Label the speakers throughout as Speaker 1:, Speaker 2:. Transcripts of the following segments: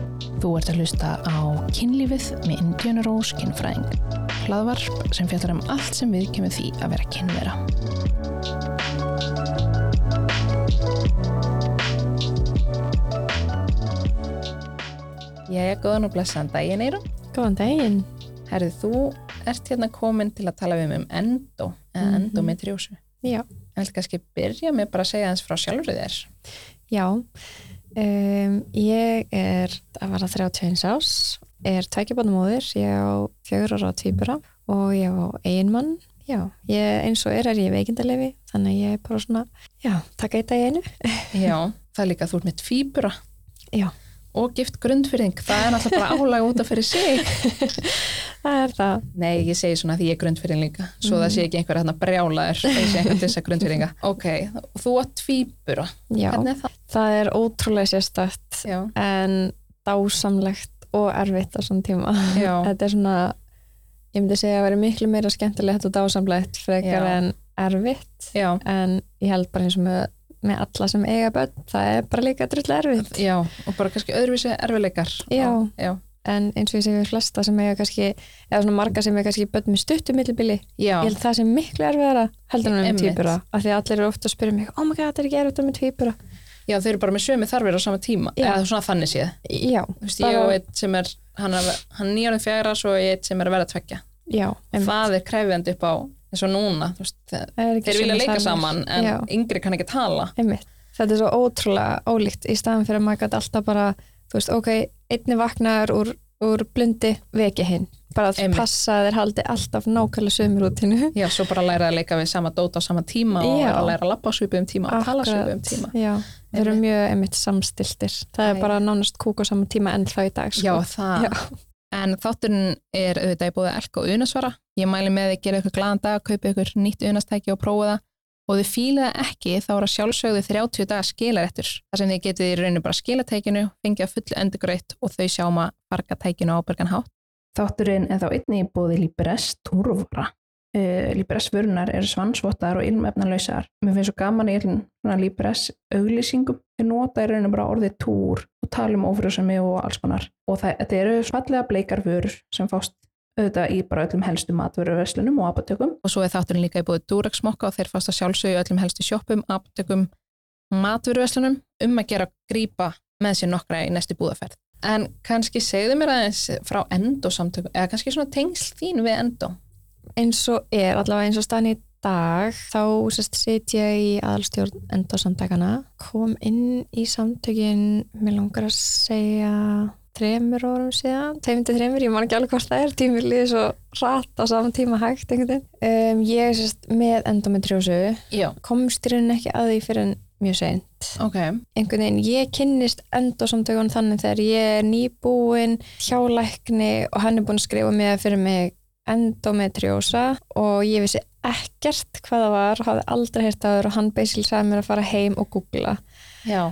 Speaker 1: hægt að hlusta á kynlífið með Indiana Rose kynfræðing. Hlaðvarp sem fjallar um allt sem við kemur því að vera kynvera.
Speaker 2: Jæja, góðan og blessaðan daginn, Eirun.
Speaker 3: Góðan daginn.
Speaker 2: Herðu, þú ert hérna komin til að tala við mig um endo, eða
Speaker 3: Mhm.
Speaker 2: endometriósu.
Speaker 3: Já.
Speaker 2: Ég vil kannski byrja með bara að segja aðeins frá sjálfur þér.
Speaker 3: Já. Um, ég er að vera 31 ás, er tækjabannamóðir, ég á fjögur ára týpura og ég á eiginmann. Já, ég, eins og er er ég veikindalefi, þannig að ég er bara svona, já, taka eitt dag í einu.
Speaker 2: Já, það er líka að þú ert með tvíbura.
Speaker 3: Já.
Speaker 2: Og gift grundfyrðing, það er náttúrulega bara álag út af fyrir sig.
Speaker 3: Það er það.
Speaker 2: Nei, ég segi svona því ég er grundfyrðing líka, svo það sé ekki einhver hérna brjálaður, það sé einhver þessa grundfyrðinga. Ok, þú ert tvíbura.
Speaker 3: Já,
Speaker 2: Hvernig er það?
Speaker 3: það er ótrúlega sérstætt
Speaker 2: Já,
Speaker 3: en dásamlegt og erfitt á svona tíma.
Speaker 2: já,
Speaker 3: Þetta er svona, ég myndi segja að vera miklu meira skemmtilegt og dásamlegt frekar
Speaker 2: Já.
Speaker 3: en erfitt.
Speaker 2: já,
Speaker 3: en ég held bara eins og með, með alla sem eiga börn, það er bara líka drullu erfitt,
Speaker 2: já, og bara kannski öðruvísi erfileikar.
Speaker 3: Já.
Speaker 2: Já,
Speaker 3: en eins og ég segi við flesta sem eiga kannski, eða svona marga sem eiga kannski börn með stuttum millibili,
Speaker 2: já,
Speaker 3: ég held það sem miklu erfiðara heldur en um
Speaker 2: Einmitt.
Speaker 3: týpura, af því að allir eru ofta að spyrja mig, oh my god, þetta er ekki erfitt um týpura
Speaker 2: já, þau eru bara með sömu þarfir á sama tíma,
Speaker 3: Já.
Speaker 2: eða svona þannig séð.
Speaker 3: já,
Speaker 2: Þú veist, ég
Speaker 3: Bara-
Speaker 2: og einn sem er, hann er, hann er nýjarðin fjara, svo ég einn sem er að vera tvekja.
Speaker 3: já einmitt.
Speaker 2: Það er krefjandi upp á, eins og núna, þú veist, þeir,
Speaker 3: Það er ekki
Speaker 2: þeir vilja
Speaker 3: sömu
Speaker 2: leika
Speaker 3: þarfir.
Speaker 2: saman, en
Speaker 3: já,
Speaker 2: yngri kann ekki tala.
Speaker 3: einmitt, þetta er svo ótrúlega ólíkt, í staðan fyrir að maður gæti alltaf bara, þú veist, ok, einni vaknaður úr, úr blundi veki hinn, bara að
Speaker 2: Einmitt.
Speaker 3: passa að þeir haldi alltaf nákvæmlega sömur út
Speaker 2: Já, svo bara læra að leika við sama dót á sama tíma og
Speaker 3: Já.
Speaker 2: að læra að lappa á svipum tíma og tala á
Speaker 3: Akkurat,
Speaker 2: svipum tíma.
Speaker 3: Já, þeir eru
Speaker 2: Einmitt.
Speaker 3: mjög um einmitt samstiltir.
Speaker 2: Æ.
Speaker 3: Það er bara nánast kúk á sama tíma enn þá í dag.
Speaker 2: Já,
Speaker 3: Sko.
Speaker 2: það.
Speaker 3: Já.
Speaker 2: En þátturinn er auðvitað í búið elk og unasvara. Ég mæli með að gera ykkur glaðan dag, kaupa ykkur nýtt unastæki og prófa það. Og þið fílið það ekki, þá eru að sjálfsögðu 30 daga skilarettur. Það sem þið getið í rauninu bara skilatækinu, fengið að fullu endurgreitt og þau sjáum að farga tækinu á ábyrgan hátt. Þátturinn er þá einnig í búið Líbrest Túrvara. Uh, Líbrest vörunar eru svansvottaðar og ilmefnalausar. Mér finnst svo gaman í svona Líbrest auglýsingum. Þeir nota í rauninu bara orðið túr og tala um ófrjósami og alls konar. Og það, þetta eru fallega bleikar vörur sem fást auðvitað í bara öllum helstu matvöruverslunum og apotekum. Og svo er þátturinn líka í búið Durex mokka og þeir fást að sjálfsögja öllum helstu sjoppum, apotekum, matvöruverslunum um að gera grípa með sér nokkra í næstu búðaferð. En kannski segðu mér aðeins frá endo samtökum, eða kannski svona tengsl þín við endo.
Speaker 3: Eins og er, allavega eins og staðan í dag, þá sérst sit ég í aðalstjórn endosamtakana. Kom inn í samtökin, mér langar að segja þremur árum síðan, tveimti þremur, ég man ekki alveg hvort það er, tímur líður svo rætt á saman tíma hægt einhvern veginn. Um, ég er sérst með endometriósu,
Speaker 2: Já,
Speaker 3: komst í rauninni ekki að því fyrir en mjög seint.
Speaker 2: ok.
Speaker 3: einhvern veginn, ég kynnist endosamtökun þannig þegar ég er nýbúin hjá lækni og hann er búin að skrifa mig fyrir mig endometriósa og ég vissi ekkert hvað það var, hafði aldrei heyrt að það og hann beisil sagði mér að fara heim og googla
Speaker 2: Já,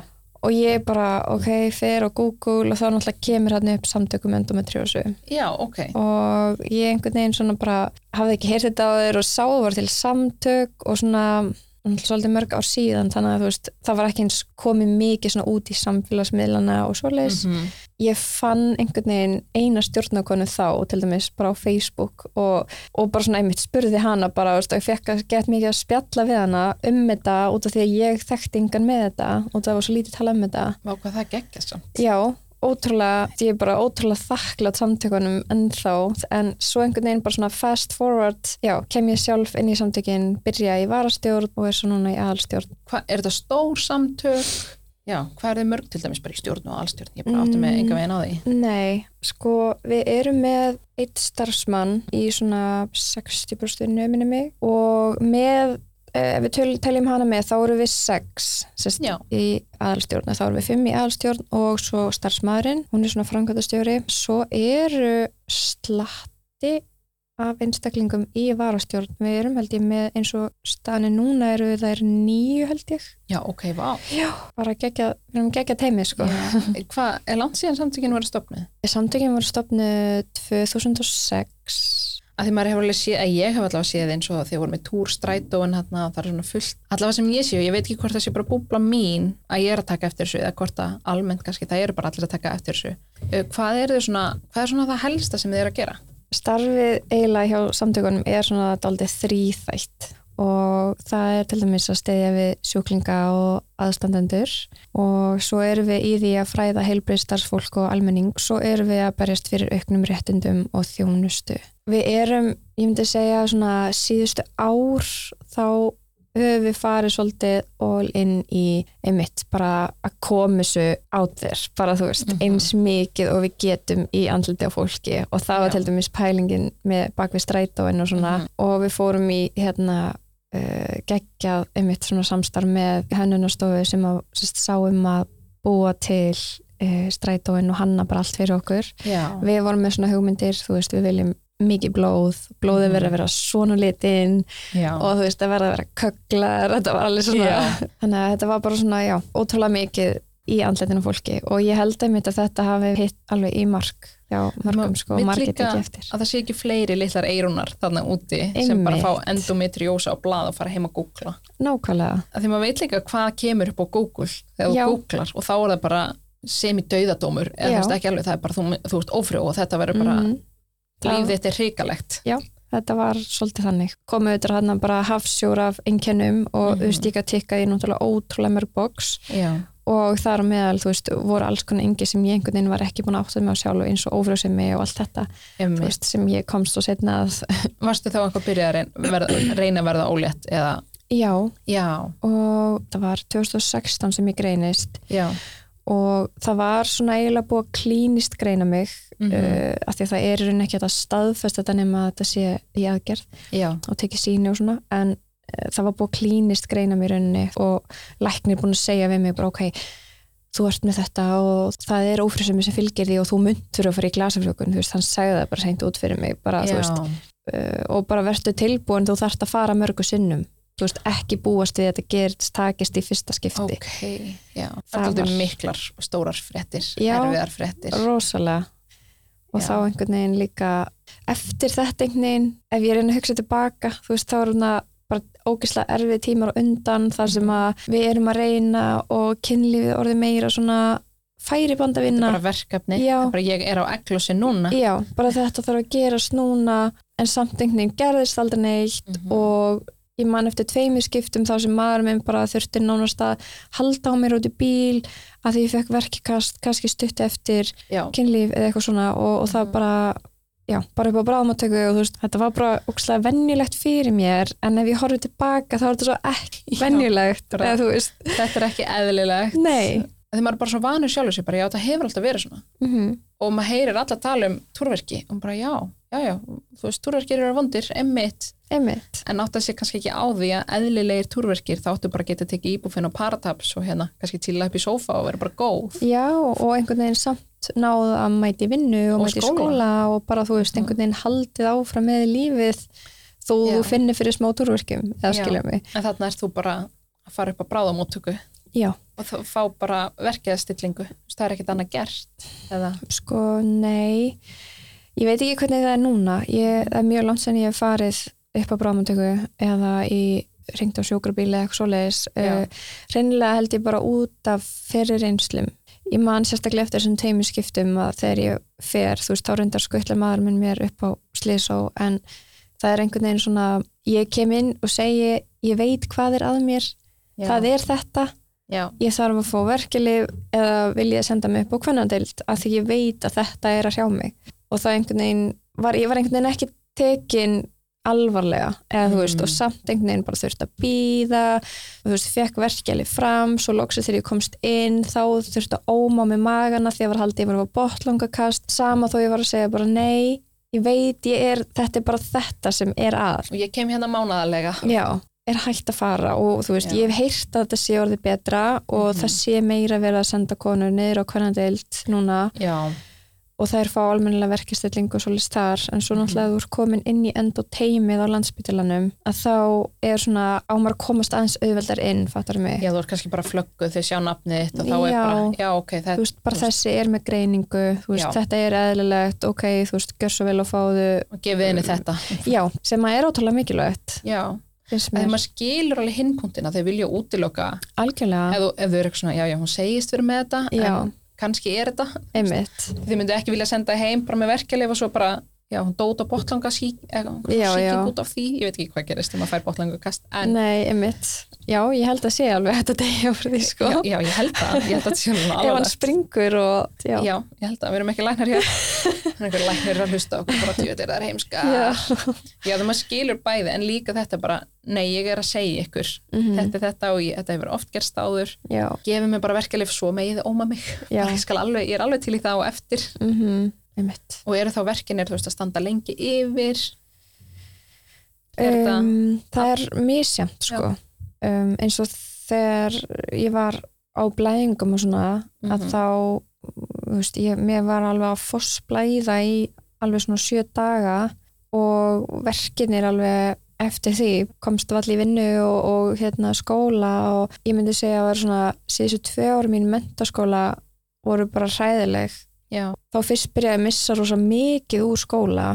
Speaker 3: og ég bara, ok, fer og google og þá náttúrulega kemur hann upp samtökum endometriósu
Speaker 2: já, ok.
Speaker 3: og ég einhvern veginn svona bara hafði ekki heyrt þetta á þér og sá það var til samtök og svona náttúrulega svolítið mörg ár síðan þannig að þú veist það var ekki eins komið mikið svona út í samfélagsmiðlana og svoleiðis
Speaker 2: -hmm.
Speaker 3: ég fann einhvern veginn eina stjórnarkonu þá til dæmis bara á Facebook og, og bara svona einmitt spurði hana bara, þú veist, og ég fekk að gett mikið að spjalla við hana um þetta út af því að ég þekkti engan með þetta og það var svo lítið tala um þetta
Speaker 2: Vá hvað það geggja samt.
Speaker 3: Já, ótrúlega, ég er bara ótrúlega þakklátt samtökunum ennþá en svo einhvern veginn bara svona fast forward já, kem ég sjálf inn í samtökin byrja í varastjórn og er svo núna í aðalstjórn
Speaker 2: Hva, er þetta stór samtök? Já, hvað er þið mörg til dæmis bara í stjórn og allstjórn? Ég bara átti með
Speaker 3: Mm.
Speaker 2: enga veginn á því.
Speaker 3: Nei, sko, við erum með eitt starfsmann í svona 60% nöminni mig og með, eh, ef við töl, teljum hana með, þá erum við sex sest,
Speaker 2: Já.
Speaker 3: í aðalstjórn, þá erum við fimm í aðalstjórn og svo starfsmaðurinn, hún er svona framkvæmtastjóri, svo eru slatti af einstaklingum í varastjórn við erum held ég með eins og staðinu núna eru það er nýju held ég
Speaker 2: Já, ok, vá.
Speaker 3: bara gegja, við erum gegja teimi sko
Speaker 2: Já. Hvað, er langt síðan samtökinn voru stopnið?
Speaker 3: Samtökin voru stopnuð 2006
Speaker 2: að því maður hefur alveg séð, að ég hef allavega séð eins og þegar voru með túrstrætóin hann það er svona fullt, allavega sem ég séu, ég veit ekki hvort það sé bara búbla mín að ég er að taka eftir þessu eða hvort að almennt kannski það eru bara allir að taka eftir þessu. Eh, Hvað er, þau svona, hvað er svona það helsta sem þið eru að gera?
Speaker 3: Starfið eiginlega hjá samtökunum er svona daldið þrýþætt og það er til dæmis að steyðja við sjúklinga og aðstandendur og svo erum við í því að fræða heilbrið starfsfólk og almenning svo erum við að berjast fyrir auknum réttindum og þjónustu. Við erum, ég myndi segja, svona síðustu ár þá höfum við farið svolítið all in í einmitt bara að koma þessu out there, bara þú veist
Speaker 2: Mhm.
Speaker 3: eins mikið og við getum í andliti á fólki og það var
Speaker 2: Já.
Speaker 3: til dæmis pælingin með bak við strætóin og svona
Speaker 2: Mhm.
Speaker 3: og við fórum í hérna uh, geggjað einmitt svona samstarf með hennunastofu sem að sérst, sáum að búa til uh, strætóin og hanna bara allt fyrir okkur
Speaker 2: Já,
Speaker 3: við vorum með svona hugmyndir, þú veist, við viljum mikið blóð, blóðið verður að vera svona litinn
Speaker 2: Mhm. já,
Speaker 3: og þú veist það verða að vera kögglar þetta var alveg svona
Speaker 2: Já.
Speaker 3: þannig að þetta var bara svona já, ótrúlega mikið í andletinu fólki og ég held einmitt að þetta hafi hitt alveg í mark já, margum
Speaker 2: Ma-
Speaker 3: sko,
Speaker 2: vill
Speaker 3: margir
Speaker 2: líka-
Speaker 3: ekki eftir
Speaker 2: að það sé ekki fleiri litlar eirunar þarna úti sem
Speaker 3: Einmitt.
Speaker 2: bara fá endometriósa á blað og fara heim að googla.
Speaker 3: nákvæmlega,
Speaker 2: Af því maður veit líka hvað kemur upp á Google þegar þú
Speaker 3: Já.
Speaker 2: googlar og þá er það bara semi-dauðadómur eða þú
Speaker 3: Já.
Speaker 2: veist ekki alveg, það er bara þú, þú ert ófrjó og þetta verður bara,
Speaker 3: Mhm.
Speaker 2: líf þitt er hrikalegt
Speaker 3: þetta var svolítið þannig komið auðvitað hann bara hafsjór af einkennum og
Speaker 2: Mhm.
Speaker 3: þú veist ég að tikka í náttúrulega ótrúlega mörg boks
Speaker 2: Já,
Speaker 3: og þar á meðal, þú veist, voru alls konar engi sem ég einhvern veginn var ekki búin að áttað með á sjálf eins og ófrjósemi og allt þetta þú
Speaker 2: emmi
Speaker 3: veist, sem ég komst og setna að
Speaker 2: Varstu þá eitthvað að byrja að reyna, verða, reyna að verða ólétt eða,
Speaker 3: já,
Speaker 2: já,
Speaker 3: og það var 2016 sem ég greinist
Speaker 2: já
Speaker 3: og það var svona eiginlega búið að klínist greina mig mm
Speaker 2: Mhm.
Speaker 3: af því að það er í rauninni ekki að staðfest þetta nema að þetta sé í aðgerð
Speaker 2: Já,
Speaker 3: og tekið síni og svona en uh, það var búið að klínist greina mig í rauninni og læknir búin að segja við mig bara ok, þú ert með þetta og það er ófrisemi sem fylgir því og þú myndur að fara í glasafljókun, þú veist, hann sagði það bara seint út fyrir mig, bara
Speaker 2: já,
Speaker 3: þú veist uh, og bara verðstu tilbúin, þú þarft að fara mörgu sinnum, þú veist, ekki búast við að þetta gerist, takist í fyrsta skipti
Speaker 2: ok Já, það
Speaker 3: Það
Speaker 2: er var...
Speaker 3: var-
Speaker 2: miklar og stórar fréttir
Speaker 3: Já.
Speaker 2: erfiðar fréttir
Speaker 3: rosalega og
Speaker 2: Já.
Speaker 3: þá einhvern veginn líka eftir þetta einhvern veginn ef ég reyna að hugsa tilbaka þú veist þá er hún bara ógeðslega erfið tímar á undan þar sem að við erum að reyna og kynlífið orðið meira svona færi bandavinna
Speaker 2: bara verkefni,
Speaker 3: Já.
Speaker 2: Það er bara ég er á eglósi núna
Speaker 3: já, bara þetta þarf að gerast núna en samt einhvern veginn gerðist aldrei neitt
Speaker 2: Mhm.
Speaker 3: og ég man eftir tveimur skiptum þá sem maður minn bara þurfti nánast að halda á mér út í bíl að því ég fekk verkikast kannski stutt eftir
Speaker 2: Já,
Speaker 3: kynlíf eða eitthvað svona og, og það
Speaker 2: Mhm.
Speaker 3: bara já, bara upp á bráðmátöku og þú veist, þetta var bara ókslega venjulegt fyrir mér en ef ég horfi tilbaka þá er þetta svo ekki
Speaker 2: Já,
Speaker 3: venjulegt
Speaker 2: bara-
Speaker 3: eða þú veist,
Speaker 2: þetta er ekki eðlilegt
Speaker 3: nei
Speaker 2: Af Því maður er bara svo vanur sjálfur sér bara, já, það hefur alltaf verið svona
Speaker 3: mm
Speaker 2: og maður heyrir alla tala um túrverki og bara já, já, já, þú veist, túrverkir eru vondir, emmitt,
Speaker 3: einmitt,
Speaker 2: en átt að sé kannski ekki á því að eðlilegir túrverkir þá áttu bara að geta tekið íbúfinn og parataps og hérna, kannski tíla upp í sófa og vera bara góð
Speaker 3: já og einhvern veginn samt náð að mæti vinnu og,
Speaker 2: Og
Speaker 3: mæti
Speaker 2: skóla. Mm.
Speaker 3: skóla. og bara þú veist, einhvern veginn haldið áfram með lífið þó
Speaker 2: Já.
Speaker 3: þú finnir fyrir smá túrverkjum eða
Speaker 2: Já.
Speaker 3: skilja mig,
Speaker 2: en þarna ert þú bara að fara upp á bráðamóttöku
Speaker 3: já,
Speaker 2: og þá fá bara verkeðastillingu Þú veist, það er ekkert annað gert eða,
Speaker 3: sko nei ég veit ekki hvernig það er núna ég, það er mjög langt sem ég hef farið upp á bráðmundtöku eða í ringt á sjókrabíli eða eitthvað svoleiðis
Speaker 2: Já.
Speaker 3: uh, reynilega held ég bara út af fyrir reynslum ég man sérstaklega eftir þessum teimu skiptum að þegar ég fer, þú veist, þá reyndar skuttla maður minn mér upp á slísó en það er einhvern veginn svona ég kem inn og segi ég veit hvað er að mér,
Speaker 2: já,
Speaker 3: það er þetta
Speaker 2: já,
Speaker 3: ég þarf að fá verkelif eða vil ég senda mig upp á kvennadeild af því ég veit að þetta er að hrjá mig og það einhvern veginn, var, ég var einhvern veginn ekki tekin alvarlega eða þú veist
Speaker 2: Mm.
Speaker 3: og samt einhvern veginn bara þurfti að býða þú veist, fekk verkelif fram svo loksið þegar ég komst inn þá þurfti að óma með magana því að var haldið ég var að fá botlangakast, sama þó ég var að segja bara nei, ég veit ég er þetta er bara þetta sem er að
Speaker 2: og ég kem hérna mánaðarlega
Speaker 3: Já, er hægt að fara og þú veist,
Speaker 2: Já.
Speaker 3: ég hef heyrt að þetta sé orðið betra og
Speaker 2: Mhm.
Speaker 3: það sé meira verið að senda konur niður á hvernandeild núna
Speaker 2: já,
Speaker 3: og þær fá almennilega verkistillingu og svolítið þar, en
Speaker 2: Mhm.
Speaker 3: svo náttúrulega þú ert komin inn í end og teimið á landspítalanum að þá er svona ámar komast aðeins auðveldar inn, fattar mig
Speaker 2: Já, þú ert kannski bara flögguð þau sjá nafnið þitt og þá er
Speaker 3: Já.
Speaker 2: bara, já, ok,
Speaker 3: þú
Speaker 2: þetta
Speaker 3: veist, bara þessi er með greiningu þú
Speaker 2: Já.
Speaker 3: veist, þetta er eðlilegt, ok, þú veist, gjör svo vel og fáðu,
Speaker 2: og gefið henni þetta.
Speaker 3: já, sem að er ótrúlega mikilvægt,
Speaker 2: Já,
Speaker 3: finnst
Speaker 2: þegar
Speaker 3: mér
Speaker 2: maður skilur alveg hinpunktina, þau vilja útiloka, ef
Speaker 3: algjörlega,
Speaker 2: þú, ef þú eru eitthvað svona, já, já, hún segist verið með þetta,
Speaker 3: já,
Speaker 2: en kannski er þetta,
Speaker 3: einmitt
Speaker 2: þið myndu ekki vilja senda heim bara með verkjalið og svo bara, já, hún dót á botlanga sík,
Speaker 3: Já, já.
Speaker 2: síking út af því, ég veit ekki hvað gerist þegar maður fær botlanga kast, en
Speaker 3: nei, einmitt, já, ég held að sé alveg þetta degja fyrir því, sko
Speaker 2: já, já, ég held það, ég held að þetta sé alveg
Speaker 3: ef hann
Speaker 2: alvarlegt.
Speaker 3: springur og, já,
Speaker 2: Já, ég held að við erum ekki læknar hér en einhver læknir er að hlusta á okkur bara tjóðir það er heimska
Speaker 3: Já.
Speaker 2: Já, það maður skilur bæði en líka þetta bara nei, ég er að segja ykkur
Speaker 3: Mhm.
Speaker 2: þetta er þetta og ég, þetta hefur oft gerst áður
Speaker 3: já,
Speaker 2: gefið mér bara verkeflið svo megið óma mig
Speaker 3: Já.
Speaker 2: Bara, ég, skal alveg, ég er alveg til í það og eftir
Speaker 3: mhm, einmitt
Speaker 2: og eru þá verkinir, þú veist, að standa lengi yfir Er þetta-
Speaker 3: um, það er misjant sko. um, eins og þegar ég var á blæðingum og svona að
Speaker 2: Mhm.
Speaker 3: þá þú veist, ég, mér var alveg að fossblæða í alveg svona sjö daga og verkinir alveg eftir því komst vall í vinnu og, og hérna skóla og ég myndi segja að vera svona síðustu tvö ára mín mentaskóla voru bara hræðileg
Speaker 2: Já,
Speaker 3: þá fyrst byrjaði að missa rosa mikið úr skóla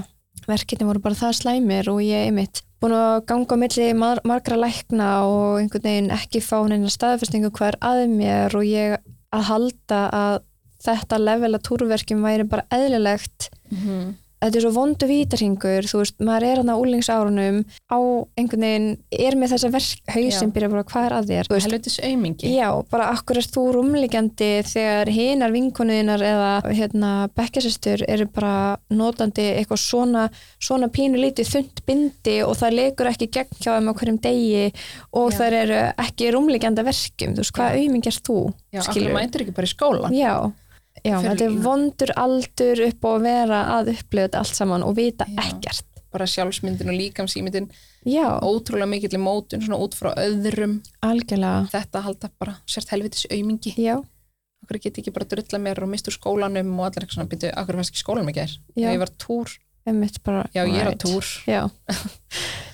Speaker 3: verkefni voru bara það slæmir og ég einmitt búin að ganga á milli mar margra lækna og einhvern veginn ekki fá neina staðfestingu hvað er að mér og ég að halda að þetta level að túrverkjum væri bara eðlilegt
Speaker 2: mm
Speaker 3: þetta er svo vondu vítarhingur, þú veist, maður er hann á úlingsárunum á einhvern veginn er með þessa verkhauð
Speaker 2: Já.
Speaker 3: sem byrja bara hvað er að þér, þú veist,
Speaker 2: helvitis aumingi
Speaker 3: Já, bara akkur er þú rúmliggjandi þegar hinar vinkonuðinar eða hérna, bekkjasestur eru bara notandi eitthvað svona, svona pínu lítið þund bindi og það leikur ekki gegn hjá þeim á hverjum degi og
Speaker 2: Já.
Speaker 3: þær eru ekki rúmliggjandi að verkjum, þú veist, hvaða aumingi er þú?
Speaker 2: Já,
Speaker 3: skilurðu?
Speaker 2: akkur mætur ekki bara í skólan
Speaker 3: Já, já
Speaker 2: Fyrir
Speaker 3: þetta er
Speaker 2: lína.
Speaker 3: vondur aldur upp á að vera að upplifa þetta allt saman og vita
Speaker 2: Já.
Speaker 3: ekkert.
Speaker 2: bara sjálfsmyndin og líkamsýmyndin
Speaker 3: Já,
Speaker 2: ótrúlega mikill í mótun, svona út frá öðrum
Speaker 3: algjörlega.
Speaker 2: þetta halda bara sért helvitis aumingi
Speaker 3: Já,
Speaker 2: okkur get ég ekki bara drulla mér og mistur skólanum og allir eitthvað svona, byrju, okkur fannst ekki skólanum ekki er
Speaker 3: Já.
Speaker 2: ég var á túr,
Speaker 3: emmitt bara.
Speaker 2: já ég er á
Speaker 3: Right.
Speaker 2: túr
Speaker 3: Já,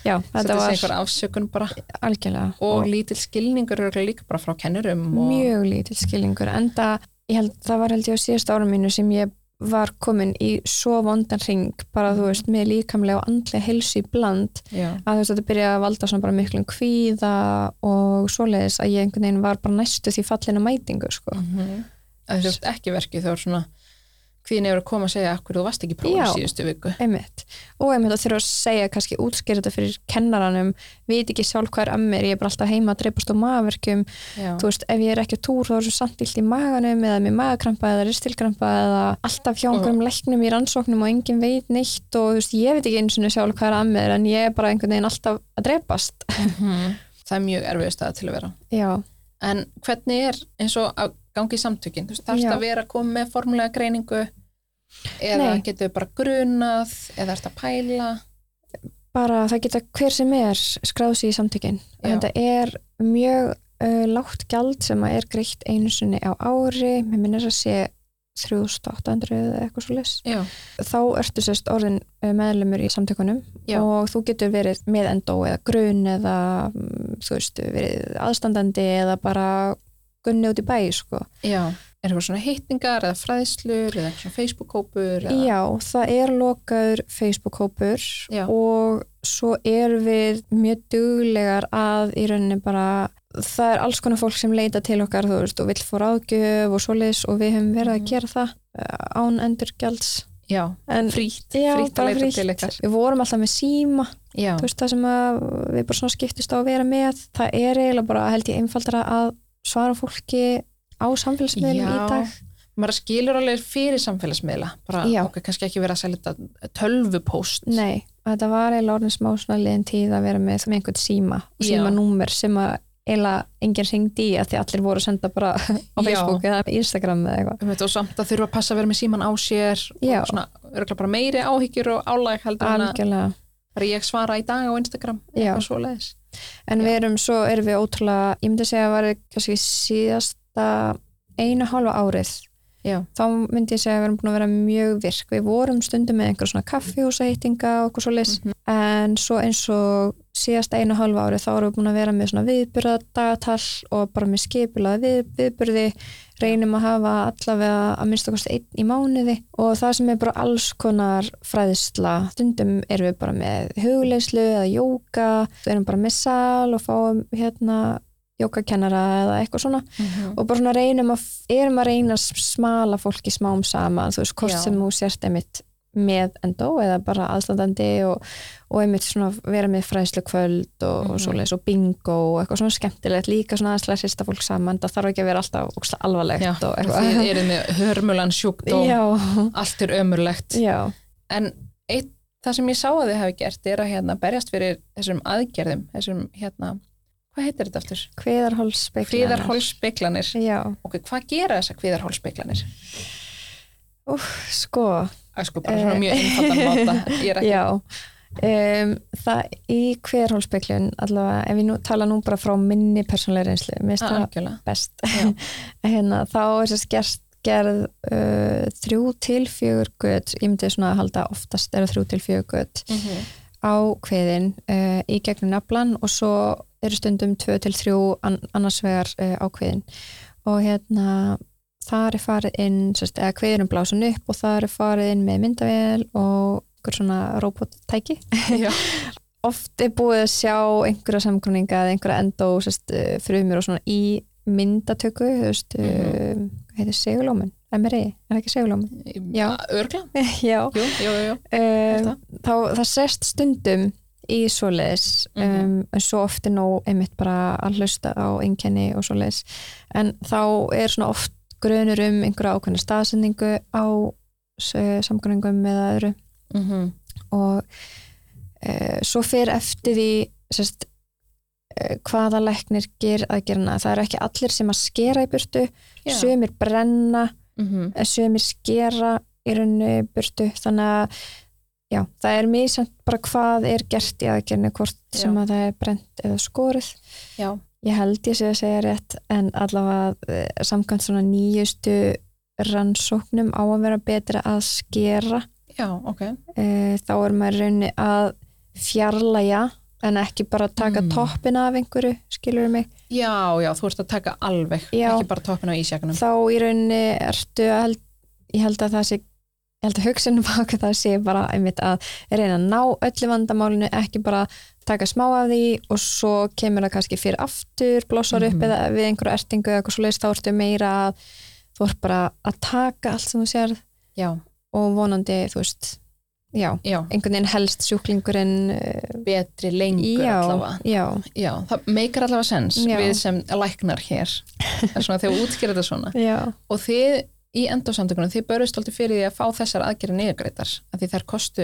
Speaker 3: já
Speaker 2: þetta
Speaker 3: þetta
Speaker 2: var
Speaker 3: var
Speaker 2: einhver afsökun bara
Speaker 3: algjörlega.
Speaker 2: og lítill skilningur eru líka bara frá kennurum og
Speaker 3: mjög lítill skilningur enda ég held, það var held ég á síðast árum mínu sem ég var komin í svo vondan ring bara þú veist með líkamlega og andlega helsu í bland
Speaker 2: já,
Speaker 3: að þú veist þetta byrjaði að valda svona bara miklum kvíða og svoleiðis að ég einhvern veginn var bara næstu því fallin að mætingu sko.
Speaker 2: mm að þú veist ekki verkið þá er svona hvíðin hefur að koma að segja akkur þú varst ekki prófum
Speaker 3: Já.
Speaker 2: síðustu viku
Speaker 3: einmitt og einmitt að þurfa að segja kannski útskýra þetta fyrir kennaranum veit ekki sjálf hvað er að mér, ég er bara alltaf heima að dreipast á maðverkjum
Speaker 2: já,
Speaker 3: þú veist, ef ég er ekki á túr þá er svo samt illt í maganum eða með magakrampa eða ristilkrampa eða alltaf hjá einhverjum læknum í rannsóknum og enginn veit neitt og þú veist, ég veit ekki eins og sjálf hvað er að mér en ég er bara einhvern veginn alltaf að drepast
Speaker 2: Mhm. það er mjög erfið stað til að vera
Speaker 3: Já,
Speaker 2: en hvernig er eins og að gangi í samtökin, þú veist, þarfst
Speaker 3: Já.
Speaker 2: að vera að koma með formulega greiningu eða
Speaker 3: Nei.
Speaker 2: getur bara grunað eða ert að pæla
Speaker 3: bara það geta hver sem er skráð sér í samtökin
Speaker 2: Já.
Speaker 3: en þetta er mjög uh, lágt gjald sem að er greitt einu sinni á ári mér minnir að sé 3800 eða eitthvað svo les
Speaker 2: já,
Speaker 3: þá ertu sérst orðin eh, meðlumur í samtökunum
Speaker 2: Já.
Speaker 3: og þú getur verið með endó eða grun eða mm, þú veist, verið aðstandandi eða bara gunni út í bæ sko.
Speaker 2: Já, er eitthvað svona hittingar eða fræðslur eða eitthvað svona Facebook-kópur eða...
Speaker 3: Já, það er lokaður Facebook-hópur
Speaker 2: Já.
Speaker 3: og svo erum við mjög duglegar að í rauninni bara það er alls konar fólk sem leita til okkar þú veist og vill fór ágjöf og svoleiðis og við hefum verið
Speaker 2: Mhm.
Speaker 3: að gera það eh, án endurgjalds
Speaker 2: Já,
Speaker 3: en
Speaker 2: frítt,
Speaker 3: Já,
Speaker 2: frítt að
Speaker 3: bara
Speaker 2: leita
Speaker 3: frítt.
Speaker 2: til ykkar
Speaker 3: við vorum alltaf með síma
Speaker 2: Já,
Speaker 3: þú veist það sem að við bara svona skiptist á að vera með það er eiginlega bara held ég einfaldra að svara fólki á samfélagsmiðlum í
Speaker 2: Já.
Speaker 3: dag
Speaker 2: maður skilur alveg fyrir samfélagsmiðla bara
Speaker 3: Já.
Speaker 2: okkar kannski ekki vera að selja þetta tölvupóst
Speaker 3: nei, þetta var eiginlega orðin smá svona liðin tíð að vera með með einhvern síma og
Speaker 2: Já.
Speaker 3: símanúmer sem að eiginlega enginn ringdi í að því allir voru að senda bara á
Speaker 2: Já.
Speaker 3: Facebook eða Instagram eða eitthvað
Speaker 2: Um þetta og samt að þurfa að passa að vera með síman á sér
Speaker 3: Já.
Speaker 2: og svona, örgulega bara meiri áhyggjur og álæg heldur en að
Speaker 3: algjörlega
Speaker 2: bara ég svara í dag á Instagram
Speaker 3: Já.
Speaker 2: eitthvað svoleiðis
Speaker 3: En
Speaker 2: Já.
Speaker 3: við erum svo, erum við ótrúlega, ég myndi að segja að það var kannski síðasta einu hálfa árið
Speaker 2: Já.
Speaker 3: þá myndi ég segja að við erum búin að vera mjög virk við vorum stundum með einhver svona kaffihúsahýttinga og eitthvað svo en svo eins og síðast einu og hálfa ári þá erum við búin að vera með svona viðbyrðadagatal og bara með skipulaða við, viðbyrði reynum að hafa allavega að minnst okkur einn í mánuði og það sem er bara alls konar fræðsla stundum erum við bara með hugleyslu eða jóka, við erum bara með sal og fáum hérna jókakennara eða eitthvað svona og bara svona reynum að, erum að reyna að smala fólki smám saman þú veist, hvort
Speaker 2: Já.
Speaker 3: sem þú sért einmitt með endó eða bara aðstandandi og, og einmitt svona vera með fræðslu kvöld og, og
Speaker 2: Mhm.
Speaker 3: svoleiðis og bingo og eitthvað svona skemmtilegt líka svona aðslega sérsta fólk saman, það þarf ekki að vera alltaf ógeðslega alvarlegt
Speaker 2: Já,
Speaker 3: og
Speaker 2: Þið
Speaker 3: eitthvað
Speaker 2: eru með hörmulan sjúkdóm,
Speaker 3: Já,
Speaker 2: allt er ömurlegt.
Speaker 3: já,
Speaker 2: En eitt, það sem ég sá að þið hafi gert er að hérna, berjast fyrir þessum aðgerðum, þessum hérna, hvað heitir þetta aftur?
Speaker 3: kviðarhólsbyggnarnar
Speaker 2: Kviðarhólsspeglanir.
Speaker 3: Já,
Speaker 2: Ok, hvað gera þessar kviðarhólsspeglanir?
Speaker 3: sko,
Speaker 2: Að sko, bara svona mjög einfaldan máta. Ég er ekki,
Speaker 3: Eh. Já, um, það í hverhólsbygglun allavega, ef ég nú, tala nú bara frá minni persónlega reynslu, mér finnst
Speaker 2: að
Speaker 3: það
Speaker 2: Ah, algjörlega.
Speaker 3: best
Speaker 2: Já.
Speaker 3: hérna, þá er þess gerð, gerð uh, þrjú til fjögur gutt ég myndi svona að halda oftast eru þrjú til fjögur gutt á kveðin uh, í gegnum naflan og svo eru stundum 2 til 3 an annars vegar uh, á kveðin og hérna þar er farið inn, sérst, eða kveðin er blásun upp og þar er farið inn með myndavél og einhver svona robottæki
Speaker 2: Já.
Speaker 3: oft er búið að sjá einhverja samgruninga eða einhverja endó sérst, eh, frumur og svona í myndatöku þú veist, mm
Speaker 2: Mhm.
Speaker 3: hvað heitir segulómin? MRI, er það ekki segulómin? Já.
Speaker 2: Örgla?
Speaker 3: Já,
Speaker 2: Ah, Jú, jú, jú, jú.
Speaker 3: um,
Speaker 2: Þetta.
Speaker 3: þá, það sest stundum í svoleiðis um, en svo oft er nóg einmitt bara að hlusta á einkenni og svoleiðis en þá er svona oft grunur um einhverja ákveðna staðsendingu á samgöngum eða öðru
Speaker 2: Mhm.
Speaker 3: og uh, svo fyrir eftir því sérst, uh, hvaða læknir ger að gerna, það eru ekki allir sem að skera í burtu,
Speaker 2: Já.
Speaker 3: sumir brenna
Speaker 2: Mhm.
Speaker 3: sömur Eh, skera í rauninu burtu þannig að já, það er mísamt bara hvað er gert í aðgerinu hvort
Speaker 2: Já.
Speaker 3: sem að það er brent eða skorið
Speaker 2: Já.
Speaker 3: ég held ég sé að segja rétt en allavega eh, samkvæmt svona nýjustu rannsóknum á að vera betra að skera
Speaker 2: Já, ok.
Speaker 3: e, þá er maður í rauninu að fjarlæja en ekki bara taka
Speaker 2: Mm.
Speaker 3: toppin af einhverju skilur mig
Speaker 2: Já, já, þú ert að taka alveg,
Speaker 3: Já.
Speaker 2: ekki bara toppin á ísjakunum.
Speaker 3: þá í rauninni ertu að held, ég held að það sé ég held að hugsunum baka það sé bara einmitt að reyna að ná öllu vandamálinu ekki bara taka smá af því og svo kemur það kannski fyrir aftur blossar upp
Speaker 2: Mhm.
Speaker 3: eða við einhverju ertingu eða eitthvað svo leist þá ertu meira að þú ert bara að taka allt sem þú sér
Speaker 2: Já,
Speaker 3: og vonandi þú veist já,
Speaker 2: já,
Speaker 3: einhvern veginn helst sjúklingurinn uh,
Speaker 2: betri lengur
Speaker 3: já,
Speaker 2: allavega.
Speaker 3: já,
Speaker 2: Já, það meikar allavega sens
Speaker 3: Já.
Speaker 2: við sem læknar hér. Það er svona þegar við útskýra þetta svona.
Speaker 3: já
Speaker 2: Og þið í endosamtökunum, þið börjast alltaf fyrir því að fá þessar aðgerið niðurgreitar, af því þær kostu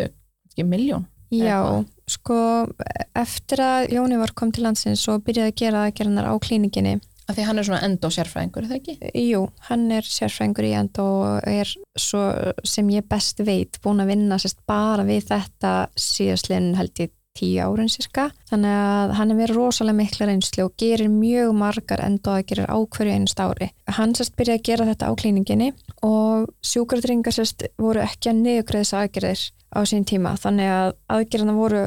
Speaker 2: ekki miljón.
Speaker 3: Já,
Speaker 2: Eða
Speaker 3: sko eftir að Jóni var kom til landsins og byrjaði að gera aðgerðanar á klíninginni
Speaker 2: Af því hann er svona endosérfræðingur, er það ekki?
Speaker 3: Jú, hann er sérfræðingur í end og er svo sem ég best veit búin að vinna sérst bara við þetta síðastlinn held ég tíu árun sérska. Þannig að hann er verið rosalega mikla reynslu og gerir mjög margar endaðagerir á hverju einust ári. Hann sérst byrjaði að gera þetta á klíninginni og sjúkratringar sérst voru ekki að niðurgreðis aðgerðir á sín tíma. Þannig að aðgerðina voru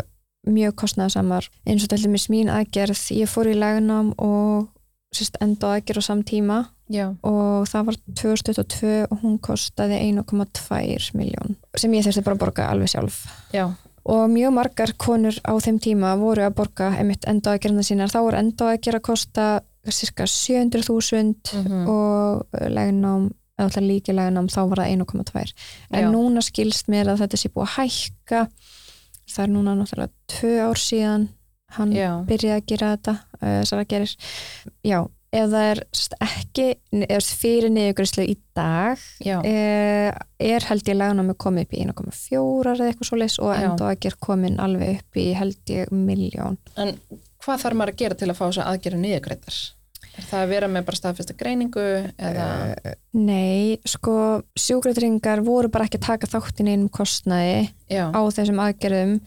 Speaker 3: mjög kostnaðsamar. Eins og til dæmis mín aðgerð, ég fór í lagnám og sérst endaðager á samtíma
Speaker 2: Já.
Speaker 3: og það var 2022 og hún kostaði 1,2 miljón sem ég þurfti bara að borga alveg sjálf
Speaker 2: Já,
Speaker 3: og mjög margar konur á þeim tíma voru að borga einmitt endaðgerðina sínar þá voru endaðgerð að kosta cirka 700.000
Speaker 2: Mhm.
Speaker 3: og leginám eða alltaf líki leginám þá var það 1,2 en
Speaker 2: Já.
Speaker 3: núna skilst mér að þetta sé búið að hækka það er núna náttúrulega tvö ár síðan hann
Speaker 2: já,
Speaker 3: byrja að gera þetta uh, þessar að gerir já, ef það er sérst, ekki eða sérst, fyrir niðurgrislu í dag
Speaker 2: já.
Speaker 3: uh, er held ég laganámi komið upp í 1,4 eða eitthvað svoleiðis og
Speaker 2: Já.
Speaker 3: enda að ger komin alveg upp í held ég miljón
Speaker 2: En hvað þarf maður að gera til að fá þessar aðgerið niðurgreitar? Er það að vera með bara staðfesta greiningu eða...
Speaker 3: nei, sko sjúkratringar voru bara ekki að taka þáttin einum kostnaði
Speaker 2: já,
Speaker 3: á þessum aðgerðum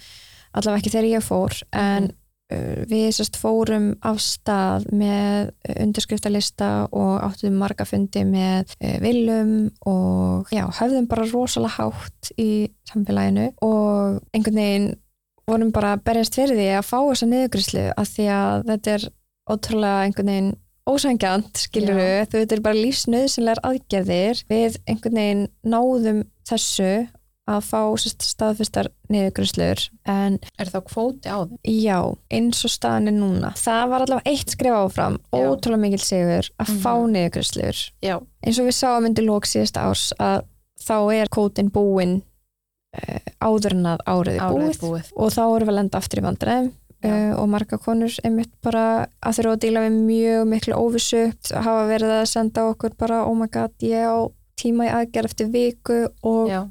Speaker 3: allavega ekki þegar ég fór en uh, við sérst fórum af stað með uh, undirskriftalista og áttum marga fundi með uh, viljum og já, höfðum bara rosalega hátt í samfélaginu og einhvern veginn vorum bara að berjast fyrir því að fá þessa niðurgrislu að því að þetta er ótrúlega einhvern veginn ósangjant, skilur við, þú þetta er bara lífsnauðsynlegar aðgerðir við einhvern veginn náðum þessu að fá sérst, staðfistar niðurgrislur en
Speaker 2: Er þá kvóti á þeim?
Speaker 3: já, eins og staðan er núna það var allavega eitt skrif áfram
Speaker 2: Já.
Speaker 3: ótrúlega mikil sigur að fá
Speaker 2: Mhm.
Speaker 3: niðurgrislur
Speaker 2: Já.
Speaker 3: eins og við sáum undir lók síðasta árs að þá er kótin búinn uh, áður en að árið er búið
Speaker 2: búið.
Speaker 3: og þá erum við að lenda aftur í vandræðum
Speaker 2: Já.
Speaker 3: uh, og marga konur einmitt bara að þurfa að díla við mjög miklu óvissu hafa verið að senda okkur bara oh my god, ég á tíma í aðgerð eftir viku og
Speaker 2: Já.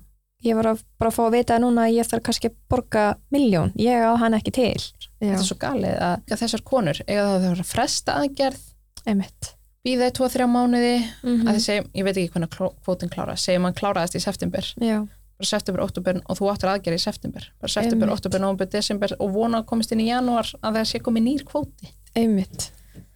Speaker 3: ég var að bara að fá að vita núna að ég þarf kannski að borga miljón, ég á hann ekki til
Speaker 2: Þetta er svo galið að að þessar konur eiga það að það að fresta aðgerð,
Speaker 3: einmitt
Speaker 2: býða í 2-3 mánuði,
Speaker 3: mm
Speaker 2: að þið segjum, ég veit ekki hvernig kló- kvótinn klára, segjum hann kláraðist í september,
Speaker 3: Mhm. já,
Speaker 2: bara september, oktober og þú áttir aðgerð í september, bara september,
Speaker 3: Einmitt.
Speaker 2: oktober, november, desember og vona að komist inn í janúar að það sé komið nýr kvóti.
Speaker 3: einmitt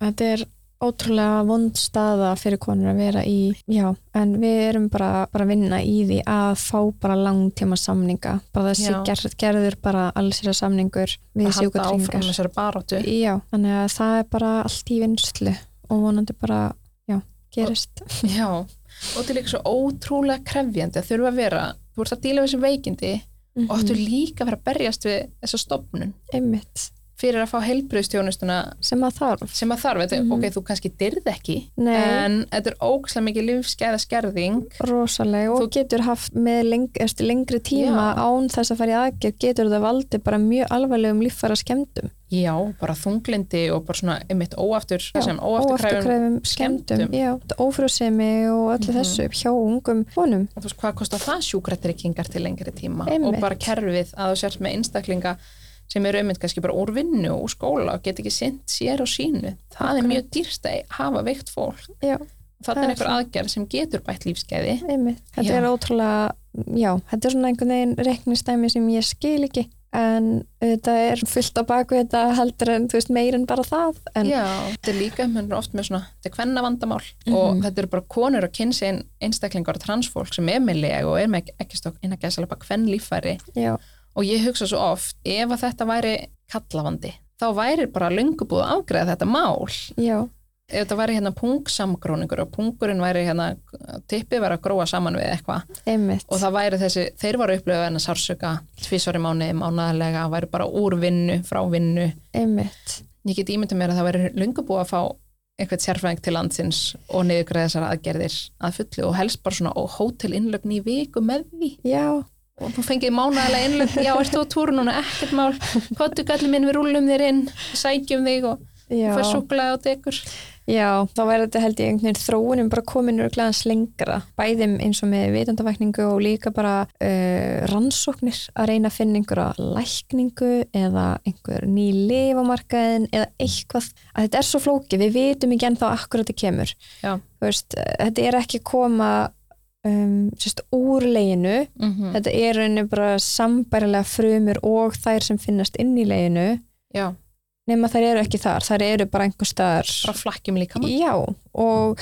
Speaker 3: þetta er ótrúlega vond staða fyrir konur að vera í já, en við erum bara, bara að vinna í því að fá bara langtíma samninga bara þessi
Speaker 2: Já.
Speaker 3: gerð, gerður bara allsýra samningur við
Speaker 2: Að halda áfram
Speaker 3: sjúkatryggingar
Speaker 2: þessari baróttu.
Speaker 3: já, þannig að það er bara allt í vinslu og vonandi bara já, gerist
Speaker 2: Já, og þetta er líka svo ótrúlega krefjandi að þurfa að vera, þú ert að díla við þessi veikindi
Speaker 3: Mhm,
Speaker 2: og áttu líka að vera að berjast við þessa stopnun
Speaker 3: einmitt
Speaker 2: fyrir að fá heilbriðstjónustuna
Speaker 3: sem að þarf
Speaker 2: sem að þarf, þetta er,
Speaker 3: Mhm.
Speaker 2: ok, þú kannski dyrð ekki,
Speaker 3: Nei,
Speaker 2: en þetta er ógæslega mikið lífsgæða skerðing
Speaker 3: rosalega og
Speaker 2: Þú-
Speaker 3: getur haft með leng, eftir lengri
Speaker 2: Já.
Speaker 3: tíma án þess að fara í aðgerð getur það valdi bara mjög alvarlegum líffara skemmdum
Speaker 2: Já, bara þunglindi og bara svona einmitt óaftur,
Speaker 3: Já,
Speaker 2: sem óafturkræfum
Speaker 3: óafturkræfum skemmdum,
Speaker 2: skemmdum. Mhm.
Speaker 3: já, ófrjósemi og öllu þessu hjá ungum konum
Speaker 2: og þú veist hvað kostar það sjúkratryggingar til lengri tíma
Speaker 3: Einmitt.
Speaker 2: og bara kerfið að þú sért með einstaklinga sem eru einmitt kannski bara úr vinnu og úr skóla og get ekki sint sér og sínu það er mjög dýrst að hafa veikt fólk
Speaker 3: já,
Speaker 2: það
Speaker 3: Það
Speaker 2: er
Speaker 3: er
Speaker 2: einhver aðgerð sem getur bætt lífskeiði
Speaker 3: einmitt, þetta
Speaker 2: Já.
Speaker 3: er ótrúlega já, þetta er svona einhvern veginn reiknistæmi sem ég skil ekki en þetta er fullt á baku þetta heldur en þú veist meir en bara það en
Speaker 2: Já, þetta er líka, mér er oft með svona þetta er hvenna vandamál og
Speaker 3: Mhm.
Speaker 2: þetta eru bara konur og kynsinn einstaklingar og transfólk sem er með leg og er með ekki stokk inn að gæsa bara hvenn líffæri
Speaker 3: já,
Speaker 2: og ég hugsa svo oft, ef að þetta væri kallavandi, þá væri bara löngubúð að afgreða þetta mál
Speaker 3: já,
Speaker 2: ef þetta væri hérna pungsamgróningur og pungurinn væri hérna tippið væri að gróa saman við eitthvað
Speaker 3: einmitt
Speaker 2: og það væri þessi, þeir voru upplöfuð en að sársöka tvísvar í mánuði, mánaðarlega væri bara úr vinnu, frá vinnu
Speaker 3: einmitt,
Speaker 2: ég get ímyndið mér að það væri lungu búið að fá einhvern sérfræðing til landsins og niðurgræða þessar aðgerðir að fullu og helst bara svona og hótelinnlögn í viku með því
Speaker 3: já,
Speaker 2: og þú fengið mánaðarlega innlögn, já, ert þú á túru núna, ekkert mál, kottu gallið minn við rúlum þér inn, sækjum þig og
Speaker 3: já
Speaker 2: fær súklaði á degur
Speaker 3: Já, þá væri þetta held ég einhvern veginn þróunum bara komin örglaðans lengra, bæðum eins og með vitandavækningu og líka bara uh, rannsóknir að reyna að finna einhverja lækningu eða einhver ný lifamarkaðin eða eitthvað, að þetta er svo flókið, við vitum ekki ennþá akkur þetta kemur.
Speaker 2: Já.
Speaker 3: Þú Veist, eh, þetta er ekki að koma um, sérst, úr leginu,
Speaker 2: mm -hmm.
Speaker 3: þetta er rauninni bara sambærilega frumur og þær sem finnast inn í leginu,
Speaker 2: já,
Speaker 3: nema þær eru ekki þar, þær eru bara einhver staðar
Speaker 2: bara flakkjum líka
Speaker 3: Já, og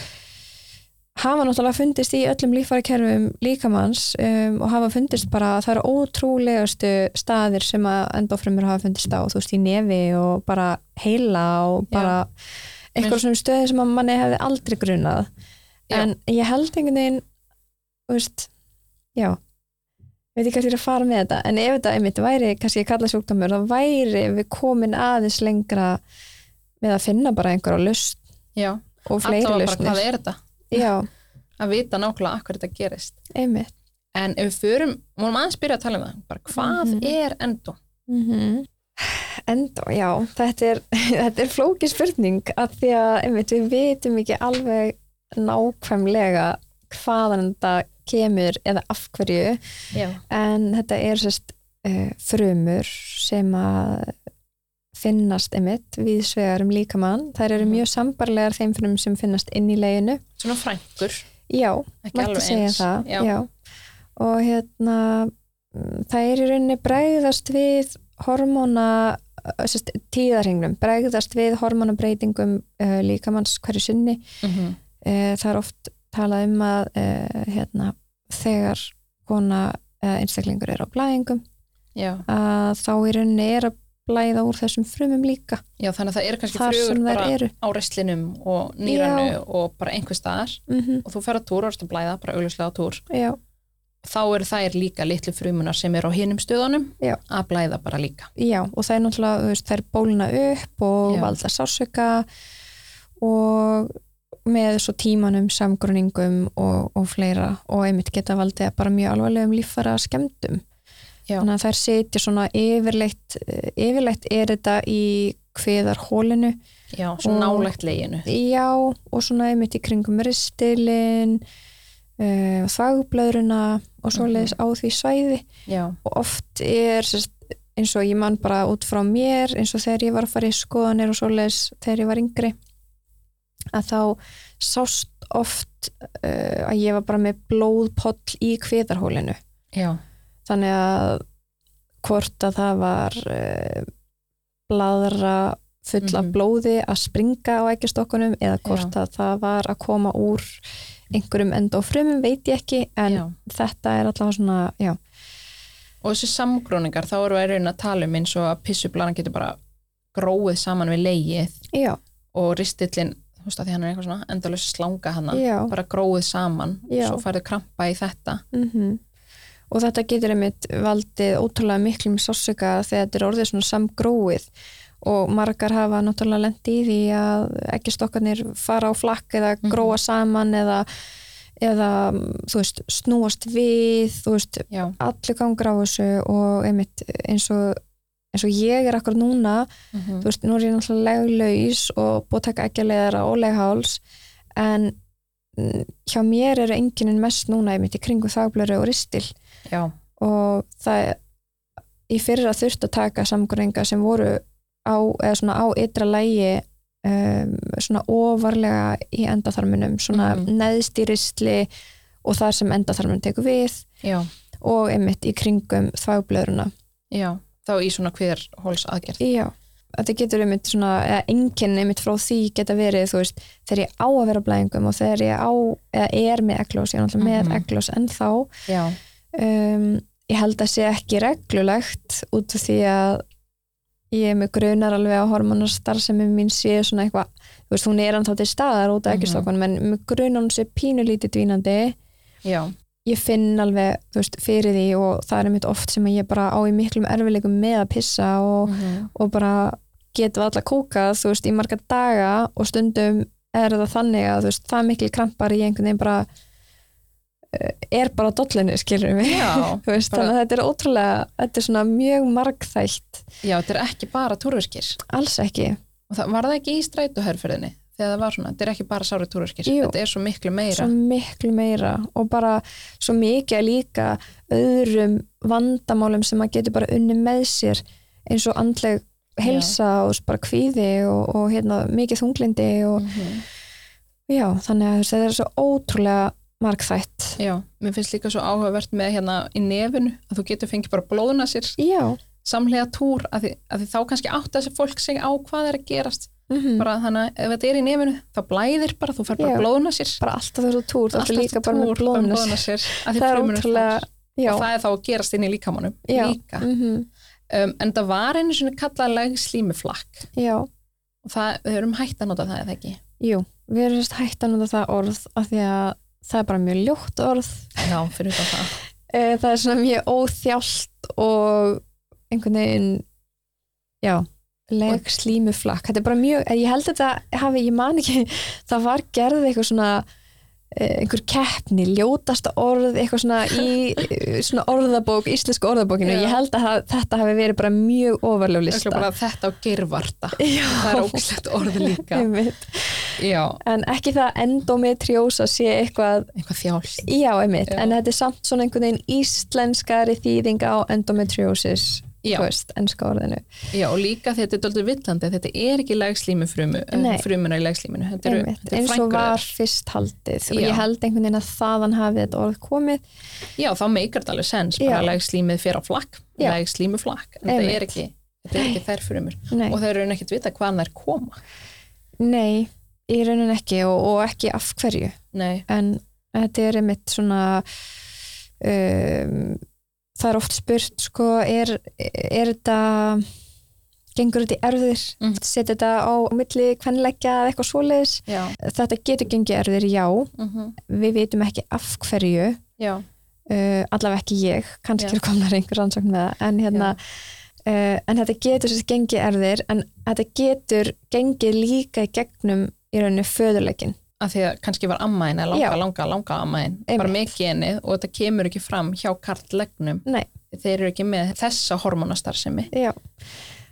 Speaker 3: hafa náttúrulega fundist í öllum líffærakerfum líkamanns um, og hafa fundist bara að það eru ótrúlegustu staðir sem að endofrumur hafa fundist á, þú veist, í nefi og bara heila og bara eitthvað svona stöði sem að manni hefði aldrei grunað.
Speaker 2: Já.
Speaker 3: En ég held einhvern veginn, þú veist, já, ég veit ekki hvað þér að fara með þetta, en ef þetta einmitt væri, kannski ég kalla sjúkdómur, þá væri við komin aðeins lengra með að finna bara einhverja lust
Speaker 2: já,
Speaker 3: og fleiri
Speaker 2: allavega bara hvað
Speaker 3: lausnir
Speaker 2: er þetta
Speaker 3: já,
Speaker 2: að vita nákvæmlega akkur þetta gerist
Speaker 3: einmitt
Speaker 2: en ef við förum, vorum aðeins byrja að tala um það bara hvað
Speaker 3: Mhm.
Speaker 2: er endó
Speaker 3: mm
Speaker 2: Mhm.
Speaker 3: enda, já þetta er, þetta er flóki spurning að því að einmitt, við vitum ekki alveg nákvæmlega hvaðan þetta kemur eða af hverju
Speaker 2: já,
Speaker 3: en þetta er sérst uh, frumur sem að finnast einmitt við svegarum líkamann, þær eru
Speaker 2: Mhm.
Speaker 3: mjög sambarlegar þeim frum sem finnast inn í leginu
Speaker 2: svona frængur
Speaker 3: já,
Speaker 2: ekki
Speaker 3: mætti
Speaker 2: alveg
Speaker 3: segja
Speaker 2: eins
Speaker 3: það
Speaker 2: já,
Speaker 3: já. og hérna mm, það er í rauninni bregðast við hormóna sest, tíðarhingnum, bregðast við hormonabreitingum uh, líkamanns hverju sinni
Speaker 2: mm -hmm.
Speaker 3: uh, það er oft talað um að uh, hérna, þegar kona uh, einstaklingur er á blæðingum
Speaker 2: já.
Speaker 3: að þá í rauninni er að blæða úr þessum frumum líka
Speaker 2: já, þannig að það eru kannski
Speaker 3: þar
Speaker 2: frugur
Speaker 3: sem þær
Speaker 2: bara
Speaker 3: eru
Speaker 2: á restlinum og nýranu og bara einhver staðar
Speaker 3: mm
Speaker 2: og þú ferð á túr og erst að blæða, bara auðvitað á túr
Speaker 3: já,
Speaker 2: þá eru þær líka litlu frumunar sem eru á hinum stöðunum
Speaker 3: Já.
Speaker 2: að blæða bara líka
Speaker 3: já, og það er náttúrulega þú veist, þær bólna upp og
Speaker 2: Já.
Speaker 3: valda sásöka og með svo tímanum samgruningum og, og fleira og einmitt geta valdið bara mjög alvarlegum líffara skemmdum
Speaker 2: Já.
Speaker 3: þannig að þær sitja svona yfirleitt eh, yfirleitt er þetta í kviðarhólinu
Speaker 2: já, svo
Speaker 3: Og-
Speaker 2: nálægt leginu
Speaker 3: Já, og svona einmitt í kringum ristilinn, uh, þagblöðruna og svoleiðis
Speaker 2: Mhm.
Speaker 3: á því svæði
Speaker 2: já,
Speaker 3: og oft er sérst, eins og ég man bara út frá mér eins og þegar ég var að fara í skoðanir og svoleiðis þegar ég var yngri að þá sást oft uh, að ég var bara með blóðpoll í kviðarhólinu
Speaker 2: já,
Speaker 3: þannig að hvort að það var uh, bladra fulla
Speaker 2: Mhm.
Speaker 3: blóði að springa á ekkistokkunum eða hvort að það var að koma úr einhverjum endofrumum veit ég ekki en
Speaker 2: já.
Speaker 3: þetta er alltaf svona já,
Speaker 2: og þessi samgróningar, þá eru við að tala um eins og að pissublaran getur bara gróið saman við legið
Speaker 3: já,
Speaker 2: og ristillin, þú veist að því hann er eitthvað svona endalösa slanga hann,
Speaker 3: já
Speaker 2: bara gróið saman
Speaker 3: Já.
Speaker 2: svo færðu krampa í þetta
Speaker 3: mm og þetta getur einmitt valdið ótrúlega miklum sásöka þegar þetta er orðið svona samgróið og margar hafa náttúrulega lendi í því að ekki stokkarnir fara á flakk eða
Speaker 2: Mhm.
Speaker 3: gróa saman eða, eða þú veist, snúast við þú veist,
Speaker 2: já,
Speaker 3: allir gangur á þessu og einmitt eins og eins og ég er akkur núna
Speaker 2: Mhm.
Speaker 3: þú veist, nú er ég náttúrulega leglaus og búið að taka ekki leðara og legháls en mm, hjá mér eru enginin mest núna einmitt í kringu þagblöru og ristil
Speaker 2: já,
Speaker 3: og það í fyrra þurft að taka samgurninga sem voru á, eða svona á ytra lægi um, svona ofarlega í endatharminum, svona
Speaker 2: Mhm.
Speaker 3: neðst í ristli og þar sem endatharmin tekur við
Speaker 2: já,
Speaker 3: og einmitt í kringum þagblöðruna.
Speaker 2: já þá í svona hver hóls aðgerð
Speaker 3: Já, þetta getur einmitt svona, eða enginn einmitt frá því geta verið, þú veist, þegar ég á að vera á blæðingum og þegar ég á, eða er með eglós, ég er náttúrulega
Speaker 2: Mhm.
Speaker 3: með eglós en þá
Speaker 2: já,
Speaker 3: um, ég held að sé ekki reglulegt út af því að ég er með grunar alveg að hormonastar sem mín sé svona eitthvað þú veist, hún er ennþá til staðar út af
Speaker 2: Mhm.
Speaker 3: ekki stokkun en með grunar hún sé pínulítið dvínandi
Speaker 2: já,
Speaker 3: ég finn alveg, þú veist, fyrir því og það er mitt oft sem að ég bara á í miklum erfileikum með að pissa og,
Speaker 2: Mhm.
Speaker 3: og bara geta alltaf kókað, þú veist, í marga daga og stundum er það þannig að þú veist, það mikil krampar í einhvern veginn bara eh, er bara á dollinu, skilur mig
Speaker 2: já,
Speaker 3: Þú veist,
Speaker 2: Bara-
Speaker 3: þannig að þetta er ótrúlega, þetta er svona mjög margþætt,
Speaker 2: já, þetta er ekki bara túrverkir
Speaker 3: alls ekki
Speaker 2: og það var það ekki í strætóherfyrðinni þegar það var svona, þetta er ekki bara sárið túrverkir
Speaker 3: Jú.
Speaker 2: þetta er svo miklu meira
Speaker 3: svo miklu meira og bara svo mikið líka öðrum vandamálum sem maður getur bara unni með sér eins og andleg helsa og bara kvíði og, og hérna, mikið þunglindi og
Speaker 2: Mhm.
Speaker 3: já, þannig að þetta er svo ótrúlega margþætt
Speaker 2: já, mér finnst líka svo áhugavert með hérna í nefinu að þú getur fengið bara blóðuna sér
Speaker 3: Já,
Speaker 2: samlega túr að því, að því þá kannski átt þessi fólk sig á hvað er að gerast
Speaker 3: mm
Speaker 2: bara þannig að ef þetta er í nefinu þá blæðir bara, þú fær bara
Speaker 3: Já.
Speaker 2: blóðuna sér
Speaker 3: bara alltaf þessu túr, þetta er
Speaker 2: Alltaf
Speaker 3: líka bara með
Speaker 2: túr,
Speaker 3: blóðnus
Speaker 2: blóðuna sér af því
Speaker 3: Það er
Speaker 2: frumurnar
Speaker 3: ótrúlega,
Speaker 2: þar.
Speaker 3: já,
Speaker 2: og það er þá að gerast inn í líkamannum
Speaker 3: já,
Speaker 2: líka um,
Speaker 3: mm
Speaker 2: en það var einu svona kallað legslímiflakk
Speaker 3: já,
Speaker 2: og það, við erum hægt að nota það eða ekki
Speaker 3: Jú, við erum sérst hægt að nota það orð af því að það er bara mjög ljótt orð
Speaker 2: já, fyrir utan það
Speaker 3: e, það er svona mjög óþjált og einhvern veginn já, leg slímuflakk þetta er bara mjög, eh, ég held að þetta hafi, ég man ekki, það var gerð eitthvað svona eh, einhver keppni, ljótasta orð eitthvað svona í eh, svona orðabók, íslensku orðabókinu
Speaker 2: Já.
Speaker 3: ég held að það- þetta hafi verið bara mjög ofarlegu
Speaker 2: Örugglega
Speaker 3: lista
Speaker 2: bara þetta á gervarta
Speaker 3: Já,
Speaker 2: það er ógslegt orð líka
Speaker 3: einmitt.
Speaker 2: já,
Speaker 3: en ekki það að endometriósa sé eitthvað
Speaker 2: eitthvað þjálst
Speaker 3: Já, einmitt,
Speaker 2: Já.
Speaker 3: en þetta er samt svona einhvern veginn íslenskari þýðing á endometriosis,
Speaker 2: Já.
Speaker 3: þú veist, ennska orðinu.
Speaker 2: já, og líka því að þetta er doldið villandi þetta er ekki legslími frumu
Speaker 3: Nei.
Speaker 2: frumuna í legslíminu þetta eru,
Speaker 3: Einmitt,
Speaker 2: þetta eru
Speaker 3: eins og
Speaker 2: frængur
Speaker 3: var
Speaker 2: þær.
Speaker 3: fyrst haldið og
Speaker 2: Já.
Speaker 3: ég held einhvern veginn að þaðan hafi þetta orð komið.
Speaker 2: já, þá meikar þetta alveg sens bara
Speaker 3: Já.
Speaker 2: legslímið fyrir á flakk
Speaker 3: Já.
Speaker 2: legslímiflakk, en það
Speaker 3: Einmitt.
Speaker 2: er ekki þetta er ekki þær frumur
Speaker 3: Nei.
Speaker 2: og þeir eru ekkert vita hvaðan þær koma
Speaker 3: Nei, í raunin ekki og, og ekki af hverju
Speaker 2: Nei,
Speaker 3: en þetta er einmitt svona um, það er oft spurt sko, er, er þetta gengur þetta í erfðir
Speaker 2: Mhm.
Speaker 3: setja þetta á milli kvenleggja eða eitthvað svoleiðis
Speaker 2: já,
Speaker 3: þetta getur gengið erfðir, já
Speaker 2: mm
Speaker 3: við vitum ekki af hverju
Speaker 2: já,
Speaker 3: uh, allavega ekki ég, kannski
Speaker 2: Já.
Speaker 3: er komnar einhver rannsókn með það, en hérna uh, en þetta getur sérst gengið erfðir en þetta getur gengið líka í gegnum í rauninu föðurleikin
Speaker 2: að því að kannski var ammaðin eða langa,
Speaker 3: Já.
Speaker 2: langa, langa ammaðin bara
Speaker 3: Einmitt.
Speaker 2: með genið og þetta kemur ekki fram hjá kartlegnum
Speaker 3: Nei.
Speaker 2: þeir eru ekki með þessa hormonastarsemi
Speaker 3: já,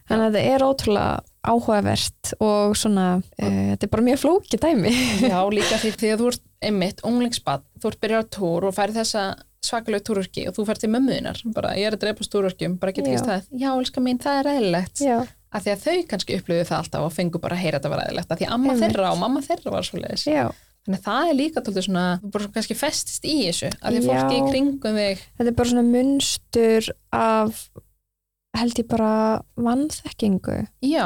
Speaker 3: þannig að þetta er ótrúlega áhugavert og svona uh, þetta er bara mjög flókið dæmi
Speaker 2: Já, líka því því að þú ert einmitt unglingsbad, þú ert byrjað á túr og færð þessa svakalegu túrurki og þú færð til mömmuðinar, bara ég er að dreipast túrurkjum bara getur
Speaker 3: Já.
Speaker 2: ekki stað, já, elska mín, það er eðlilegt
Speaker 3: já,
Speaker 2: af því að þau kannski upplöfu það alltaf og fengu bara að heyra að þetta var eðlilegt, af því að amma
Speaker 3: Einmitt.
Speaker 2: þeirra og mamma þeirra var svoleiðis,
Speaker 3: já,
Speaker 2: þannig að það er líka tóldur svona, þú bara kannski festist í þessu af því að
Speaker 3: Já.
Speaker 2: fólki í kringum þig
Speaker 3: þetta er bara svona munstur af held ég bara vannþekkingu
Speaker 2: já,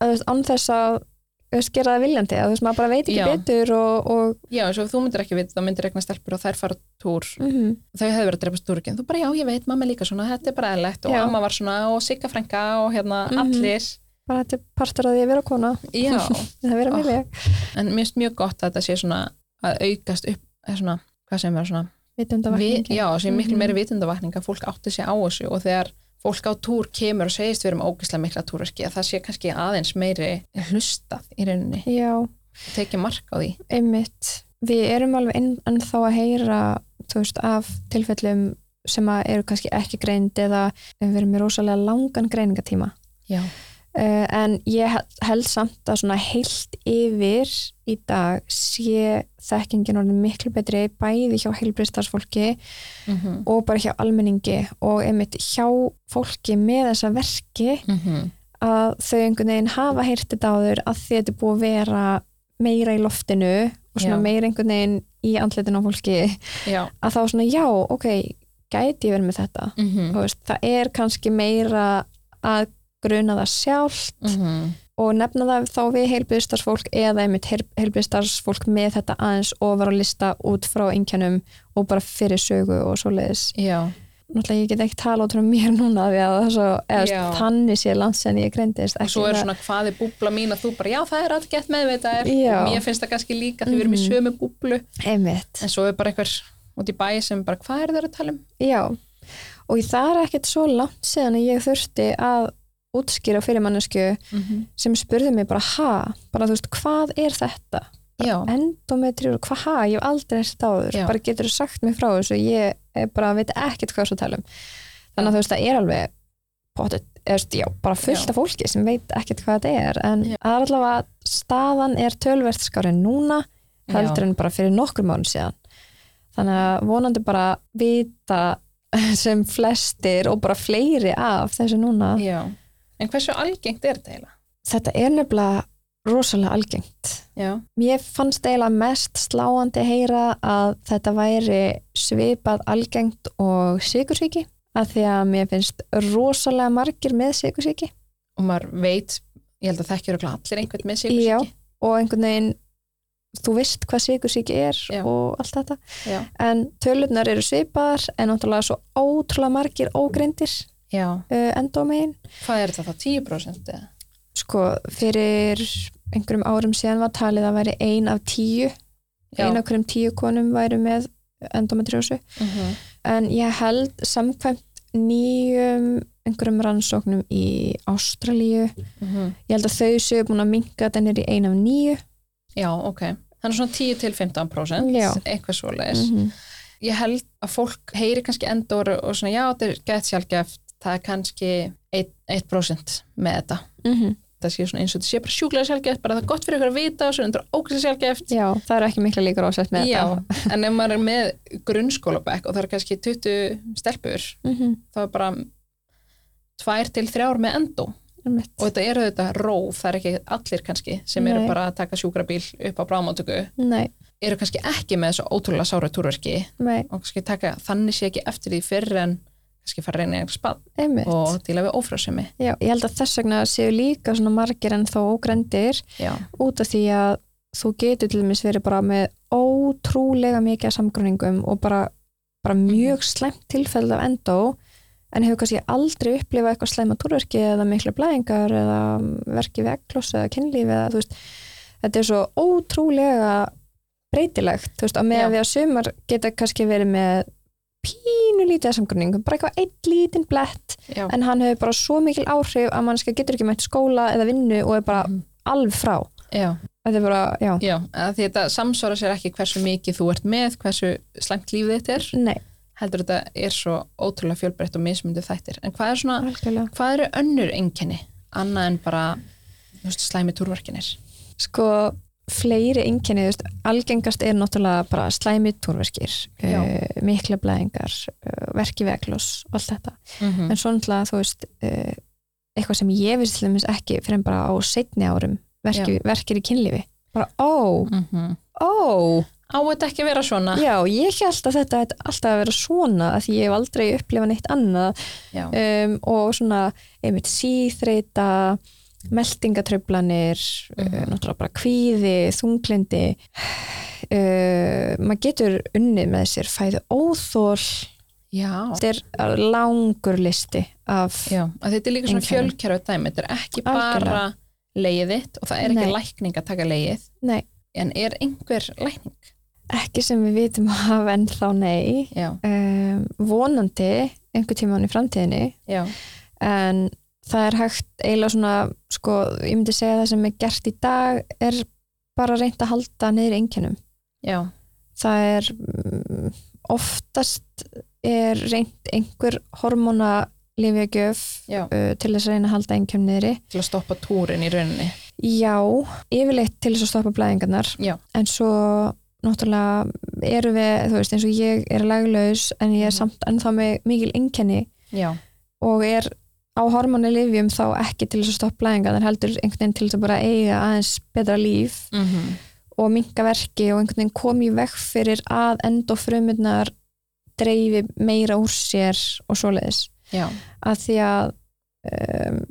Speaker 3: að þú veist, án þess að þú veist, gera það viljandi, að þú veist, maður bara veit ekki
Speaker 2: Já.
Speaker 3: betur og, og
Speaker 2: já, eins og þú myndir ekki vita þá myndir regna stelpur og þær fara á túr
Speaker 3: mm
Speaker 2: þau hefðu verið að drepa stúrkin, þú bara já, ég veit, mamma er líka svona, þetta er bara eðlilegt og
Speaker 3: Já.
Speaker 2: amma var svona og Sigga frænka og hérna
Speaker 3: Mhm.
Speaker 2: allir,
Speaker 3: bara þetta er partur að því að vera kona
Speaker 2: já
Speaker 3: það er vera
Speaker 2: Oh.
Speaker 3: mjög leg,
Speaker 2: en mér finnst mjög gott að þetta sé svona að aukast upp eða svona, hvað sem vera svona
Speaker 3: vitundavakning
Speaker 2: já, sé miklu
Speaker 3: Mhm.
Speaker 2: meiri vitundavakning að fólk átti sig á þessu og þegar fólk á túr kemur og segist við erum ógislega mikla túrverki að það sé kannski aðeins meiri hlustað í rauninni,
Speaker 3: já,
Speaker 2: tekið mark á því
Speaker 3: einmitt við erum alveg enn, ennþá að heyra þú veist, af tilfellum sem að eru kannski ekki greind eða við erum með rosalega langan greiningatíma
Speaker 2: já,
Speaker 3: uh, en ég hel- held samt að svona heilt yfir í dag sé þekkingin orðin miklu betri bæði hjá heilbristarsfólki
Speaker 2: mm -hmm.
Speaker 3: og bara hjá almenningi og einmitt hjá fólki með þessa verki
Speaker 2: Mhm.
Speaker 3: að þau einhvern veginn hafa heyrt þetta áður að því þetta er búið að vera meira í loftinu og svona
Speaker 2: Já.
Speaker 3: meira einhvern veginn í andlitinu á fólki
Speaker 2: já,
Speaker 3: að þá svona já, ok, gæti ég verið með þetta
Speaker 2: mm
Speaker 3: þú veist, það er kannski meira að gruna það sjálft
Speaker 2: Mm. Mhm.
Speaker 3: og nefna það þá við heilbyrðistarsfólk eða einmitt heilbyrðistarsfólk með þetta aðeins ofar á lista út frá einkjönum og bara fyrir sögu og svoleiðis
Speaker 2: já,
Speaker 3: náttúrulega ég get ekki tala út frá mér núna því að það er svo, eða
Speaker 2: Já.
Speaker 3: þannig sé land sem ég greindist
Speaker 2: og svo
Speaker 3: ekki
Speaker 2: er
Speaker 3: það-
Speaker 2: svona hvaði búbla mín að þú bara, já, það er allt gett meðvitaðir
Speaker 3: Já.
Speaker 2: og mér finnst það kannski líka því við erum í
Speaker 3: Mhm.
Speaker 2: sömu búblu
Speaker 3: Einmitt,
Speaker 2: en svo er bara einhver út í bæi sem bara, hvað er það að tala um?
Speaker 3: já. Og það er ekkert svo langt síðan að ég þurfti að útskýra fyrir mannesku
Speaker 2: Mm -hmm.
Speaker 3: sem spurði mig bara, ha, bara þú veist, hvað er þetta?
Speaker 2: Já,
Speaker 3: Endometriur, hvað ha, ég hef aldrei þessi dáður,
Speaker 2: Já.
Speaker 3: bara getur þú sagt mig frá þessu, ég er bara veit ekkert hvað þú tala um. Þannig að þú veist, það er alveg pottet, eðst, já, bara fullt
Speaker 2: Já.
Speaker 3: af fólki sem veit ekkert hvað þetta er, en
Speaker 2: Já.
Speaker 3: það er allavega að staðan er tölvert skárin núna, heldur en bara fyrir nokkur mánu síðan þannig að vonandi bara vita sem flestir og bara fleiri af þessu núna
Speaker 2: Já, en hversu algengt er þetta heila?
Speaker 3: þetta er nefnilega rosalega algengt
Speaker 2: Já,
Speaker 3: mér fannst eiginlega mest sláandi að heyra að þetta væri svipað algengt og sigursíki að því að mér finnst rosalega margir með sigursíki
Speaker 2: og maður veit, ég held að þekkjur og allir einhvern með sig
Speaker 3: Já. og einhvern veginn þú veist hvað sigursíki er
Speaker 2: Já.
Speaker 3: og allt þetta
Speaker 2: Já.
Speaker 3: en tölurnar eru svipaðar en náttúrulega svo ótrúlega margir ógreindir
Speaker 2: Já,
Speaker 3: uh, endómein
Speaker 2: hvað er þetta þá? 10% eða?
Speaker 3: sko fyrir einhverjum árum síðan var talið að væri ein af tíu
Speaker 2: Já,
Speaker 3: ein af hverjum tíu konum væri með endometriósu
Speaker 2: Mhm.
Speaker 3: en ég held samkvæmt nýjum einhverjum rannsóknum í Ástralíu
Speaker 2: Mhm.
Speaker 3: ég held að þau séu búin að minka þetta niður í ein af nýju
Speaker 2: Já, ok. Þannig svona 10 til 15%
Speaker 3: Já.
Speaker 2: eitthvað svoleiðis.
Speaker 3: mm -hmm.
Speaker 2: Ég held að fólk heyri kannski endur og svona, já, þetta er gett sjálfgeft, það er kannski 1%, 1 með þetta. Það sé svona eins og þetta sé bara sjúklega sjálfgeft, bara það er gott fyrir ykkur að vita og svo endur ógæslega sjálfgeft
Speaker 3: já, það eru ekki mikla líkur ásett með
Speaker 2: Já,
Speaker 3: þetta
Speaker 2: en ef maður er með grunnskólabekk og það er kannski 20 stelpur
Speaker 3: Mhm,
Speaker 2: þá er bara tvær til þrjár með endó og
Speaker 3: einmitt.
Speaker 2: þetta eru þetta róf, það er ekki allir kannski sem eru
Speaker 3: Nei.
Speaker 2: bara að taka sjúkrabíl upp á bráðmáttöku
Speaker 3: nei,
Speaker 2: eru kannski ekki með þessu ótrúlega sára túrverki
Speaker 3: nei,
Speaker 2: og kannski taka þannig sé ekki eftir því fyrr en kannski fara að reyna einhver spad
Speaker 3: einmitt.
Speaker 2: og díla við ófrásemi
Speaker 3: Já, ég held að þess vegna séu líka svona margir en þó ógrendir
Speaker 2: já,
Speaker 3: út af því að þú getur til dæmis verið bara með ótrúlega mikið af samgruningum og bara, bara
Speaker 2: Mhm.
Speaker 3: mjög slemt tilfell af endó en hefur kannski aldrei upplifað eitthvað slæma túrverki eða miklu blæðingar eða mm, verki vegkloss eða kynlífi eða þú veist, þetta er svo ótrúlega breytilegt, þú veist, á meðan
Speaker 2: Já.
Speaker 3: við að sumar geta kannski verið með pínu lítið af samgruningum, bara eitthvað eitt lítinn blett
Speaker 2: já,
Speaker 3: en hann hefur bara svo mikil áhrif að mannska getur ekki mætt í skóla eða vinnu og er bara
Speaker 2: Mhm.
Speaker 3: alveg frá
Speaker 2: já,
Speaker 3: þetta er bara, já,
Speaker 2: já að því þetta samsvara sér ekki hversu mikið þú ert með hversu slæmt líf þitt er
Speaker 3: nei,
Speaker 2: heldur þetta er svo ótrúlega fjölbreytt og mismundu þættir en hvað er svona,
Speaker 3: algjörlega
Speaker 2: hvað eru önnur einkenni annað en bara þú veist, slæmi túrverkinir
Speaker 3: sko, fleiri einkenni, þú veist, algengast er náttúrulega bara slæmi túrverkir
Speaker 2: Já.
Speaker 3: uh, mikla blæðingar uh, verki veglós, allt þetta
Speaker 2: mm -hmm.
Speaker 3: en svo náttúrulega, þú veist uh, eitthvað sem ég vissi til dæmis ekki fyrir en bara á seinni árum, verki, verkir í kynlífi bara, ó,
Speaker 2: Mhm.
Speaker 3: ó
Speaker 2: á þetta ekki að vera svona
Speaker 3: já, ég held að þetta ætti alltaf að vera svona að því ég hef aldrei upplifað neitt annað
Speaker 2: já,
Speaker 3: um, og svona einmitt síþreita meldingatröflanir
Speaker 2: Mhm.
Speaker 3: uh, náttúrulega bara kvíði, þunglindi uh, maður getur unnið með sér fæðu óþól
Speaker 2: já.
Speaker 3: þetta er langur listi af
Speaker 2: Já, að þetta er líka svona
Speaker 3: Einkenni.
Speaker 2: fjölkerfi dæmi, þetta er ekki bara
Speaker 3: Algjörlega.
Speaker 2: leiðið þitt og það er ekki
Speaker 3: Nei.
Speaker 2: lækning að taka leiðið,
Speaker 3: nei,
Speaker 2: en er einhver lækning?
Speaker 3: ekki sem við vitum af en þá nei
Speaker 2: Já,
Speaker 3: um, vonandi einhver tíman í framtíðinni
Speaker 2: já,
Speaker 3: en það er hægt eiginlega svona, sko, ég myndi segja það sem er gert í dag er bara reynt að halda niður einkennum
Speaker 2: já,
Speaker 3: það er mm, oftast er reynd einhver hormóna lifjagjöf
Speaker 2: já,
Speaker 3: uh, til þess að reyna að halda einkjum niðri
Speaker 2: til að stoppa túrin í rauninni.
Speaker 3: já, yfirleitt til þess að stoppa blæðingarnar
Speaker 2: Já.
Speaker 3: en svo náttúrulega erum við, þú veist, eins og ég er laglaus en ég er
Speaker 2: Mhm.
Speaker 3: samt ennþá með mikil einkenni
Speaker 2: Já,
Speaker 3: og er á hormóna lifjum þá ekki til þess að stoppa blæðingarnar heldur einhvern veginn til þess að bara eiga aðeins betra líf
Speaker 2: mm
Speaker 3: og minka verki og einhvern veginn kom í vekk fyrir að endofrumunar dreifi meira úr sér og svoleiðis
Speaker 2: já,
Speaker 3: að því að um,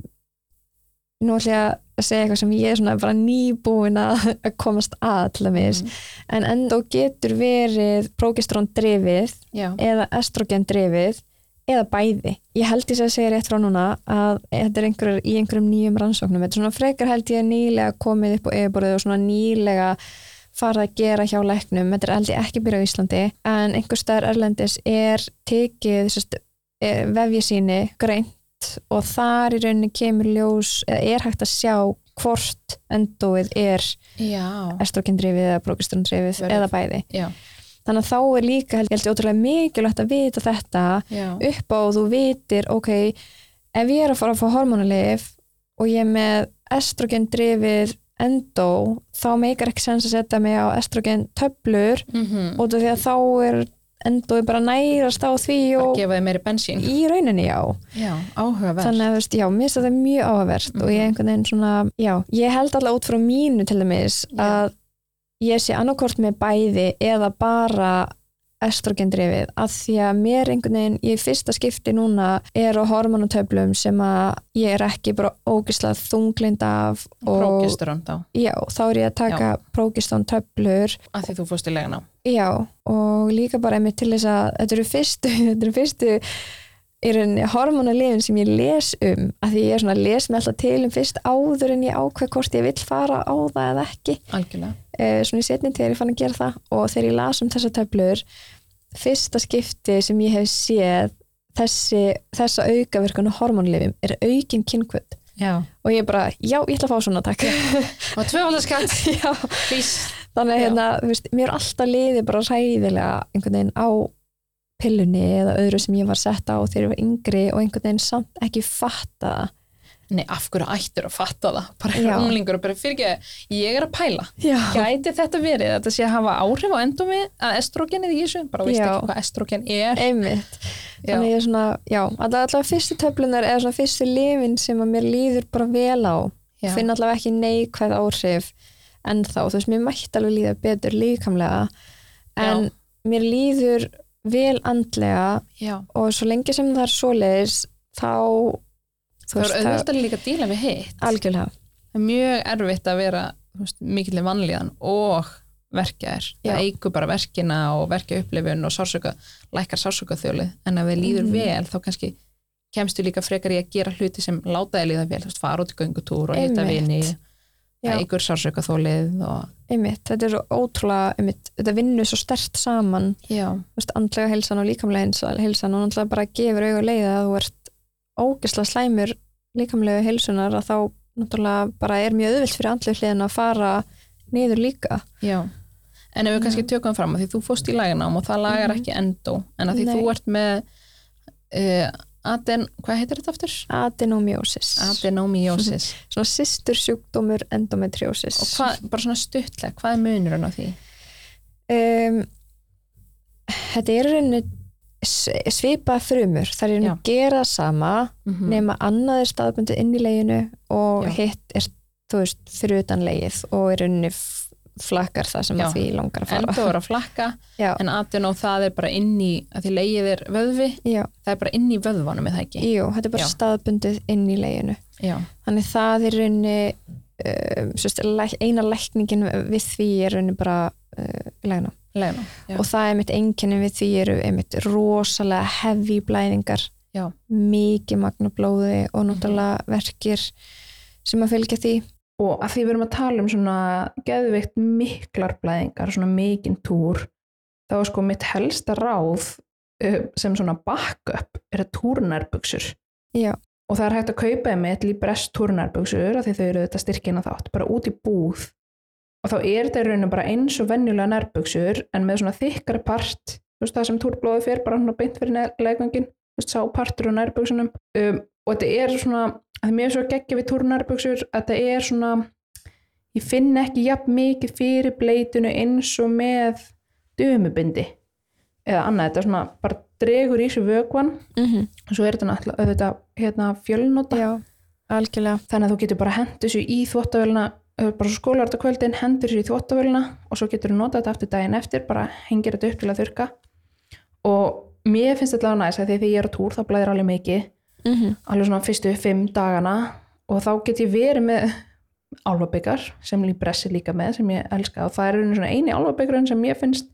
Speaker 3: nú ætlum ég að segja eitthvað sem ég er svona bara nýbúin að, að komast að til dæmis
Speaker 2: Mhm.
Speaker 3: en endó getur verið prógestrón drefið
Speaker 2: já,
Speaker 3: eða estrogen drefið eða bæði. Ég held ég sé að segja rétt frá núna að þetta er einhver, í einhverjum nýjum rannsóknum. Þetta er svona frekar held ég nýlega komið upp á yfirborðið og svona nýlega farið að gera hjá læknum. Þetta er held ég ekki byrja á Íslandi en einhver staðar erlendis er tekið sérst, vefjið síni greint og þar í rauninni kemur ljós eða er hægt að sjá hvort endóið er
Speaker 2: já,
Speaker 3: estrogen drefið eða prógestrón drefið
Speaker 2: Verður-
Speaker 3: eða bæði.
Speaker 2: já,
Speaker 3: Þannig að þá er líka held, ég held ég ótrúlega mikilvægt að vita þetta
Speaker 2: já,
Speaker 3: upp á og þú vitir, ok, ef ég er að fara að fá hormonalif og ég er með estrogen drifið endó, þá meikar ekki sens að setja mig á estrogen töflur
Speaker 2: mm -hmm.
Speaker 3: út af því að þá er endói bara að nærast á því og
Speaker 2: gefa þið meiri bensín.
Speaker 3: í rauninni já.
Speaker 2: Já, áhugaverð.
Speaker 3: Þannig að, þú veist, já, mér finnst þetta mjög áhugavert og ég einhvern veginn svona, já, ég held alltaf út frá mínu til dæmis
Speaker 2: Já.
Speaker 3: að ég sé annarkort með bæði eða bara estrogendrifið að því að mér einhvern veginn, ég í fyrsta skipti núna er á hormonatöflum sem að ég er ekki bara ógislega þunglind af og
Speaker 2: Prógesturón þá,
Speaker 3: já, þá er ég að taka prógistón töflur
Speaker 2: að því þú fórst í legin á.
Speaker 3: Já, og líka bara einmitt til þess að þetta eru fyrstu, þetta eru fyrstu í rauninni hormonalifin sem ég les um, af því ég er svona að les með alltaf til um fyrst áður en ég ákveð hvort ég vill fara á það eða ekki
Speaker 2: Algjörlega.
Speaker 3: eh, svona í setni þegar ég fann að gera það og þegar ég las um þessa töflur fyrsta skipti sem ég hef séð þessi, þessa aukaverkun á hormonalifin er aukin kynkvöld
Speaker 2: Já.
Speaker 3: og ég bara, já, ég ætla að fá svona takk
Speaker 2: Og tvöfaldarskatt,
Speaker 3: já,
Speaker 2: please.
Speaker 3: þannig að
Speaker 2: Já.
Speaker 3: hérna, þú veist, mér er alltaf liði bara ræðilega einhvern veginn á pillunni eða öðru sem ég var sett á þegar ég var yngri og einhvern veginn samt ekki fatta það.
Speaker 2: Nei, af hverju ættur að fatta það? Bara
Speaker 3: Já.
Speaker 2: er unglingur og bara fyrir ég er að pæla.
Speaker 3: Já,
Speaker 2: gæti þetta verið að þetta sé að hafa áhrif á endomi að estrogenið í þessu bara veist
Speaker 3: Já.
Speaker 2: ekki hvað estrogen er
Speaker 3: einmitt
Speaker 2: já,
Speaker 3: þannig að ég er svona, já, allavega allavega fyrstu töflunar eða svona fyrstu lifin sem að mér líður bara vel á,
Speaker 2: já,
Speaker 3: finn allavega ekki neikvæð áhrif en þá, þú veist, mér mætti alveg líða betur líkamlega en mér líður vel andlega
Speaker 2: Já.
Speaker 3: og svo lengi sem það er svoleiðis þá
Speaker 2: Það er auðvitað líka að díla við hitt.
Speaker 3: algjörlega
Speaker 2: Það er mjög erfitt að vera þú veist, mikill vanlíðan og verkja þér.
Speaker 3: Já.
Speaker 2: Það eigur bara verkina og verkja upplifun og sársöka, lækkar sársöka þjóli. En ef þið líður
Speaker 3: Mhm.
Speaker 2: vel þá kannski kemstu líka frekar í að gera hluti sem láta þið líða vel. Þú veist, fara út í göngutúr og hitta
Speaker 3: Einmitt.
Speaker 2: vini.
Speaker 3: Já.
Speaker 2: Það eigur sársöka þólið og...
Speaker 3: einmitt, þetta er svo ótrúlega einmitt, þetta vinnur svo stert saman
Speaker 2: Já.
Speaker 3: þú veist, andlega heilsan og líkamlega heilsa- heilsan og náttúrulega bara gefur auga leiða að þú ert ógisla slæmur líkamlega heilsunar að þá náttúrulega bara er mjög auðvilt fyrir andlega hliðin að fara niður líka
Speaker 2: Já. En ef við
Speaker 3: Já.
Speaker 2: kannski tökum fram að því þú fóst í laganám og það lagar
Speaker 3: Mhm.
Speaker 2: ekki endó. En að því
Speaker 3: Nei.
Speaker 2: þú ert með uh, aden... Hvað heitir þetta aftur?
Speaker 3: adenomiosis,
Speaker 2: Adenomiósis.
Speaker 3: svona sýstur sjúkdómur endometriosis
Speaker 2: og hvað, bara svona stuttlega, hvað er munurinn á því?
Speaker 3: um, þetta er rauninu svipað frumur, það er rauninu
Speaker 2: Já.
Speaker 3: gera sama
Speaker 2: Mm
Speaker 3: nema annað er staðbundið inn í leginu og
Speaker 2: Já.
Speaker 3: hitt er, þú veist, fyrir utan legið og er rauninu flakkar það sem
Speaker 2: Já.
Speaker 3: að því langar að fara
Speaker 2: Endó er að flakka,
Speaker 3: Já.
Speaker 2: en adenó það er bara inn í, að því leið er vöðvi,
Speaker 3: Já,
Speaker 2: það er bara inn í vöðvanum er það ekki.
Speaker 3: jú, þetta er bara
Speaker 2: Já.
Speaker 3: staðbundið inn í leginu
Speaker 2: Já,
Speaker 3: þannig það er rauninu um, sérst, læk- eina lækningin við því er rauninu bara uh, legna
Speaker 2: leiðan. Já.
Speaker 3: og það er mitt einkenni við því eru einmitt rosalega hefi blæðingar
Speaker 2: Já. Mhm.
Speaker 3: mikið magna blóði og náttúrulega verkir sem að fylgja því
Speaker 1: Og að því við erum að tala um svona geðveikt miklar blæðingar, svona mikinn túr, þá er sko mitt helsta ráð uh, sem svona backup er að túrnærbuksur.
Speaker 3: Já.
Speaker 1: Og það er hægt að kaupa þeim eitt líbrest túrnærbuksur af því þau eru þetta styrkina þátt, bara út í búð. Og þá er þetta í rauninu bara eins og venjulega nærbuksur en með svona þykkari part, þú veist það sem túrblóði fyrir bara svona beint fyrir leikvöngin, þú veist sá partur á nærbuksunum. Um, og þetta er svona, að mér er svo geggja við túrnærbuksur að þetta er svona ég finn ekki jafn mikið fyrir bleitinu eins og með dömubindi eða annað, þetta er svona bara dregur í sig vökvan
Speaker 3: mm
Speaker 2: Mhm.
Speaker 3: -hmm.
Speaker 1: og svo er þetta náttúrulega auðvitað, hérna, fjölnota
Speaker 3: Já, algjörlega
Speaker 1: þannig að þú getur bara hendur þessu í þvóttavölina bara svo skólar þetta á kvöldin, hendur þessu í þvóttavölina og svo getur þú notað þetta aftur daginn eftir bara hengir þetta upp til að þurka og mér finnst þetta alveg næs að því að því ég er á túr þá blæðir alveg mikið
Speaker 3: mm
Speaker 2: Mhm.
Speaker 3: -hmm.
Speaker 1: alveg svona fyrstu fimm dagana og þá get ég verið með álfabyggar sem Líbressi líka með sem ég elska og það er einu svona eini álfabyggarinn sem ég finnst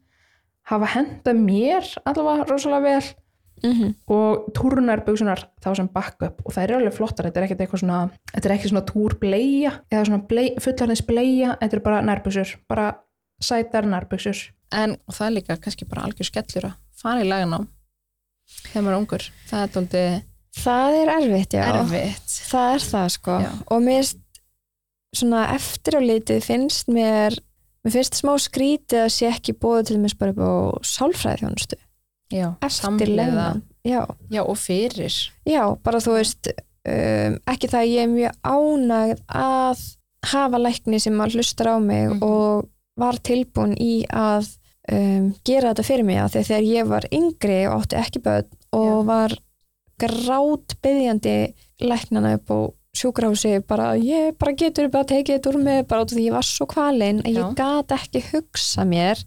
Speaker 1: hafa henda mér allavega rosalega vel
Speaker 3: Mm
Speaker 2: Mhm.
Speaker 3: -hmm.
Speaker 1: og túrunarbygsunar þá sem backup og það er alveg flottar, þetta er ekkert eitthvað svona þetta er ekki svona túrbleia eða svona blei, fullarnins bleia, þetta er bara nærbygsur bara sætar nærbygsur
Speaker 2: En og það er líka kannski bara algjör skellur að fara í laganám þegar maður er ungur. Það er tóldið
Speaker 3: Það er erfitt, já
Speaker 2: erfitt.
Speaker 3: Það er það sko
Speaker 2: Já.
Speaker 3: og mér finnst svona eftir á litið finnst mér mér finnst smá skrítið að sé ekki bóðu til mér bara upp á sálfræði þjónustu
Speaker 2: Já,
Speaker 3: eftir
Speaker 2: samhliða.
Speaker 3: leiðan Já,
Speaker 2: Já, og fyrir.
Speaker 3: Já, bara þú veist um, ekki það að ég er mjög ánægð að hafa lækni sem að hlustar á mig
Speaker 2: Mhm.
Speaker 3: og var tilbúin í að um, gera þetta fyrir mig af því að þegar ég var yngri og átti ekki börn og var grát byggjandi læknana upp á sjúkrahúsi bara ég bara getur bara tekið þetta úr mig bara út af því ég var svo kvalinn að
Speaker 2: Já.
Speaker 3: ég gat ekki hugsa mér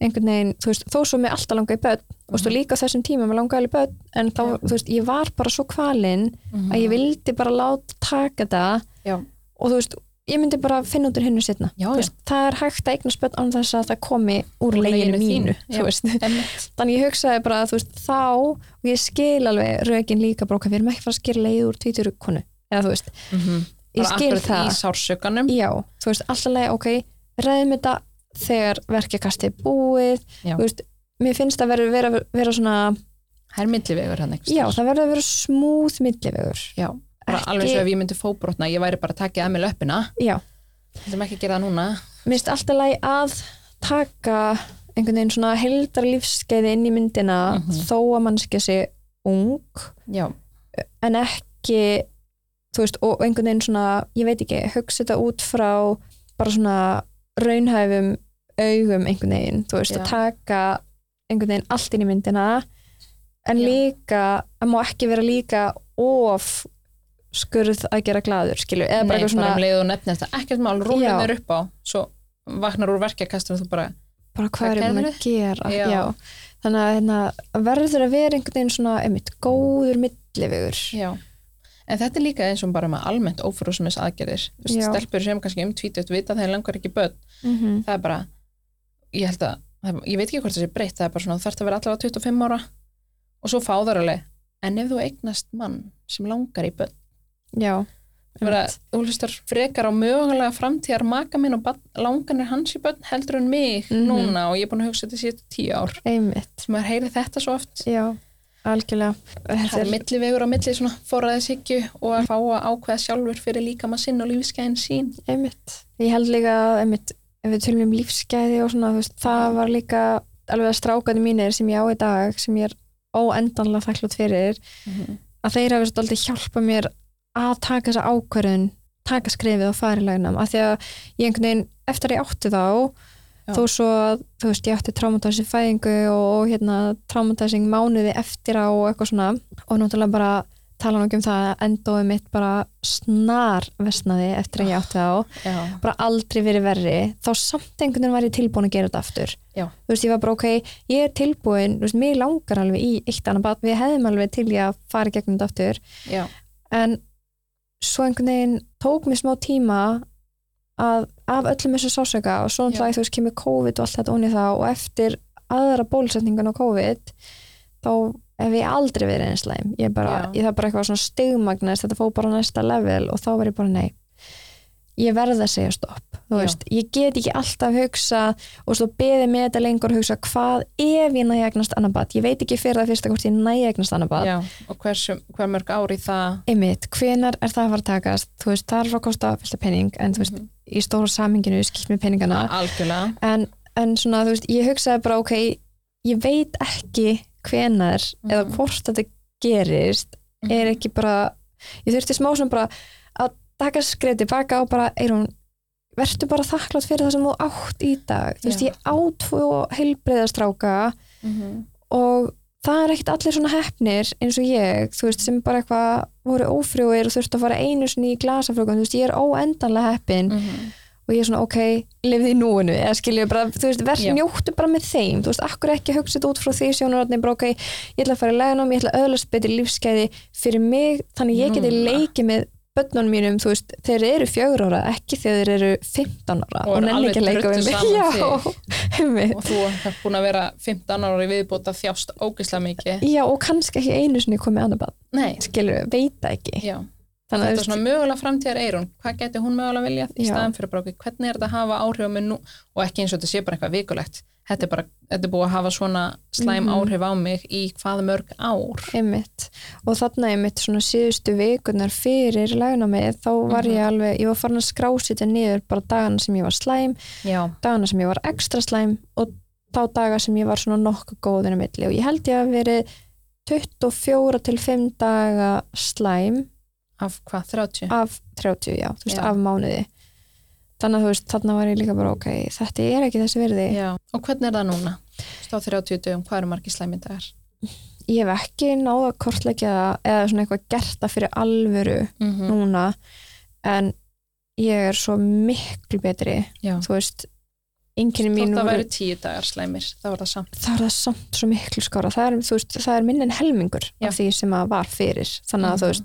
Speaker 3: einhvern veginn, þú veist, þó svo með alltaf langa í börn og svo líka á þessum tíma með langaði í börn en þá,
Speaker 2: Mhm. Já.
Speaker 3: þú veist, ég var bara svo kvalinn
Speaker 2: Mhm.
Speaker 3: að ég vildi bara láta taka það
Speaker 2: Já.
Speaker 3: og þú veist, ég myndi bara finna út úr hinnu setna
Speaker 2: Já, já.
Speaker 3: veist, það er hægt að eignast börn án þess að það komi
Speaker 2: Úr
Speaker 3: úr
Speaker 2: leginu
Speaker 3: leginu
Speaker 2: þínu,
Speaker 3: mínu
Speaker 2: já.
Speaker 3: þú veist.
Speaker 2: Einmitt.
Speaker 3: þannig ég hugsaði bara að þú veist, þá og ég skil alveg rökin líka bara okkar, við erum ekki fara að skera leið úr tvítur konu, eða þú veist,
Speaker 2: Mhm.
Speaker 3: ég
Speaker 2: Bara
Speaker 3: skil
Speaker 2: akkurat Í
Speaker 3: það
Speaker 2: sársökanum.
Speaker 3: já, þú veist, alltaf leið, ok ræðum þetta þegar verkjakast er búið,
Speaker 2: Já.
Speaker 3: þú veist mér finnst að vera, vera, vera svona
Speaker 2: Það er millivegur hann einhvers
Speaker 3: Já,
Speaker 2: staðar.
Speaker 3: það verður að vera smúð millivegur.
Speaker 2: Já, bara
Speaker 3: Ekki-
Speaker 2: alveg svo ef ég myndi fóbrotna, ég væri bara að taka að mig löppina,
Speaker 3: Já,
Speaker 2: þetta er ekki að gera það núna.
Speaker 3: mér finnst alltaf lægi að taka einhvern veginn svona heldar lífskeiði inn í myndina
Speaker 2: Mhm.
Speaker 3: þó að mannskja sé ung
Speaker 2: Já,
Speaker 3: en ekki, þú veist, og einhvern veginn svona, ég veit ekki, hugsa þetta út frá bara svona raunhæfum augum einhvern veginn, þú veist,
Speaker 2: Já.
Speaker 3: að taka einhvern veginn allt inn í myndina en
Speaker 2: Já.
Speaker 3: líka, það má ekki vera líka of skurð að gera glaður, skilju, eða bara
Speaker 2: nei,
Speaker 3: eitthvað svona
Speaker 2: bara um leið og nefnir þetta, ekkert mál, rúlið
Speaker 3: Já.
Speaker 2: mér upp á, svo vaknar úr verkjakastum og þú bara,
Speaker 3: bara hvað er ég búin að gera
Speaker 2: Já.
Speaker 3: þannig að hérna, verður að vera einhvern veginn svona einmitt góður millivegur
Speaker 2: Já, en þetta er líka eins og bara með almennt ófrúsumis aðgerðir. Þú veist,
Speaker 3: Já.
Speaker 2: Stelpur sem kannski um tvítut vita að þeir langar ekki börn.
Speaker 3: mm -hmm.
Speaker 2: Það er bara, ég held að, það- ég veit ekki hvort það sé breytt, það er bara svona, þú þarf að vera allavega 25 ára og svo fáðar alveg. En ef þú eignast mann sem langar í börn,
Speaker 3: já,
Speaker 2: það er bara, þú hlustar frekar á mögulega framtíðar maka minn og barn- langanir hans í börn heldur en mig
Speaker 3: Mhm.
Speaker 2: núna og ég er búin að hugsa þetta síðan tíu ár.
Speaker 3: einmitt
Speaker 2: Maður heyri þetta svo oft.
Speaker 3: já, algjörlega
Speaker 2: Það
Speaker 3: þetta
Speaker 2: er
Speaker 3: er,
Speaker 2: millivegur á milli svona forræðishyggju og að fá að ákveða sjálfur fyrir líkama sinn og lífskeiðin sín.
Speaker 3: einmitt ég held líka að einmitt ef við tölum um lífsgæði og svona þú veist, það var líka alveg að strákandi mínir sem ég á í dag sem ég er óendanlega þakklátt fyrir að þeir hafi svolítið hjálpa mér að taka þessa ákvörðun taka skrifið og fara í lagnam af því að ég einhvern veginn, eftir að ég átti þá
Speaker 2: Já.
Speaker 3: þó svo að, þú veist, ég átti traumatizing fæðingu og, og hérna traumatizing mánuði eftir á og eitthvað svona og náttúrulega bara tala nú ekki um það að endóið mitt bara snar versnaði eftir að ég átti þá
Speaker 2: Já,
Speaker 3: bara aldrei verið verri þá samt einhvern veginn var ég tilbúin að gera þetta aftur
Speaker 2: Já.
Speaker 3: þú veist, ég var bara ok, ég er tilbúin þú veist, mér langar alveg í eitt annað barn við hefðum alveg til ég að fara í gegnum þetta aftur
Speaker 2: já,
Speaker 3: en svo einhvern veginn tók mér smá tíma að af öllum þessu sásöka og svo náttúrulega þú veist, kemur COVID og allt þetta onni þá og eftir aðra bólusetningan á COVID þá hef ég aldrei verið eins slæm ég, bara,
Speaker 2: Já.
Speaker 3: ég það bara eitthvað svona stigmagnast þetta fór bara á næsta level og þá var ég bara nei ég verð að segja stopp þú
Speaker 2: Já.
Speaker 3: veist, ég get ekki alltaf hugsa og svo beðið með þetta lengur og hugsa hvað ef ég næja egnast annað bat ég veit ekki fyrir það fyrsta hvort ég næja egnast annað bat
Speaker 2: já. Og hversu, hver mörg ár í það?
Speaker 3: einmitt, hvenar er það að fara að takast þú veist, það er að fara að kosta fylgta pening en þú veist,
Speaker 2: Mhm.
Speaker 3: í stóra saminginu skipt með peningana
Speaker 2: Algjörlega.
Speaker 3: en, en svona, þú veist, ég hugsaði bara ok, ég veit ekki hvenar eða
Speaker 2: Mhm.
Speaker 3: hvort þetta gerist er ekki bara ég þurfti smá svona bara að taka skrif tilbaka og bara, Eirún verður bara þakklátt fyrir það sem þú átt í dag þú veist,
Speaker 2: Já.
Speaker 3: ég á tvo heilbreyðastráka
Speaker 2: Mhm.
Speaker 3: og það er ekkert allir svona hefnir eins og ég, þú veist, sem bara eitthvað voru ófrjóir og þurfti að fara einu sinni í glasafrjókan, þú veist, ég er óendanlega heppin
Speaker 2: Mhm.
Speaker 3: og ég er svona, ok, lifði í núinu eða skilja bara, þú veist, verð
Speaker 2: Já.
Speaker 3: njóttu bara með þeim, þú veist, akkur ekki hugsa þetta út frá því sjónarotni, bara ok, ég ætla að fara í lagunum ég ætla að öðlast betri lífskeiði fyrir mig þannig ég geti
Speaker 2: Núna.
Speaker 3: leikið með börnunum mínum, þú veist, þeir eru fjögur ára ekki þegar þeir eru 15 ára
Speaker 2: Og
Speaker 3: og,
Speaker 2: eru alveg
Speaker 3: nenni ekki að leika
Speaker 2: drullu
Speaker 3: við mig
Speaker 2: saman
Speaker 3: já, einmitt.
Speaker 2: Og þú ert búin að vera 15 ára í viðbútt að þjást ógeðslega mikið.
Speaker 3: já, og kannski ekki einu sinni komið annað barn.
Speaker 2: Nei,
Speaker 3: skilur, veit það ekki
Speaker 2: já.
Speaker 3: þannig að
Speaker 2: Þetta
Speaker 3: þú
Speaker 2: er svona
Speaker 3: veist,
Speaker 2: mögulega framtíðar eirun. Hvað geti hún mögulega viljað í
Speaker 3: Já.
Speaker 2: staðan fyrir bróki? Hvernig er þetta að hafa áhrif á mig nú? Og ekki eins og þetta sé bara eitthvað vikulegt. Þetta er bara, þetta er búið að hafa svona slæm
Speaker 3: Mhm.
Speaker 2: áhrif á mig í hvað mörg ár.
Speaker 3: einmitt og þannig að einmitt svona síðustu vikunar fyrir lagnamið þá var
Speaker 2: Mhm.
Speaker 3: ég alveg, ég var farin að skrásitja niður bara dagana sem ég var slæm,
Speaker 2: Já.
Speaker 3: dagana sem ég var ekstra slæm og þá daga sem ég var svona nokkuð góðinu milli og ég held ég að verið 24 til 5 daga slæm
Speaker 2: Af hvað, 30?
Speaker 3: af 30, já, þú veist,
Speaker 2: Já.
Speaker 3: af mánuði þannig að þú veist, þannig var ég líka bara ok, þetta er ekki þessi verði
Speaker 2: Já, og hvernig er það núna? Stáð 30 dögum, hvað eru margir slæmi dagar?
Speaker 3: ég hef ekki náða að kortleggja það eða svona eitthvað gert það fyrir alvöru
Speaker 2: Mm -hmm.
Speaker 3: núna en ég er svo miklu betri
Speaker 2: Já,
Speaker 3: þú veist, enginni mín
Speaker 2: þótt það
Speaker 3: voru-
Speaker 2: væri 10 dagar slæmir, þá er það samt.
Speaker 3: það er það samt svo miklu skára það er, þú veist, það er minn en helmingur
Speaker 2: Já.
Speaker 3: af því sem að var fyrir þannig að
Speaker 2: Mhm.
Speaker 3: þú veist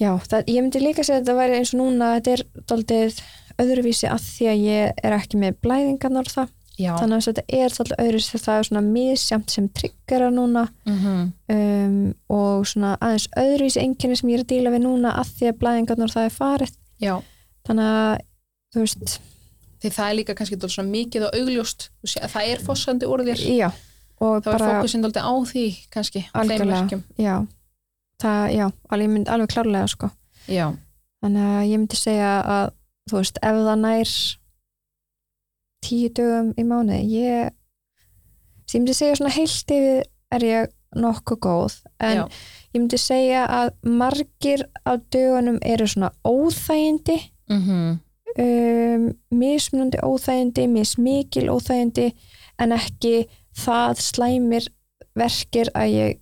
Speaker 3: já, það, ég myndi líka segja að þetta væri eins og núna þetta er daldið öðruvísi að því að ég er ekki með blæðingarnar og það,
Speaker 2: Já,
Speaker 3: þannig að þetta er daldið öðruvísi það er svona misjamt sem tryggara núna
Speaker 2: mm
Speaker 3: um, og svona aðeins öðruvísi einkenni sem ég er að díla við núna að því að blæðingarnar það er farið
Speaker 2: já.
Speaker 3: þannig að þú veist,
Speaker 2: Því það er líka kannski dálítið svona mikið og augljóst, Þú sé, að það er fossandi orðir,
Speaker 3: já og
Speaker 2: þá er
Speaker 3: Mm. bara,
Speaker 2: fókusinn dálítið á því kannski, á þeim
Speaker 3: Algjörlega.
Speaker 2: verkjum.
Speaker 3: já það, já, alveg, ég myndi alveg klárlega sko
Speaker 2: Já,
Speaker 3: þannig að ég myndi segja að þú veist, ef það nær tíu dögum í mánuði ég, ég myndi segja svona heilt yfir er ég nokkuð góð en
Speaker 2: já,
Speaker 3: ég myndi segja að margir á dögunum eru svona óþægindi
Speaker 2: mm
Speaker 3: um, mismunandi óþægindi, mismikil óþægindi en ekki það slæmir verkir að ég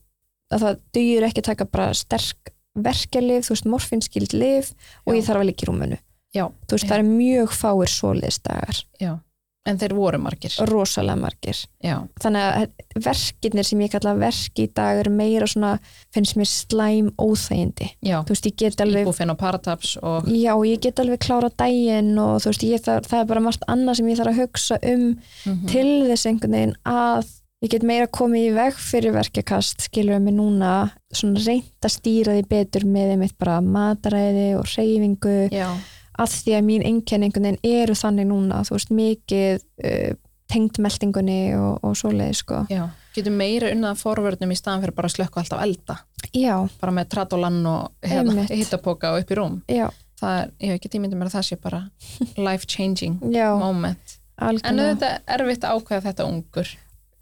Speaker 3: að það dugir ekki að taka bara sterk verkjalif, þú veist, morfinskild lif og
Speaker 2: Já.
Speaker 3: ég þarf að líka í rúmunu
Speaker 2: Já.
Speaker 3: þú veist, það er mjög fáir svoleiðsdagar
Speaker 2: já. en þeir voru margir
Speaker 3: rosalega margir
Speaker 2: já,
Speaker 3: þannig að verkinir sem ég kalla verki í dag eru meira svona finnst mér slæm óþægindi
Speaker 2: já,
Speaker 3: þú veist, ég get alveg
Speaker 2: íbúfinn og parataps og
Speaker 3: já, ég get alveg klára daginn og þú veist, ég, það, það er bara margt annað sem ég þarf að hugsa um
Speaker 2: Mhm.
Speaker 3: til þess einhvern veginn að ég get meira komið í veg fyrir verkjakast skilur við mig núna svona reynt að stýra því betur með einmitt bara mataræði og reyfingu
Speaker 2: já,
Speaker 3: að því að mín einkenni einhvern veginn eru þannig núna, þú veist, mikið uh, tengd meldingunni og, og svoleiði sko.
Speaker 2: já getur meira unnað forvörnum í staðan fyrir bara að slökka allt á elda
Speaker 3: Já,
Speaker 2: bara með tratolann og hérna,
Speaker 3: Einmitt.
Speaker 2: hittapoka og upp í rúm
Speaker 3: já,
Speaker 2: það er, ég hef ekki tímyndið mér að það sé bara life changing
Speaker 3: já,
Speaker 2: moment en
Speaker 3: algjörlega.
Speaker 2: auðvitað er erfitt að ákveða þetta ungur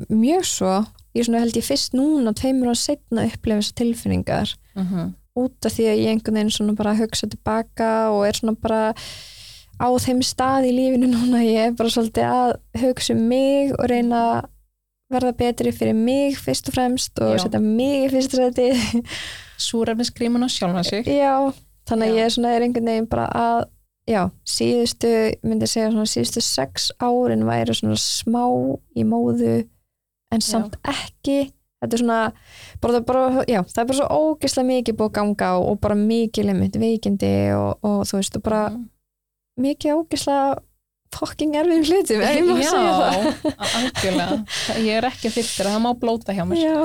Speaker 3: Mjög svo, ég svona held ég fyrst núna tveimur og setna upplefa þessar tilfinningar
Speaker 2: mm
Speaker 3: Mhm. út af því að ég einhvern veginn svona bara hugsa tilbaka og er svona bara á þeim stað í lífinu núna ég er bara svolítið að hugsa um mig og reyna að verða betri fyrir mig fyrst og fremst og
Speaker 2: Já.
Speaker 3: setja mig í fyrst sæti
Speaker 2: súrefniskríman og sjálfan sig
Speaker 3: já,
Speaker 2: Já.
Speaker 3: þannig að ég er svona er einhvern veginn bara að já, síðustu, myndi ég segja svona síðustu sex árin væri svona smá í móðu en samt ekki þetta er svona, bara, það- bara, já, það er bara svo ógeðslega mikið búið að ganga á og bara mikið limit veikindi og, og þú veist, og bara
Speaker 2: Mhm.
Speaker 3: mikið ógeðslega fucking erfiðum hlutum, ef ég má
Speaker 2: já,
Speaker 3: segja það
Speaker 2: algjörlega Það- ég er ekki fyrir það má blóta hjá mér
Speaker 3: já,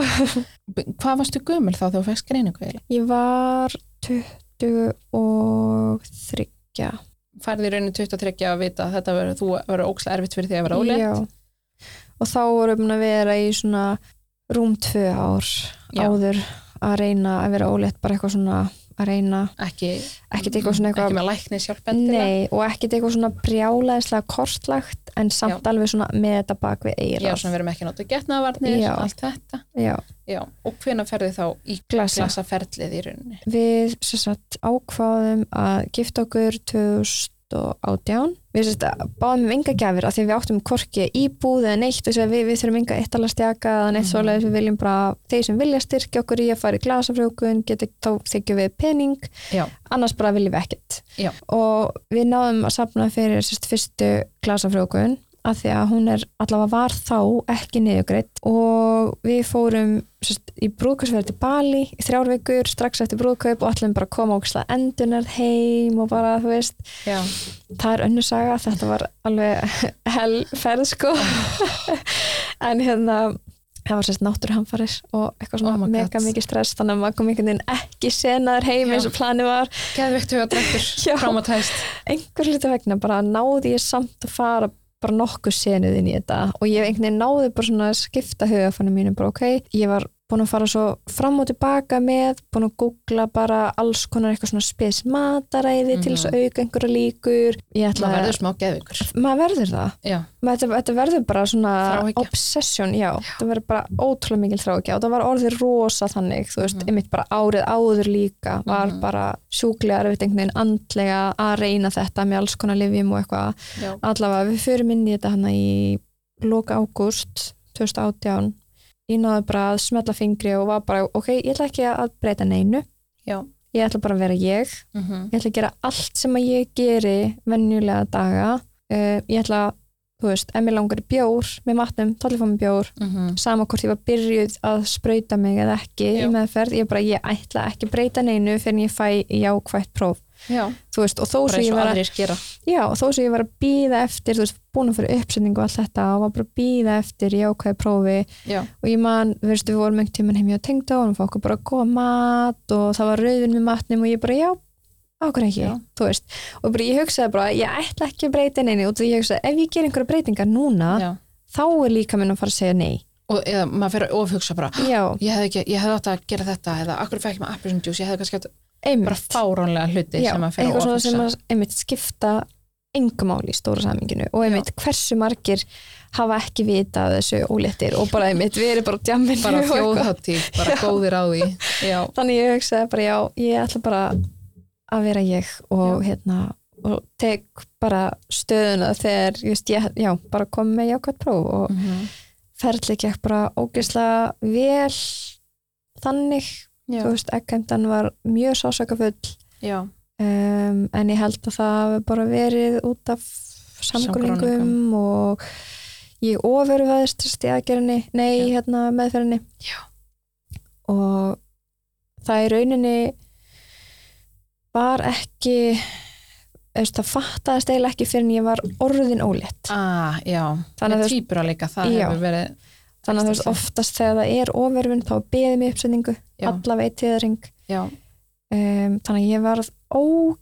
Speaker 2: hvað varstu gömul þá þegar þú fegst greiningu eiginlega?
Speaker 3: ég var 23
Speaker 2: færði í rauninu 23 að vita að þetta verður, þú verður ókslega erfitt fyrir því að vera ólega
Speaker 3: Já. og þá vorum við að vera í svona rúm tvö ár
Speaker 2: Já.
Speaker 3: áður að reyna að vera ólétt bara eitthvað svona að reyna
Speaker 2: ekki,
Speaker 3: ekkert eitthvað svona
Speaker 2: ekki
Speaker 3: eitthvað
Speaker 2: með lækni sjálfbendilega
Speaker 3: Nei, og ekkert eitthvað svona brjálæðislega kortlagt en samt alveg svona með þetta bak við
Speaker 2: já,
Speaker 3: eirað
Speaker 2: svona við erum ekki náttu getnaðvarnir
Speaker 3: Já.
Speaker 2: allt þetta,
Speaker 3: Já,
Speaker 2: já, og hvena ferði þá í
Speaker 3: glasa.
Speaker 2: glasaferlið í rauninu
Speaker 3: Við sem sagt ákváðum að gifta okkur 2018 Við sem sagt báðum um enga gjafir af því við áttum korki íbúð eða neitt og við, við þurfum enga eittala stjaka eða neitt
Speaker 2: Mhm.
Speaker 3: mm. svoleiðis við viljum bara þeir sem vilja styrkja okkur í að fara í glasafrjókun geta þá þykjum við pening
Speaker 2: Já.
Speaker 3: annars bara viljum við ekkert
Speaker 2: Já.
Speaker 3: og við náðum að safna fyrir sem sagt, fyrstu glasafrjókun af því að hún er allavega var þá ekki niðugreitt og við fórum sérst, í brúðkaupsferð til Bali í þrjár vikur, strax eftir brúðkaup og allir bara að koma ógislega endunar heim og bara, þú veist,
Speaker 2: já,
Speaker 3: það er önnur saga, þetta var alveg hell ferð sko en hérna það var sérst náttúruhamfarir og eitthvað
Speaker 2: Oh
Speaker 3: svona
Speaker 2: my God.
Speaker 3: mega mikið stress þannig að maður kom einhvern veginn ekki senaður heim
Speaker 2: Já.
Speaker 3: eins og planið var
Speaker 2: geðveikt höfadrættur,
Speaker 3: Já.
Speaker 2: traumatæst
Speaker 3: einhver hluta vegna bara náði ég samt að fara bara nokkuð senið inn í þetta og ég einhvern veginn náði bara svona að skipta hugafannu mínu bara ok, ég var búin að fara svo fram og tilbaka með, búin að googla bara alls konar eitthvað svona spes mataræði til þess að auka einhverja líkur ég
Speaker 2: Mhm.
Speaker 3: ætla
Speaker 2: maður
Speaker 3: að,
Speaker 2: verður smá geðveikur
Speaker 3: maður verður það
Speaker 2: já,
Speaker 3: maður, þetta, þetta verður bara svona
Speaker 2: Þráhyggja.
Speaker 3: obsession, já, þetta verður bara ótrúlega mikil þráhyggja og það var orðið rosa þannig þú veist,
Speaker 2: Mhm.
Speaker 3: einmitt bara árið áður líka var
Speaker 2: Mhm.
Speaker 3: bara sjúklega erfitt einhvern veginn andlega að reyna þetta með alls konar livjum og eitthvað,
Speaker 2: já,
Speaker 3: allavega við förum inn í þetta hana í loka ágúst 2018 ég náði bara að smetla fingri og var bara ok, ég ætla ekki að breyta neinu
Speaker 2: já
Speaker 3: ég ætla bara að vera ég
Speaker 2: mm
Speaker 3: ég ætla að gera allt sem að ég geri venjulega daga uh, ég ætla að, þú veist, ef mér langar í bjór með matnum, þá ætla ég að fá mér bjór
Speaker 2: Mm. mhm.
Speaker 3: sama hvort ég var byrjuð að sprauta mig eða ekki
Speaker 2: Já.
Speaker 3: í meðferð, ég bara, ég ætla ekki að breyta neinu fyrir en ég fæ jákvætt próf
Speaker 2: já,
Speaker 3: þú veist, og þó
Speaker 2: bara
Speaker 3: sem
Speaker 2: eins
Speaker 3: ég
Speaker 2: og
Speaker 3: var að
Speaker 2: aðrir gera
Speaker 3: já, og þó sem ég var að býða eftir, þú veist, búin að fyrir uppsetningu og allt þetta og var bara að býða eftir jákvæði prófi
Speaker 2: já,
Speaker 3: og ég man, þú veist, við vorum einhvern tímann heim hjá tengda og hann fá okkur bara góða mat og það var rauðin með matnum og ég bara, já, okkur ekki,
Speaker 2: Já.
Speaker 3: þú veist og bara, ég hugsaði bara, ég ætla ekki að breyta neini og því ég hugsaði, ef ég ger einhverja breytingar núna
Speaker 2: já
Speaker 3: þá er líka minn að fara að segja nei
Speaker 2: og eða maður fyrir að ofhugsa bara
Speaker 3: já,
Speaker 2: ég hefði, ekki, ég hefði átt að gera þetta eða akkur fæk maður appisum djús, ég hefði kannski átt bara
Speaker 3: einmitt
Speaker 2: fáránlega hluti
Speaker 3: Mm. já,
Speaker 2: sem maður fyrir að
Speaker 3: eitthvað svona
Speaker 2: ofhugsa
Speaker 3: sem að einmitt skipta engum máli í stóra saminginu og einmitt hversu margir hafa ekki vita þessu óléttir og bara einmitt við erum bara á djamminu
Speaker 2: bara
Speaker 3: og eitthvað.
Speaker 2: þjóðháttíð, bara góðir á því já,
Speaker 3: þannig ég hugsaði bara já, ég ætla bara að vera ég og hérna og tek bara stöðuna þegar, ég veist, ég, já, bara kom með jákvæmt próf og
Speaker 2: mm
Speaker 3: ferli gekk bara ógeðslega vel þannig,
Speaker 2: já.
Speaker 3: þú veist, ekkert var mjög sásakafull
Speaker 2: já.
Speaker 3: um, en ég held að það hafi bara verið út af samgrunningum og ég ofurvæðist stíðagerðinni, nei, hérna meðferðinni
Speaker 2: Já.
Speaker 3: og það í rauninni var ekki eða það fattaðist eiginlega ekki fyrir en ég var orðin ólétt
Speaker 2: Ah, já,
Speaker 3: Þannig að
Speaker 2: með
Speaker 3: þú-
Speaker 2: tvíbura líka, það
Speaker 3: Já.
Speaker 2: hefur verið,
Speaker 3: þannig að þú veist oftast þegar það er ofurvinn þá beðið mér uppsetningu,
Speaker 2: Já.
Speaker 3: alla veitiðring
Speaker 2: já,
Speaker 3: um, þannig að ég varð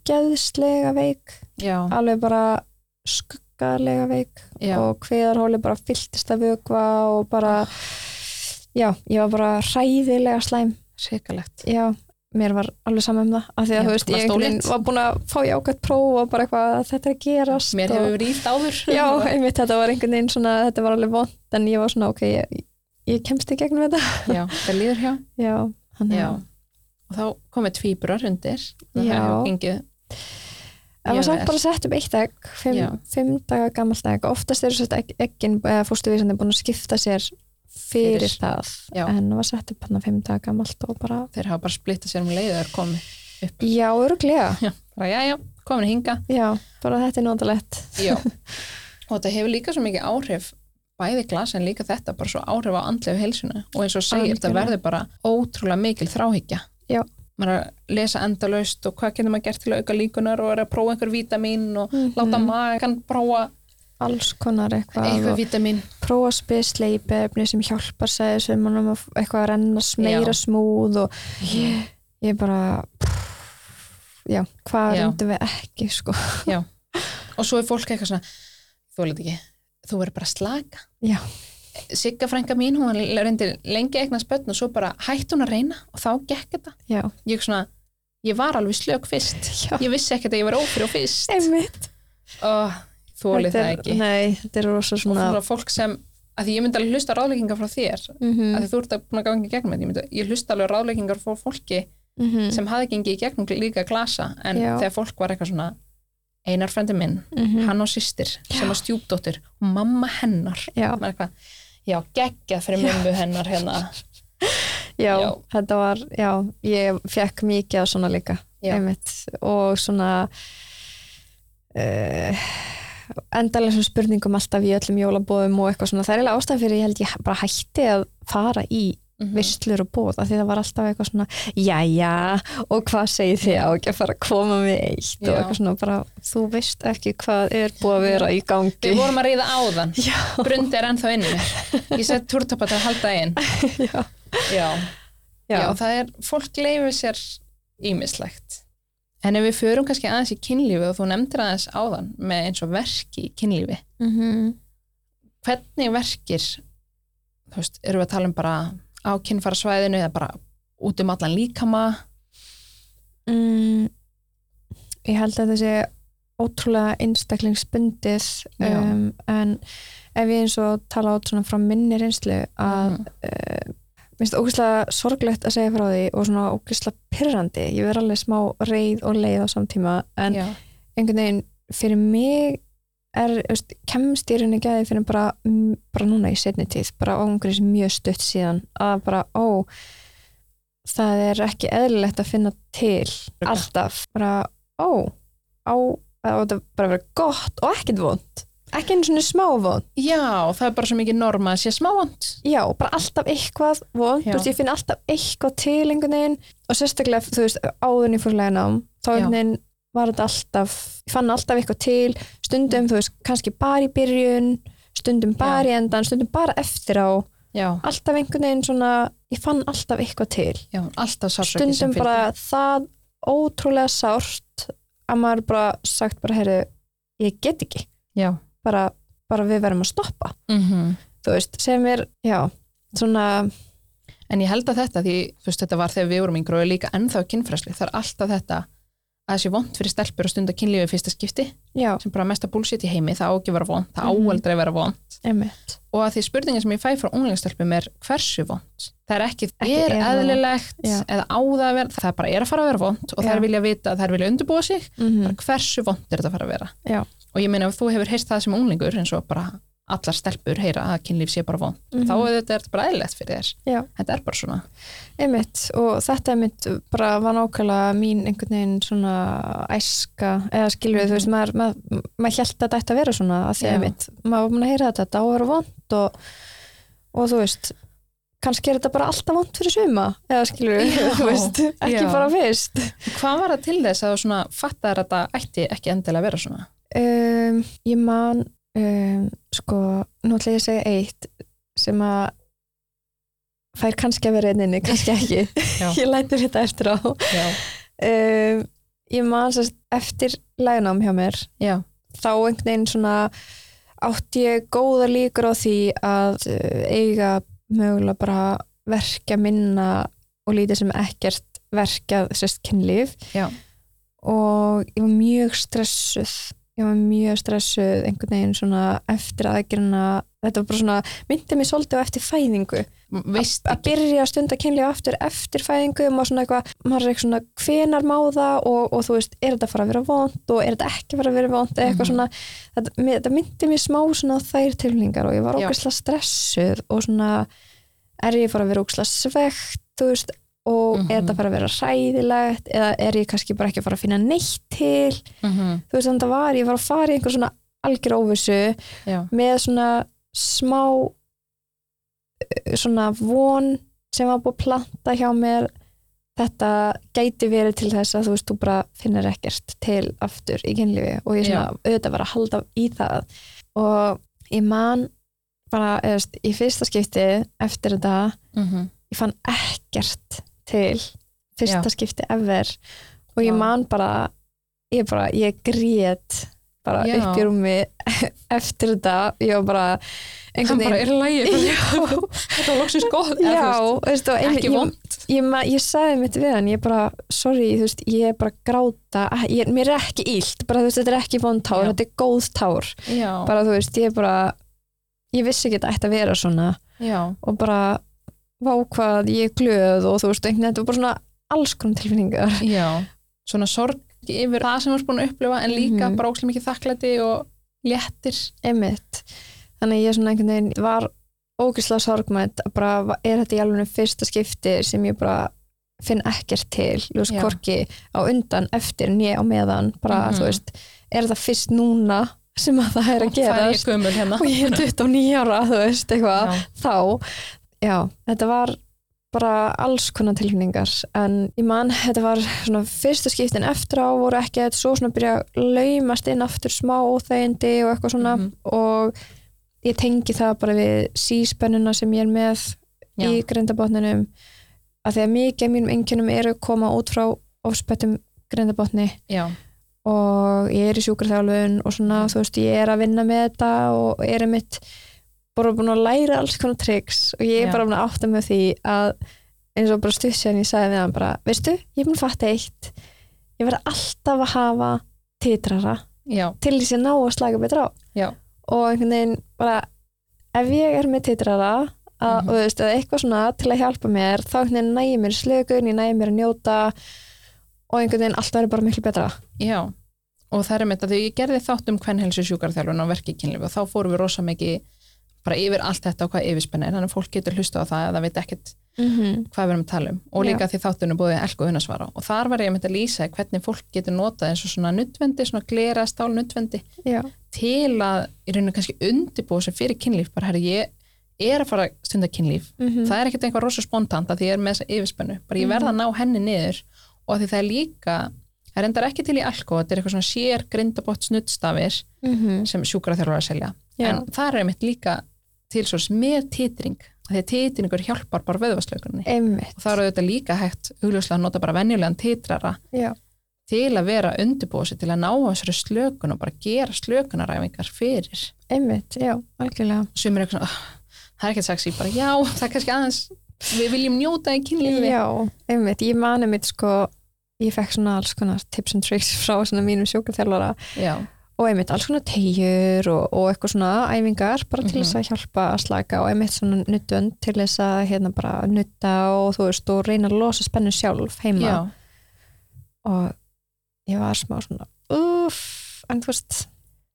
Speaker 3: ógeðslega veik
Speaker 2: já,
Speaker 3: alveg bara skuggalega veik
Speaker 2: já,
Speaker 3: og hviðarhóli bara fylltist að vökva og bara já, ég var bara hræðilega slæm
Speaker 2: sérkalegt.
Speaker 3: já, mér var alveg sama um það af því að
Speaker 2: Já,
Speaker 3: þú veist,
Speaker 2: þú
Speaker 3: ég
Speaker 2: varst
Speaker 3: einhvern veginn
Speaker 2: ólétt.
Speaker 3: var búin að fá jákvæmt próf og bara eitthvað að þetta er að gerast
Speaker 2: Mér
Speaker 3: og,
Speaker 2: hefur verið ílt áður.
Speaker 3: já, einmitt, þetta var einhvern veginn svona, þetta var alveg vond en ég var svona, ok, ég, ég kemst í gegnum þetta
Speaker 2: já, það líður hjá.
Speaker 3: já, hann
Speaker 2: Já. Og þá komið tvíburar undir. og
Speaker 3: Já.
Speaker 2: Það hefur gengið,
Speaker 3: En maður
Speaker 2: Mjög
Speaker 3: sagt
Speaker 2: vel.
Speaker 3: bara að setja upp eitt egg, fimm,
Speaker 2: Já.
Speaker 3: fimm daga gammalt egg. Oftast eru sérst egg, eggin eða fóstuvísandi búin að skipta sér fyrir,
Speaker 2: Fyrir.
Speaker 3: það.
Speaker 2: Já.
Speaker 3: En maður sett upp hann að fimm daga gammalt og bara,
Speaker 2: þeir hafa bara splittað sér um leiðið þar komið.
Speaker 3: já, öruglega.
Speaker 2: Bara, já, já, komin hinga.
Speaker 3: Já, bara þetta er notalett.
Speaker 2: Já. og þetta hefur líka svo mikið áhrif bæði glas en líka þetta bara svo áhrif á andlegu helsuna og eins og þú segir þetta
Speaker 3: Algjörlega.
Speaker 2: verður bara ótrúlega mikil þráhyggja
Speaker 3: Já.
Speaker 2: maður er að lesa endalaust og hvað getur maður gert til að auka líkunar og er að prófa einhver vítamin og láta
Speaker 3: Mm.
Speaker 2: magan prófa
Speaker 3: Mhm. Alls konar eitthvað.
Speaker 2: eitthvað
Speaker 3: og
Speaker 2: vítamin
Speaker 3: Prófa spes leipefni sem hjálpar segir sem mann um að f- eitthvað að renna
Speaker 2: Já.
Speaker 3: meira smúð og ég, ég bara, já, hvað
Speaker 2: Já.
Speaker 3: reyndum við ekki, sko.
Speaker 2: og svo er fólk eitthvað svona þú veit ekki, þú verður bara að slaka
Speaker 3: Já.
Speaker 2: Sigga frænka mín, hún reyndi lengi eignast börn og svo bara hætti hún að reyna og þá gekk þetta
Speaker 3: Já,
Speaker 2: ég, er svona, ég var alveg slök fyrst
Speaker 3: já.
Speaker 2: ég vissi ekkert að ég var ófrjó fyrst
Speaker 3: Einmitt.
Speaker 2: oh, þólið
Speaker 3: Þetta
Speaker 2: það
Speaker 3: er-
Speaker 2: ekki
Speaker 3: Nei, þetta er rosa
Speaker 2: og
Speaker 3: svona
Speaker 2: svona fólk sem, að því ég myndi alveg hlusta á ráðleggingar frá þér,
Speaker 3: mhm,
Speaker 2: að því þú ert að búin að ganga í gegnum þetta, ég, myndi, ég hlusta alveg á ráðleggingar frá fólki
Speaker 3: mhm,
Speaker 2: sem hafi gengið í gegnum líka glasa, en
Speaker 3: Já.
Speaker 2: þegar fólk var eitthvað svona einar frendi minn,
Speaker 3: mhm.
Speaker 2: hann og sýstir sem var stjúpdóttir, og mamma hennar
Speaker 3: Já,
Speaker 2: maður eitthvað, já, geggjað fyrir mömmu hennar hérna,
Speaker 3: já,
Speaker 2: Já.
Speaker 3: þetta var já, ég fekk mikið af svona líka
Speaker 2: Já.
Speaker 3: einmitt og svona uh, endalega svona spurningum alltaf í öllum jólabóðum og eitthvað svona það er eiginlega ástæð fyrir ég held ég bara hætti að fara í
Speaker 2: Mhm.
Speaker 3: visslur og bóð af því það var alltaf eitthvað svona jæja og hvað segir þið á ekki að fara að koma með eitt og
Speaker 2: Já.
Speaker 3: eitthvað svona bara þú veist ekki hvað er búið að vera í gangi
Speaker 2: við vorum að ríða áðan
Speaker 3: Já.
Speaker 2: brundi er ennþá inni í mér ég sett túrtapa til að halda einn
Speaker 3: Já.
Speaker 2: já. Já.
Speaker 3: Já.
Speaker 2: það er, fólk leifir sér ímislegt. En ef við förum kannski aðeins í kynlífi og þú nefndir aðeins áðan með eins og verki í kynlífi,
Speaker 3: Mhm.
Speaker 2: hvernig verkir, þú veist, erum við að tala um bara á kynfara svæðinu eða bara út um allan líkama?
Speaker 3: Mm, ég held að það sé ótrúlega einstaklingsbundið
Speaker 2: Já.
Speaker 3: um, en ef ég eins og tala át svona frá minni reynslu að
Speaker 2: Mhm.
Speaker 3: minnst ógeðslega sorglegt að segja frá því og svona ógeðslega pirrandi ég verð alveg smá reið og leið á samtíma en
Speaker 2: Mm, Já,
Speaker 3: einhvern veginn fyrir mig er, veist, kemst í rauninni gæði fyrir bara, mm, bara núna í setni tíð, bara á einhverjum sem mjög stutt síðan, að bara ó, það er ekki eðlilegt að finna til
Speaker 2: Örugglega.
Speaker 3: alltaf, bara ó á, að þetta bara vera gott og ekkert vond, ekki einu svona smá vond,
Speaker 2: já það er bara svo mikið norma að sé smávond.
Speaker 3: já, bara alltaf eitthvað vond,
Speaker 2: Já.
Speaker 3: þú veist, ég finn alltaf eitthvað til einhvern veginn og sérstaklega, þú veist, áðurinn í fórlega nám, þá
Speaker 2: Já.
Speaker 3: einhvern veginn var þetta alltaf, ég fann alltaf eitthvað til stundum, þú veist, kannski bara í byrjun stundum bara í endan, stundum bara eftir á,
Speaker 2: Já,
Speaker 3: alltaf einhvern veginn svona, ég fann alltaf eitthvað til
Speaker 2: já, alltaf sársöki sem
Speaker 3: stundum
Speaker 2: fylgir.
Speaker 3: bara það ótrúlega sárt að maður bara sagt bara, heyrðu, ég get ekki
Speaker 2: Já,
Speaker 3: bara, bara við verðum að stoppa
Speaker 2: mm
Speaker 3: þú veist, sem er, já svona,
Speaker 2: En ég held að þetta, því þú veist, þetta var þegar við vorum yngur og er líka ennþá kynfræsli, það er alltaf þetta að þessi vond fyrir stelpur að stunda kynlífi í fyrsta skipti,
Speaker 3: já,
Speaker 2: sem bara mesta búlsitt í heimi, það á ekki að vera vond, það á
Speaker 3: Mhm.
Speaker 2: aldrei að vera vond.
Speaker 3: einmitt
Speaker 2: Og að því spurningin sem ég fæ frá unglingstelpum er hversu vond? Það er ekki,
Speaker 3: Ekki
Speaker 2: er
Speaker 3: er það vont.
Speaker 2: eðlilegt
Speaker 3: Já.
Speaker 2: eða á það að vera, það bara er að fara að vera vond og
Speaker 3: Já.
Speaker 2: þær vilja vita, þær vilja undirbúa sig,
Speaker 3: mm
Speaker 2: bara hversu vond er þetta að fara að vera?
Speaker 3: Já.
Speaker 2: Og ég meina ef þú hefur heyrst það sem unglingur eins og bara allar stelpur heyra að kynlíf sé bara von
Speaker 3: Mhm.
Speaker 2: þá er þetta er þetta bara eðlilegt fyrir þér
Speaker 3: Já.
Speaker 2: þetta er bara svona
Speaker 3: Einmitt, og þetta einmitt bara var nákvæmlega mín einhvern veginn svona æska eða skilur við, þú veist, maður, maður, maður held að þetta ætti að vera svona að því
Speaker 2: Mhm. Já.
Speaker 3: einmitt maður var búin að heyra þetta, þetta á að vera vond og, og þú veist kannski er þetta bara alltaf vond fyrir suma eða skilur við,
Speaker 2: Já.
Speaker 3: þú veist, ekki
Speaker 2: Já.
Speaker 3: bara fyrst
Speaker 2: hvað var það til þess að þú svona fattar að þetta ætti ekki endilega að vera svona
Speaker 3: um, Ég man um, sko, nú ætla ég að segja eitt sem að fær kannski að vera einninni, kannski ekki
Speaker 2: Já.
Speaker 3: ég lætur þetta eftir á
Speaker 2: já,
Speaker 3: um, ég man sérst eftir lagnám hjá mér
Speaker 2: já,
Speaker 3: þá einhvern veginn svona átti ég góða líkur á því að uh, eiga mögulega bara verkja minna og lítið sem ekkert verkjað sérst kynlíf
Speaker 2: Já.
Speaker 3: og ég var mjög stressuð ég var mjög stressuð einhvern veginn svona eftir aðgerina þetta var bara svona, myndi mér svolítið á eftir fæðingu
Speaker 2: veist
Speaker 3: að byrja að stunda kynlíf aftur eftir fæðingu maður svona eitthvað, maður er eitthvað svona hvenar má það og, og þú veist, er þetta að fara að vera vond og er þetta ekki að fara að vera vond eða eitthvað
Speaker 2: Mhm.
Speaker 3: svona, þetta, mér, þetta myndi mér smá svona á þær tilningar og ég var
Speaker 2: Já.
Speaker 3: ógæslega stressuð og svona er ég að fara að vera ógæslega svegt þú veist, og er þetta
Speaker 2: Mhm.
Speaker 3: að fara að vera ræðilegt eða er ég kannski bara ekki að fara að finna neitt til,
Speaker 2: mm -hmm.
Speaker 3: þú veist, þannig að var ég var að fara í einhver svona algjör óvissu
Speaker 2: já,
Speaker 3: með svona smá eh, svona von sem var búið að planta hjá mér þetta gæti verið til þess að þú veist, þú bara finnir ekkert til aftur í kynlífi og ég svona auðvitað var að halda í það og ég man bara, eða veist, í fyrsta skipti eftir þetta,
Speaker 2: mm
Speaker 3: ég fann ekkert til fyrsta
Speaker 2: Já.
Speaker 3: skipti ever og ég
Speaker 2: Vá.
Speaker 3: man bara ég bara, ég grét bara
Speaker 2: Já.
Speaker 3: upp í rúmi eftir þetta, ég var bara
Speaker 2: hann
Speaker 3: einhvern
Speaker 2: bara er lægi
Speaker 3: Já,
Speaker 2: þetta var loksins gott eða
Speaker 3: já,
Speaker 2: þú
Speaker 3: veistu, og
Speaker 2: veist,
Speaker 3: einmitt,
Speaker 2: ekki
Speaker 3: ég,
Speaker 2: von
Speaker 3: ég, ma- ég sagði mitt við hann, ég bara, sorry, þú veist, ég er bara að gráta, Ah, ég, mér er ekki ílt, bara þú veist, þetta er ekki vond tár,
Speaker 2: Já.
Speaker 3: þetta er góð tár,
Speaker 2: já,
Speaker 3: bara þú veist, ég er bara, ég vissi ekki að þetta ætti að vera svona,
Speaker 2: já,
Speaker 3: og bara vákvað ég er glöð og þú veist einhvern veginn, þetta var bara svona alls konum tilfinningar
Speaker 2: já svona sorg yfir það sem þú ert búin að upplifa en líka
Speaker 3: Mhm.
Speaker 2: bara ókslega mikið þakklæti og léttir
Speaker 3: einmitt, þannig að ég svona einhvern veginn var ógislega sorgmætt að bara va- er þetta í alveg fyrsta skipti sem ég bara finn ekkert til þú veist,
Speaker 2: Já.
Speaker 3: hvorki á undan eftir né á meðan, bara
Speaker 2: Mhm.
Speaker 3: þú veist er þetta fyrst núna sem að það sko. er að
Speaker 2: það er ég
Speaker 3: gerast
Speaker 2: gömul hérna
Speaker 3: og ég er 29 ára, þú veist, eitthvað
Speaker 2: Já.
Speaker 3: þá, já, þetta var bara alls konar tilfinningar en ég man, þetta var svona fyrstu skiptin eftir á voru ekki að svo svona byrja að laumast inn aftur smá óþægindi og eitthvað svona
Speaker 2: Mhm.
Speaker 3: og ég tengi það bara við síspennuna sem ég er með
Speaker 2: Já.
Speaker 3: í grindabotninum að því að mikið af mínum einkennum eru að koma út frá ofspettum grindabotni
Speaker 2: já,
Speaker 3: og ég er í sjúkraþjálfun og svona,
Speaker 2: Mm.
Speaker 3: þú veist, ég er að vinna með þetta og er einmitt bara búin að læra alls konar triks og ég er
Speaker 2: Já.
Speaker 3: bara búin að átta með því að eins og bara stutt sér en ég sagði við hann bara veistu, ég er búin að fatta eitt ég verð alltaf að hafa titrara
Speaker 2: já,
Speaker 3: til þess að ná að slaka betra á
Speaker 2: Já.
Speaker 3: og einhvern veginn bara ef ég er með titrara að,
Speaker 2: Mhm.
Speaker 3: og þú veist, eða eitthvað svona til að hjálpa mér þá einhvern veginn nægir mér slökun, ég nægir mér að njóta og einhvern veginn allt verður bara miklu betra
Speaker 2: já og það er mitt að því ég gerði þátt um kvennhelsu sjúkarþjálfun og verkikinnlíf og þá fórum við rosa mikið bara yfir allt þetta og hvað yfirspenna er þannig að fólk getur hlusta á það að það veit ekkert
Speaker 3: mm -hmm.
Speaker 2: hvað við erum að tala um og líka því þáttunum búið elku unnasvara og þar var ég að mynda að lýsa hvernig fólk getur notað eins og svona nuttvendi, svona glera stál nuttvendi
Speaker 3: Já.
Speaker 2: til að í rauninu kannski undibúið sem fyrir kynlíf bara herri ég er að fara að stunda kynlíf
Speaker 3: -hmm.
Speaker 2: það er ekkert eitthvað rosa spontant að því ég er með þessa yfirspennu bara ég
Speaker 3: Mhm.
Speaker 2: verð að ná henni niður og að því það er líka, það rendar ekki til í alko þetta er eitthvað svona sér grindabott snuttstafir sem sjúkraþjálfur er að selja en það er einmitt líka til svo með titring, að því að titringur hjálpar bara vöðvaslaugunni
Speaker 3: einmitt
Speaker 2: og það eru auðvitað líka hægt augljóslega að nota bara venjulegan titrara
Speaker 3: Já.
Speaker 2: til að vera undirbúið sér til að ná þessari slökun og bara gera slökunaræfingar fyrir
Speaker 3: einmitt, já, algjörlega
Speaker 2: sem er eitthvað, "Ah, það er ekkert sexy bara já, það er kannski aðeins við viljum njóta í kynlífi
Speaker 3: já, einmitt, ég mani mitt sko ég fekk svona alls konar tips and tricks frá svona mínum sjókarþjálfara
Speaker 2: Já,
Speaker 3: og einmitt alls konar tegjur og, og eitthvað svona æfingar bara til þess
Speaker 2: Mhm.
Speaker 3: að hjálpa að slaka og einmitt svona nuttund til þess að hérna bara nutta og þú veist og reyna að losa spennu sjálf heima
Speaker 2: já,
Speaker 3: og ég var smá svona uff, en þú veist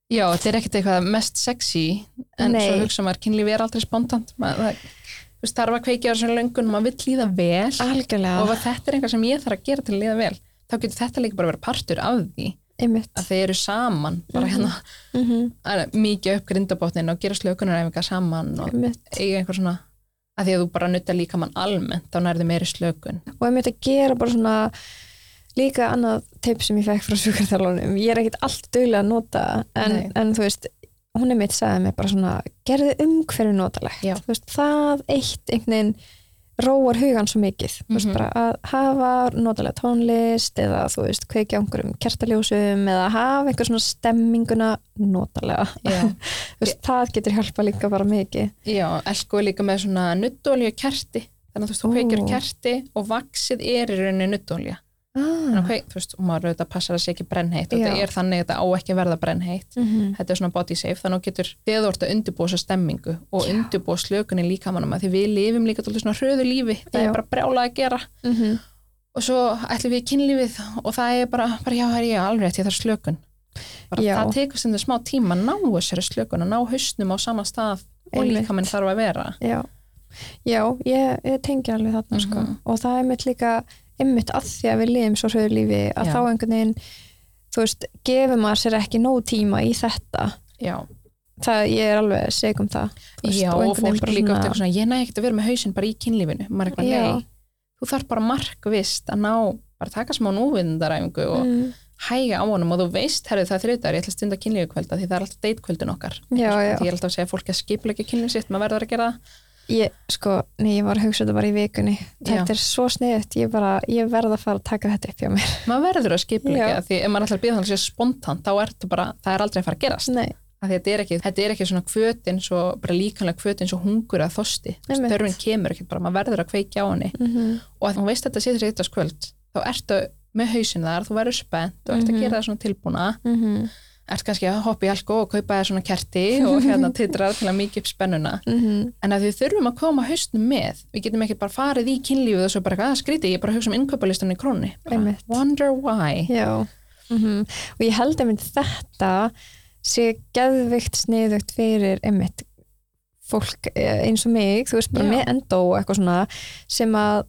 Speaker 2: Já, þetta er ekkert eitthvað mest sexy en
Speaker 3: Nei.
Speaker 2: svo hugsa maður, kynlíf er aldrei spontant maður, það, þú veist, þarf að kveikja á þessum löngun maður vill líða vel og
Speaker 3: algjörlega,
Speaker 2: ef þetta er eitthvað sem ég þarf að gera til að líða vel þá getur þetta líka bara að vera partur af því
Speaker 3: einmitt
Speaker 2: að þeir eru saman bara
Speaker 3: Mhm.
Speaker 2: hérna,
Speaker 3: mm
Speaker 2: að- mikið upp grindabotnin og gera slökunaræfingar saman og
Speaker 3: einmitt.
Speaker 2: eiga einhver svona að því að þú bara nutta líka mann almennt þá nærðu meiri slökun
Speaker 3: og einmitt að gera bara svona líka annað teip sem ég fekk frá sjúkarþjálunum ég er ekkit allt duglega að nota en,
Speaker 2: Nei.
Speaker 3: en þú veist, hún er mitt sagði mig bara svona, gerði umhverju notalegt
Speaker 2: Já.
Speaker 3: þú veist, það eitt einhvern veginn róar hugan svo mikið þú veist,
Speaker 2: Mhm.
Speaker 3: bara að hafa notalega tónlist eða þú veist, kveikja á einhverjum kertaljósum eða hafa einhver svona stemminguna notalega
Speaker 2: Já,
Speaker 3: þú veist, það getur hjálpa líka bara mikið
Speaker 2: já elko er líka með svona nuttolíu kerti þannig að þú veist, þú
Speaker 3: Ó.
Speaker 2: kveikjur kerti og vaksið er í rauninni nuttolíu
Speaker 3: ah.
Speaker 2: okay, þú veist, og maður auðvitað passar að sé ekki brennheit og
Speaker 3: Já.
Speaker 2: þetta er þannig að þetta á ekki að verða brennheit
Speaker 3: mm -hmm.
Speaker 2: þetta er svona body safe, þannig að þú getur þegar þú ert að undirbúa þessa stemmingu og
Speaker 3: Já.
Speaker 2: undirbúa slökunni líka mannum að því við lifum líka dálítið svona hröðu lífi, það
Speaker 3: Já.
Speaker 2: er bara brjála að gera
Speaker 3: Mm -hmm.
Speaker 2: og svo ætlum við í kynlífið og það er bara, bara já, það er ég alveg rétt, ég þarf slökun bara,
Speaker 3: Já.
Speaker 2: það tekur sem þetta smá tíma að ná þessari slökun að ná hausnum á sama stað og
Speaker 3: Einmitt.
Speaker 2: líka mann þarf að vera
Speaker 3: Já, já ég, ég tengi alveg þarna
Speaker 2: Mhm.
Speaker 3: sko. og það er mitt líka einmitt að því að við lifum svo hröðu lífi að
Speaker 2: Já.
Speaker 3: þá einhvern veginn þú veist, gefur maður sér ekki nóg tíma í þetta
Speaker 2: já,
Speaker 3: það ég er alveg seg um það þú veist,
Speaker 2: já
Speaker 3: einhvern
Speaker 2: og
Speaker 3: veginn
Speaker 2: fólk
Speaker 3: bara
Speaker 2: líka
Speaker 3: svona-
Speaker 2: oft eitthvað svona, ég næ ekkert að vera með hausinn bara í kynlífinu maður er eitthvað,
Speaker 3: Já.
Speaker 2: nei, þú þarf bara markvist að ná, bara taka smá núvindaræfingu og
Speaker 3: mm,
Speaker 2: hæga á honum og þú veist, herðu það þriðdagar, ég ætla að stunda kynlífi kvölda því það er alltaf deitkvöldin okkar
Speaker 3: Já,
Speaker 2: Þú veist,
Speaker 3: já.
Speaker 2: ég er alltaf að segja fólki að skipla ekki kynlífi sitt, maður verður að gera það
Speaker 3: ég, sko, nei, ég var að hugsa þetta bara í vikunni
Speaker 2: Já.
Speaker 3: þetta er svo sniðut, ég, bara, ég verð að fara að taka þetta upp hjá mér
Speaker 2: maður verður að skipla ekki
Speaker 3: Já.
Speaker 2: það, því ef maður ætlar að býða þannig að sé spontant þá er þetta bara, það er aldrei að fara að gerast
Speaker 3: nei,
Speaker 2: Af því þetta er ekki, þetta er ekki svona kvötin svo, bara líkanlega kvötin svo hungur að þosti
Speaker 3: Einmitt.
Speaker 2: störfin kemur ekki bara, maður verður að kveikja á henni
Speaker 3: mm
Speaker 2: og að þú veist að þetta séður þetta skvöld þá ertu með hausin þar, þú verður spennt og ert
Speaker 3: Mhm.
Speaker 2: að gera það svona tilbúna
Speaker 3: Mm
Speaker 2: ert kannski að hoppa í alko og kaupa þér svona kerti og hérna titrar til að mikið upp spennuna
Speaker 3: Mhm.
Speaker 2: en að við þurfum að koma haustnum með við getum ekki bara farið í kynlífið og svo bara eitthvað að skríti, ég er bara að hugsa um innkaupalistunni í krónni bara,
Speaker 3: Einmitt.
Speaker 2: wonder why
Speaker 3: Já, mm og ég held einmitt þetta sé geðvikt sniðugt fyrir einmitt fólk eh, eins og mig, þú veist bara
Speaker 2: Já.
Speaker 3: með endó og eitthvað svona sem að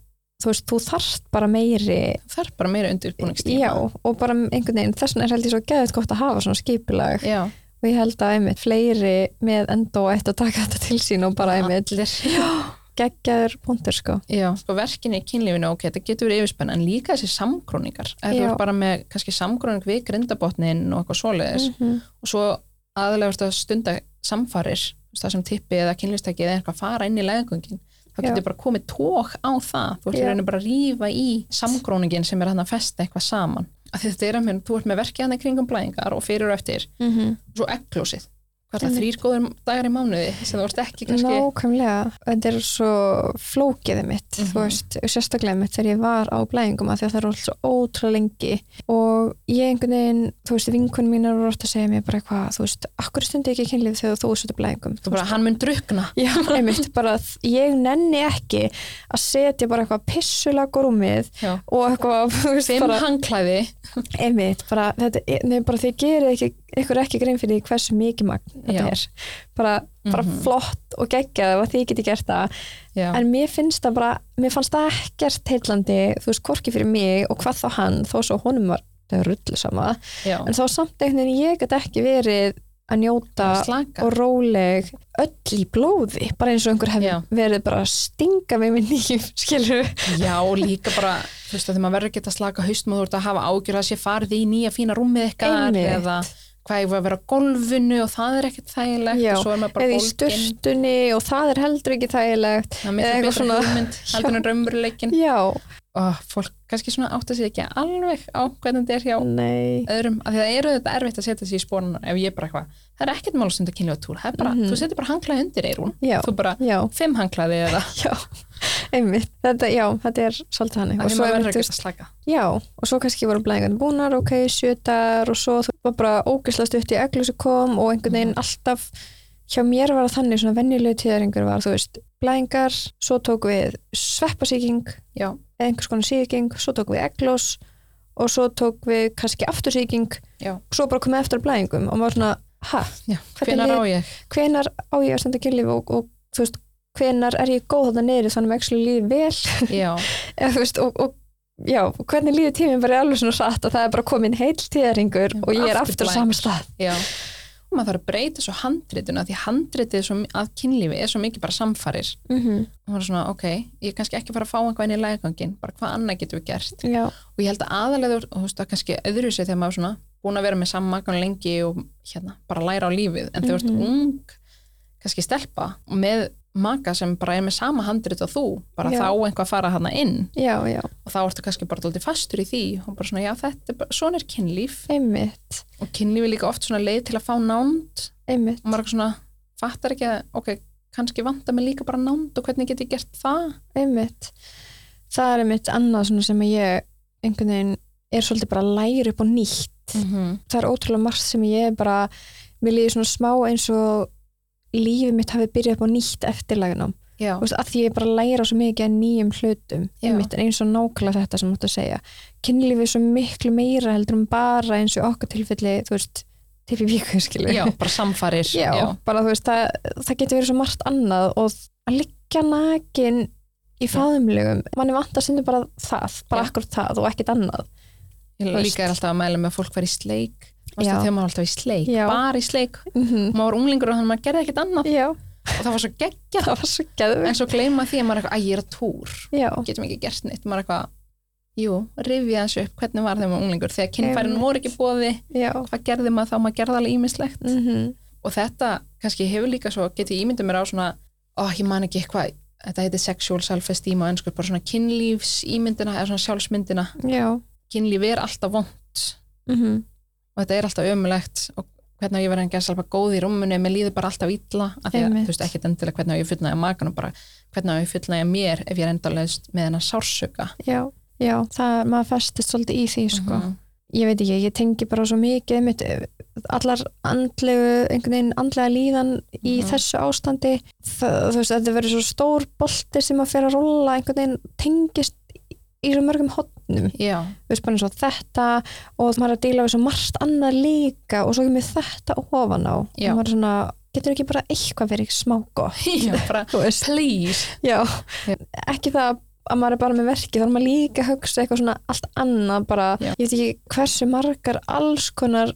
Speaker 3: þú veist, þú þarft bara meiri
Speaker 2: það er bara meira undirbúningstíma
Speaker 3: já, og bara einhvern veginn, þess vegna er held ég svo geðvikt gott að hafa svona skipulag
Speaker 2: já.
Speaker 3: og ég held að einmitt fleiri með endó ættu að taka þetta til sín og bara einmitt geggjaður punktur sko
Speaker 2: Já, sko verkin í kynlífinu, ok, þetta getur verið yfirspenn en líka þessi samkróningar Ef þú
Speaker 3: Já.
Speaker 2: ert bara með kannski samkróning við grindabotnin og eitthvað svoleiðis
Speaker 3: Mhm.
Speaker 2: og svo aðlega ertu að stunda samfarir þú veist, það sem tippi eða kynlistæki eða eitthvað fara inn í leðgöngin þá
Speaker 3: Já.
Speaker 2: getur bara komið tók á það þú ert í
Speaker 3: Já.
Speaker 2: rauninu bara að rífa í samkróningin sem er hann að festa eitthvað saman að þetta er að mér, þú ert með verkið hann í kringum blæðingar og fyrir og eftir,
Speaker 3: Mhm.
Speaker 2: svo egglósið hvað er það,
Speaker 3: Einmitt.
Speaker 2: þrýr góður dagar í mánuði sem þú ert ekki kannski
Speaker 3: Nákvæmlega, þetta er svo flókiði mitt,
Speaker 2: Mhm.
Speaker 3: þú veist, sérstaklega um mitt þegar ég var á blæðingum að því að það eru alltaf svo ótrúlega lengi og ég einhvern veginn, þú veist, vinkunum mínar voru oft að segja mér bara eitthvað, þú veist, akkur stundi ekki kynlíf þegar þú ert á blæðingum.
Speaker 2: þú bara, hann mun drukna
Speaker 3: Já, einmitt, bara að ég nenni ekki að setja bara eitthvað pissulag á rúmið
Speaker 2: Já.
Speaker 3: og eitthvað, þú veist,
Speaker 2: fimm
Speaker 3: bara,
Speaker 2: hangklæði
Speaker 3: einmitt, bara, þetta, er- nei, bara þið gerir ekki, ykkur ekki grein fyrir því hversu mikið magn þetta
Speaker 2: Já.
Speaker 3: er. Bara, bara
Speaker 2: Mhm.
Speaker 3: flott og geggjað og því geti gert það
Speaker 2: Já.
Speaker 3: en mér finnst það bara, mér fannst það ekkert heillandi, þú veist, hvorki fyrir mig og hvað þá hann, þó svo honum var rullu sama,
Speaker 2: Já.
Speaker 3: en þá samt einhvern veginn ég get ekki verið að njóta
Speaker 2: slaka
Speaker 3: og róleg öll í blóði, bara eins og einhver hefði
Speaker 2: Já.
Speaker 3: verið bara að stinga mig með nýjum, skilur
Speaker 2: Já, og líka bara, þú veist, að þegar maður verður ekki að slaka haustum og þú ert að hafa ágjör að sé farið í nýja fína rúmið ykkar
Speaker 3: Einmitt.
Speaker 2: eða hvað ég var að vera á golfinu og það er ekkert þægilegt
Speaker 3: Já,
Speaker 2: og svo er maður bara
Speaker 3: eða í
Speaker 2: bólginn
Speaker 3: sturtunni og það er heldur ekki þægilegt
Speaker 2: það er miklu
Speaker 3: eða eitthvað
Speaker 2: betra
Speaker 3: svona.
Speaker 2: hugmynd heldur en raumurleikin
Speaker 3: já,
Speaker 2: og fólk kannski svona átta sig ekki alveg á hvernig þetta er hjá
Speaker 3: nei
Speaker 2: öðrum af því það eru þetta erfitt að setja sig í spónuna ef ég bara eitthvað, það er ekkert mál að stunda kynlega túr það er bara,
Speaker 3: Mhm.
Speaker 2: þú setur bara hanglaði undir eyrun
Speaker 3: já,
Speaker 2: þú bara,
Speaker 3: já,
Speaker 2: fimm hanglaði eða
Speaker 3: já, einmitt þetta, já, þetta er svolítið hann
Speaker 2: af því maður verður ekki að slaka
Speaker 3: Já, og svo kannski voru blæðingarnir búnar, ok, sjötar og svo þú var bara ógeðslega stutt í eglusi kom og einhvern veginn
Speaker 2: Mhm.
Speaker 3: alltaf hjá mér var það þannig svona venjulegu tíðaringur var, þú veist, blæðingar, svo tók við sveppasíking
Speaker 2: Já.
Speaker 3: eða einhvers konar síking, svo tók við eglós og svo tók við kannski aftursíking
Speaker 2: Já.
Speaker 3: og svo bara komið eftir að blæðingum og maður svona, ha,
Speaker 2: Já,
Speaker 3: Hvernig
Speaker 2: hvenar á
Speaker 3: lið-
Speaker 2: ég?
Speaker 3: hvenar á ég að standa kynlíf og, og þú veist, hvenar er ég góð þarna niður þannig að ekki líði vel
Speaker 2: Já,
Speaker 3: eða þú veist, og, og já, og hvernig líður tíminn bara alveg svona satt að það er bara komin heil tíðaringur
Speaker 2: Já,
Speaker 3: og ég er
Speaker 2: aftur
Speaker 3: aftur á
Speaker 2: blank.
Speaker 3: sama stað
Speaker 2: já. Og maður þarf að breyta svo handritinu því handritið svo, mi- að kynlífi er svo mikið bara samfarir.
Speaker 3: mm -hmm.
Speaker 2: Og maður er svona, ok, ég er kannski ekki að fara að fá einhvað inn í lægangin, bara hvað annað getum við gert?
Speaker 3: já,
Speaker 2: og ég held að aðalega þú veist það kannski öðru sig þegar maður svona búin að vera með sammakan lengi og hérna bara læra á lífið en þegar þú
Speaker 3: Mhm.
Speaker 2: ert ung kannski stelpa og með maka sem bara er með sama handrit og þú bara
Speaker 3: Já.
Speaker 2: þá einhvað fara hana inn
Speaker 3: já, já,
Speaker 2: og þá ertu kannski bara alltaf fastur í því og bara svona já þetta er bara, svona er kynlíf
Speaker 3: einmitt
Speaker 2: og kynlíf er líka oft svona leið til að fá nánd
Speaker 3: einmitt,
Speaker 2: og maður er eitthvað svona fattar ekki að ok kannski vanda mig líka bara nánd og hvernig get ég gert það
Speaker 3: einmitt það er einmitt annað svona sem ég einhvern veginn er svolítið bara að læra upp og nýtt
Speaker 2: -hmm.
Speaker 3: það er ótrúlega margt sem ég er bara mér líður svona smá eins og lífið mitt hafi byrjað upp á nýtt eftirlagnum
Speaker 2: já,
Speaker 3: Þú veist, að því ég bara læra svo mikið að nýjum hlutum
Speaker 2: Já.
Speaker 3: einmitt, en eins og nákvæmlega þetta sem þú ætti að segja kynlífið er svo miklu meira heldur um bara eins og í okkar tilfelli þú veist, til í viku skilu
Speaker 2: já, bara samfarir
Speaker 3: Já, bara þú veist, það, það getur verið svo margt annað og að liggja nakin í faðumlegum, manni vant að senda bara það, bara
Speaker 2: Já.
Speaker 3: akkur það og ekkit annað
Speaker 2: Ég
Speaker 3: Þú
Speaker 2: líka
Speaker 3: veist.
Speaker 2: er alltaf að mæla með að fólk var í sleik Varstu
Speaker 3: Já.
Speaker 2: þegar maður var alltaf í sleik,
Speaker 3: Já.
Speaker 2: bara í sleik
Speaker 3: mm -hmm.
Speaker 2: maður var unglingur og þannig að maður gerði ekkert annað
Speaker 3: Já,
Speaker 2: og það var svo geggja
Speaker 3: það var svo
Speaker 2: en
Speaker 3: geðvegt
Speaker 2: svo gleyma því að maður er eitthvað, að ég er að túr
Speaker 3: Já,
Speaker 2: getum ekki gert neitt, maður er eitthvað jú, rifja þessu upp, hvernig var þegar maður var unglingur þegar kynfærin
Speaker 3: Einmitt.
Speaker 2: voru ekki bóði,
Speaker 3: já
Speaker 2: hvað gerði maður þá maður gerði alveg ímislegt
Speaker 3: mm
Speaker 2: og þetta kannski hefur líka svo, get ég ímyndið mér á svona ó, ég man ekki eitthvað, þetta heitir sexual self-esteem á ennsku, bara svona kynlífs eða svona sjálfsmyndina,
Speaker 3: Já
Speaker 2: kynlíf er alltaf vond
Speaker 3: mm
Speaker 2: og þetta er alltaf ömulegt og hvernig á ég verið að gera alveg góð í rúmunu mér líður bara alltaf illa af því að
Speaker 3: Einmitt.
Speaker 2: þú veist ekkit endilega hvernig á ég fullnaði magan og bara hvernig á ég fullnaði mér ef ég er endalegst með hennar sársuga
Speaker 3: Já, já, það, maður festist svolítið í því sko
Speaker 2: Mhm.
Speaker 3: ég veit ekki, ég tengi bara svo mikið mitt, allar andlegu einhvern veginn andlega líðan í
Speaker 2: Mhm.
Speaker 3: þessu ástandi það, þú veist, þetta verður svo stór bolti sem að fyrir að rolla einhvern veginn tengist í svo mörgum hotnum
Speaker 2: já,
Speaker 3: þú veist bara eins og þetta og maður er að díla við svo margt annað líka og svo kemur þetta ofan á
Speaker 2: Já.
Speaker 3: og maður er svona, getur ekki bara eitthvað verið smá gott,
Speaker 2: já bara
Speaker 3: þú veist
Speaker 2: please
Speaker 3: Já,
Speaker 2: Já.
Speaker 3: ekki það að maður er bara með verki, þá er maður líka að hugsa eitthvað svona allt annað bara,
Speaker 2: Já.
Speaker 3: ég veit ekki hversu margar alls konar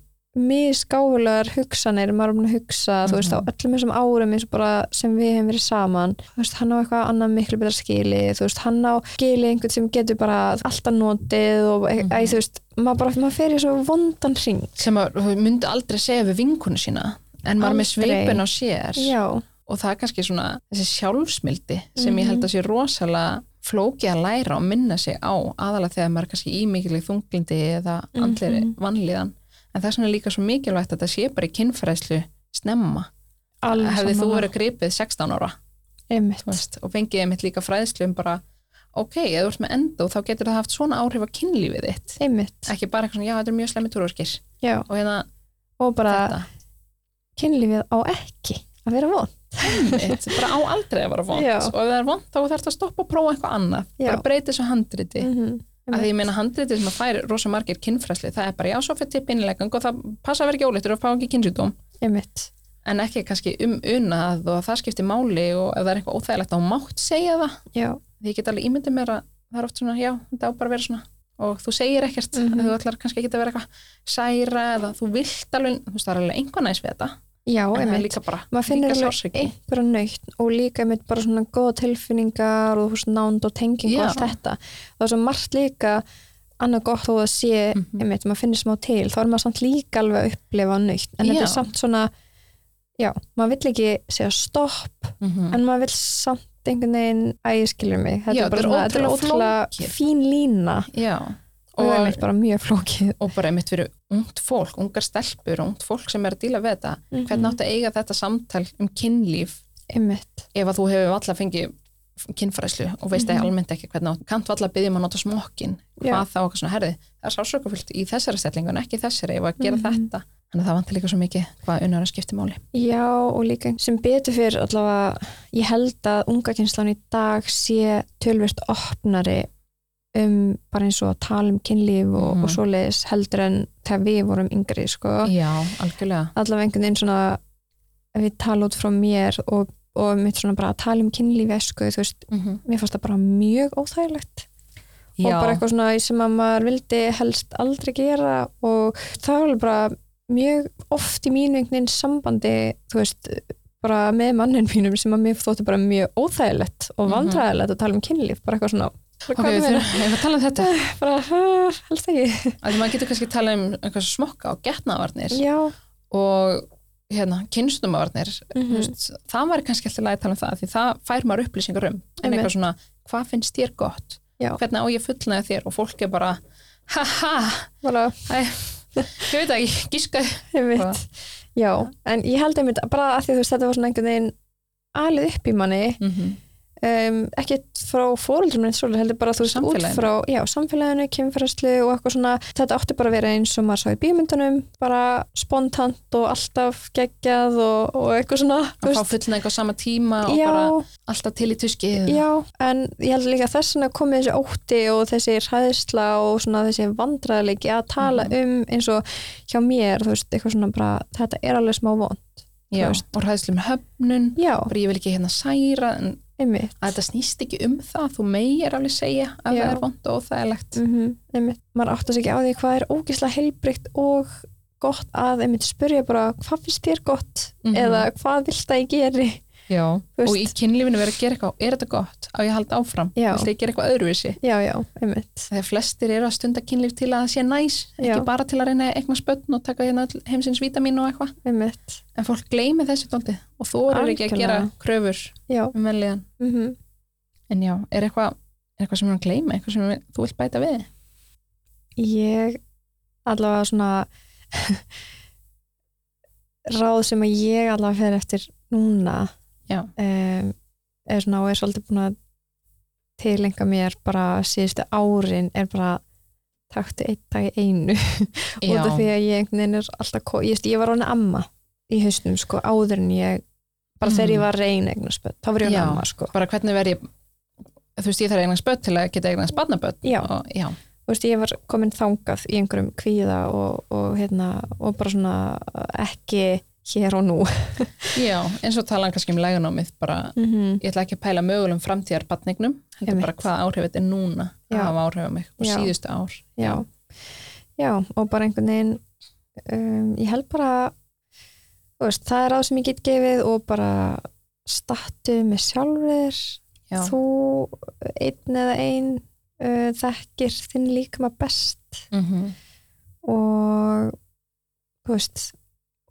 Speaker 3: misgáfulegar hugsanir maður er búin að hugsa, þú veist, á
Speaker 2: Mhm.
Speaker 3: öllum þessum árum eins og bara sem við hefum verið saman þú veist, hann á eitthvað annað miklu betra skili þú veist, hann á skili einhvern sem getur bara alltaf notið og mm
Speaker 2: Mhm.
Speaker 3: æ, þú veist, maður bara, maður fer í svo vondan ring
Speaker 2: sem að þú myndi aldrei segja við vinkunu sína en maður er með
Speaker 3: Aldrei.
Speaker 2: sveipin á sér
Speaker 3: Já,
Speaker 2: og það er kannski svona þessi sjálfsmildi sem ég held
Speaker 3: Mhm.
Speaker 2: að sé rosalega flókið að læra og minna sig á aðalega þegar maður er kannski í mikilvæg þunglindi eða andlir
Speaker 3: Mhm.
Speaker 2: vanlíðan en það er svona líka svo mikilvægt að þetta sé bara í kynfræðslu snemma
Speaker 3: alveg
Speaker 2: hefði þú
Speaker 3: sammála.
Speaker 2: verið gripið 16 ára þú
Speaker 3: Einmitt,
Speaker 2: veist, og fengið einmitt líka fræðslu um bara ok, ef þú ert með endó þá getur það haft svona áhrif á kynlífið þitt
Speaker 3: einmitt,
Speaker 2: ekki bara eitthvað svona, já þetta er mjög slemmi túrverkir
Speaker 3: já
Speaker 2: og hérna
Speaker 3: og bara
Speaker 2: þetta,
Speaker 3: kynlífið á ekki að vera von
Speaker 2: mitt, bara á aldrei að vera vond
Speaker 3: Já.
Speaker 2: og ef það er vond þá þarf það að stoppa og prófa eitthvað annað
Speaker 3: Já.
Speaker 2: bara breyti þessu handriti
Speaker 3: -hmm.
Speaker 2: að því ég meina handritið sem að fær rosa margir kynfræsli það er bara já, svo fyrir tipp innlegang og það passa að vera ekki óleittur og fá ekki kynnsjúdóm
Speaker 3: Einmitt.
Speaker 2: en ekki kannski um unað og að það skiptir máli og ef það er eitthvað óþægilegt þá mátt segja það
Speaker 3: Já,
Speaker 2: því ég get alveg ímyndið mér að það er oft svona já, þetta á bara að vera svona og þú segir ekkert,
Speaker 3: Mhm.
Speaker 2: þú ætlar kannski ekki að vera eitthvað særa eða þú vilt alveg þú veist það er alveg einhvern næs við þetta
Speaker 3: já
Speaker 2: en það er
Speaker 3: einmitt.
Speaker 2: líka bara
Speaker 3: Maður finnur
Speaker 2: líka
Speaker 3: alveg
Speaker 2: sársauki.
Speaker 3: einhverja nöytt og líka einmitt bara svona góða tilfinningar og þú veist, nánd og tenging
Speaker 2: Já.
Speaker 3: og allt þetta. Það er svo margt líka annað gott þó að sé
Speaker 2: Mhm.
Speaker 3: einmitt, maður finnir smá til, þá er maður samt líka alveg að upplifa nöytt, en þetta
Speaker 2: Já.
Speaker 3: er samt svona já, maður vill ekki segja stopp,
Speaker 2: Mhm.
Speaker 3: en maður vill samt einhvern veginn, að ég skilur mig þetta
Speaker 2: Já,
Speaker 3: er bara
Speaker 2: þetta er
Speaker 3: svona, þetta er
Speaker 2: ótrúlega
Speaker 3: ótrúlega
Speaker 2: flókið.
Speaker 3: fín lína
Speaker 2: Já.
Speaker 3: og,
Speaker 2: og
Speaker 3: einmitt bara mjög flókið
Speaker 2: og bara einmitt fyrir ungt fólk, ungar stelpur og ungt fólk sem er að díla við þetta
Speaker 3: Mhm.
Speaker 2: hvernig áttu að eiga þetta samtal um kynlíf
Speaker 3: einmitt,
Speaker 2: ef að þú hefur alltaf fengið kynfræðslu og veist mm
Speaker 3: Mhm.
Speaker 2: almennt ekki hvernig átt kannt alltaf að byggja um að nota smokkin hvað
Speaker 3: Já.
Speaker 2: þá eitthvað svona herði, það er sásökafullt í þessari stellingu en ekki í þessari ef að gera
Speaker 3: Mhm.
Speaker 2: þetta þannig að það vantar líka svo mikið hvað unnur að skipti máli
Speaker 3: Já og líka sem betur fyrir allavega ég held að unga kynslan í dag sé tölvist opnari um bara eins og að tala um kynlíf og,
Speaker 2: Mhm.
Speaker 3: og svoleiðis heldur en þegar við vorum yngri sko.
Speaker 2: já, algjörlega
Speaker 3: allavega einhvern veginn svona ef ég tala út frá mér og, og mitt svona bara að tala um kynlífi sko, þú veist, mér fannst það bara mjög óþægilegt og
Speaker 2: já,
Speaker 3: bara eitthvað svona sem að maður vildi helst aldrei gera og það var alveg bara mjög oft í mínu einhvern veginn sambandi þú veist, bara með mannin mínum sem að mér þótti bara mjög óþægilegt og
Speaker 2: Mhm.
Speaker 3: vandræðilegt að tala um kynlíf bara eitthvað svona bara,
Speaker 2: ok,
Speaker 3: hvað
Speaker 2: við
Speaker 3: er meira?
Speaker 2: þurfum að tala um þetta
Speaker 3: bara, "Ah, helst ekki
Speaker 2: að maður getur kannski að tala um einhvers smokka og getnavarnir
Speaker 3: já,
Speaker 2: og hérna, kynstumvarnir
Speaker 3: mm
Speaker 2: mm. veist, það var kannski alltaf að tala um það því það fær maður upplýsingar um en
Speaker 3: Einmitt.
Speaker 2: eitthvað svona, hvað finnst þér gott
Speaker 3: Já.
Speaker 2: hvernig á ég fullnaði þér og fólk er bara haha,
Speaker 3: bara
Speaker 2: ég veit það ekki, gíska Bara-
Speaker 3: einmitt, já, en ég held einmitt bara að því að þú veist þetta var svona einhvern veginn alið upp í manni
Speaker 2: mm -hmm.
Speaker 3: um, ekki frá fóreldrum en svolítið heldur bara að þú veist út
Speaker 2: Samfélaginu.
Speaker 3: frá já, samfélaginu, kynferðslu og eitthvað svona þetta átti bara að vera eins og maður sá í bímyndunum bara spontant og alltaf geggjað og, og eitthvað svona þú
Speaker 2: að fá
Speaker 3: veist.
Speaker 2: fullnaði á sama tíma og
Speaker 3: já,
Speaker 2: bara alltaf til í tuski
Speaker 3: já, en ég held líka þess vegna komið þessi ótti og þessi hræðsla og svona þessi vandræðleiki að tala
Speaker 2: Mhm.
Speaker 3: um eins og hjá mér, þú veist, eitthvað svona bara þetta er alveg smá von,
Speaker 2: Já,
Speaker 3: þú veist.
Speaker 2: og hræðslu með höfnun
Speaker 3: já,
Speaker 2: bara ég vil ekki hérna særa en
Speaker 3: einmitt
Speaker 2: að þetta snýst ekki um það þú meir alveg segja að
Speaker 3: Já.
Speaker 2: það er vond og óþægilegt
Speaker 3: mm einmitt. maður áttast ekki á því hvað er ógislega heilbrygt og gott að einmitt spyrja bara hvað finnst þér gott
Speaker 2: Mhm.
Speaker 3: eða hvað vilt að ég geri
Speaker 2: já.
Speaker 3: Þú
Speaker 2: og í
Speaker 3: veist.
Speaker 2: kynlífinu verið að gera eitthvað, er þetta gott á ég að halda áfram,
Speaker 3: Já.
Speaker 2: viltu ég gera eitthvað öðruvísi
Speaker 3: já, já, einmitt
Speaker 2: þegar flestir eru að stunda kynlíf til að það sé næs ekki
Speaker 3: Já.
Speaker 2: bara til að reyna eitthvað spötn og taka hérna öll heimsins vítamin og eitthvað
Speaker 3: einmitt,
Speaker 2: en fólk gleymi þessu tóldi og þú eru ekki að gera
Speaker 3: Algjörlega.
Speaker 2: kröfur
Speaker 3: já
Speaker 2: um veljan
Speaker 3: mm
Speaker 2: en já, er eitthvað, er eitthvað sem er að gleyma eitthvað sem þú vilt bæta við
Speaker 3: ég allavega svona ráð sem að ég allavega fer eftir núna
Speaker 2: Já.
Speaker 3: um, er svona og er svolítið búin að tilenga mér bara síðustu árin er bara taktu einn dag í einu út af því að ég einhvern veginn er alltaf ko- ég, veist, ég var hona amma í haustum sko, áður en ég bara
Speaker 2: Mm.
Speaker 3: þegar ég var reyn eignarspöld, þá var ég
Speaker 2: Já.
Speaker 3: hona amma sko.
Speaker 2: bara hvernig verð ég þú veist, ég þarf eignast börn til að geta eignast barnabörn
Speaker 3: Já.
Speaker 2: og já,
Speaker 3: Þú veist, ég var komin þangað í einhverjum kvíða og, og, hérna, og bara svona ekki hér og nú
Speaker 2: já, eins og tala kannski um lægunámið bara,
Speaker 3: mm -hmm.
Speaker 2: ég ætla ekki að pæla mögulegum framtíðar barnignum, heldur
Speaker 3: Einmitt.
Speaker 2: bara hvaða áhrif þetta er núna
Speaker 3: Já.
Speaker 2: að hafa áhrif á mig og
Speaker 3: Já.
Speaker 2: síðustu ár
Speaker 3: já. já, og bara einhvern veginn um, ég held bara þú veist, það er ráð sem ég get gefið og bara stattu með sjálfur
Speaker 2: Já.
Speaker 3: þú einn eða ein uh, þekkir þinn líkama best
Speaker 2: Mhm.
Speaker 3: og þú veist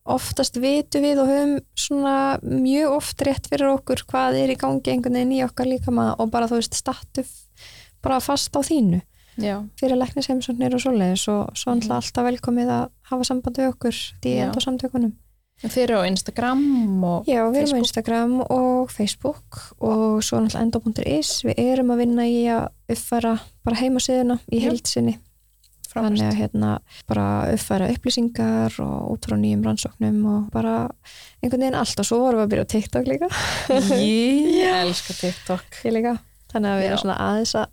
Speaker 3: oftast vitum við og höfum svona mjög oft rétt fyrir okkur hvað er í gangi einhvern veginn í okkar líkama og bara þú veist stattu f- bara fast á þínu
Speaker 2: já,
Speaker 3: fyrir læknisheimsóknir og svoleiðis og svo mm. alltaf velkomið að hafa samband við okkur í
Speaker 2: Mhm. Já.
Speaker 3: enda samtökunum
Speaker 2: Þeir eru á Instagram og
Speaker 3: Já, við erum á
Speaker 2: Facebook.
Speaker 3: Instagram og Facebook og svo náttúrulega endo.is við erum að vinna í að uppfæra bara heimasíðuna í
Speaker 2: Já.
Speaker 3: heilsinni þannig
Speaker 2: frábært.
Speaker 3: að hérna bara uppfæra upplýsingar og út frá nýjum rannsóknum og bara einhvern veginn allt og svo vorum við að byrja á TikTok líka
Speaker 2: Ég elska TikTok.
Speaker 3: ég líka, þannig að við
Speaker 2: Já.
Speaker 3: erum svona aðeins að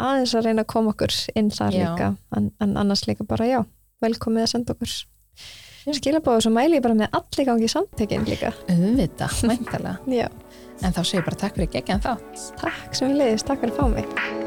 Speaker 3: aðeins að reyna að koma okkur inn þar
Speaker 2: Já.
Speaker 3: líka, en, en annars líka bara já, velkomið að senda okkur skilabóðu, svo mæli ég bara með allir gangi samtökin líka,
Speaker 2: Auðvita, mæntalega.
Speaker 3: já
Speaker 2: En þá segir bara takk fyrir geggjan þátt.
Speaker 3: takk sem við leiðist, takk fyrir að fá mig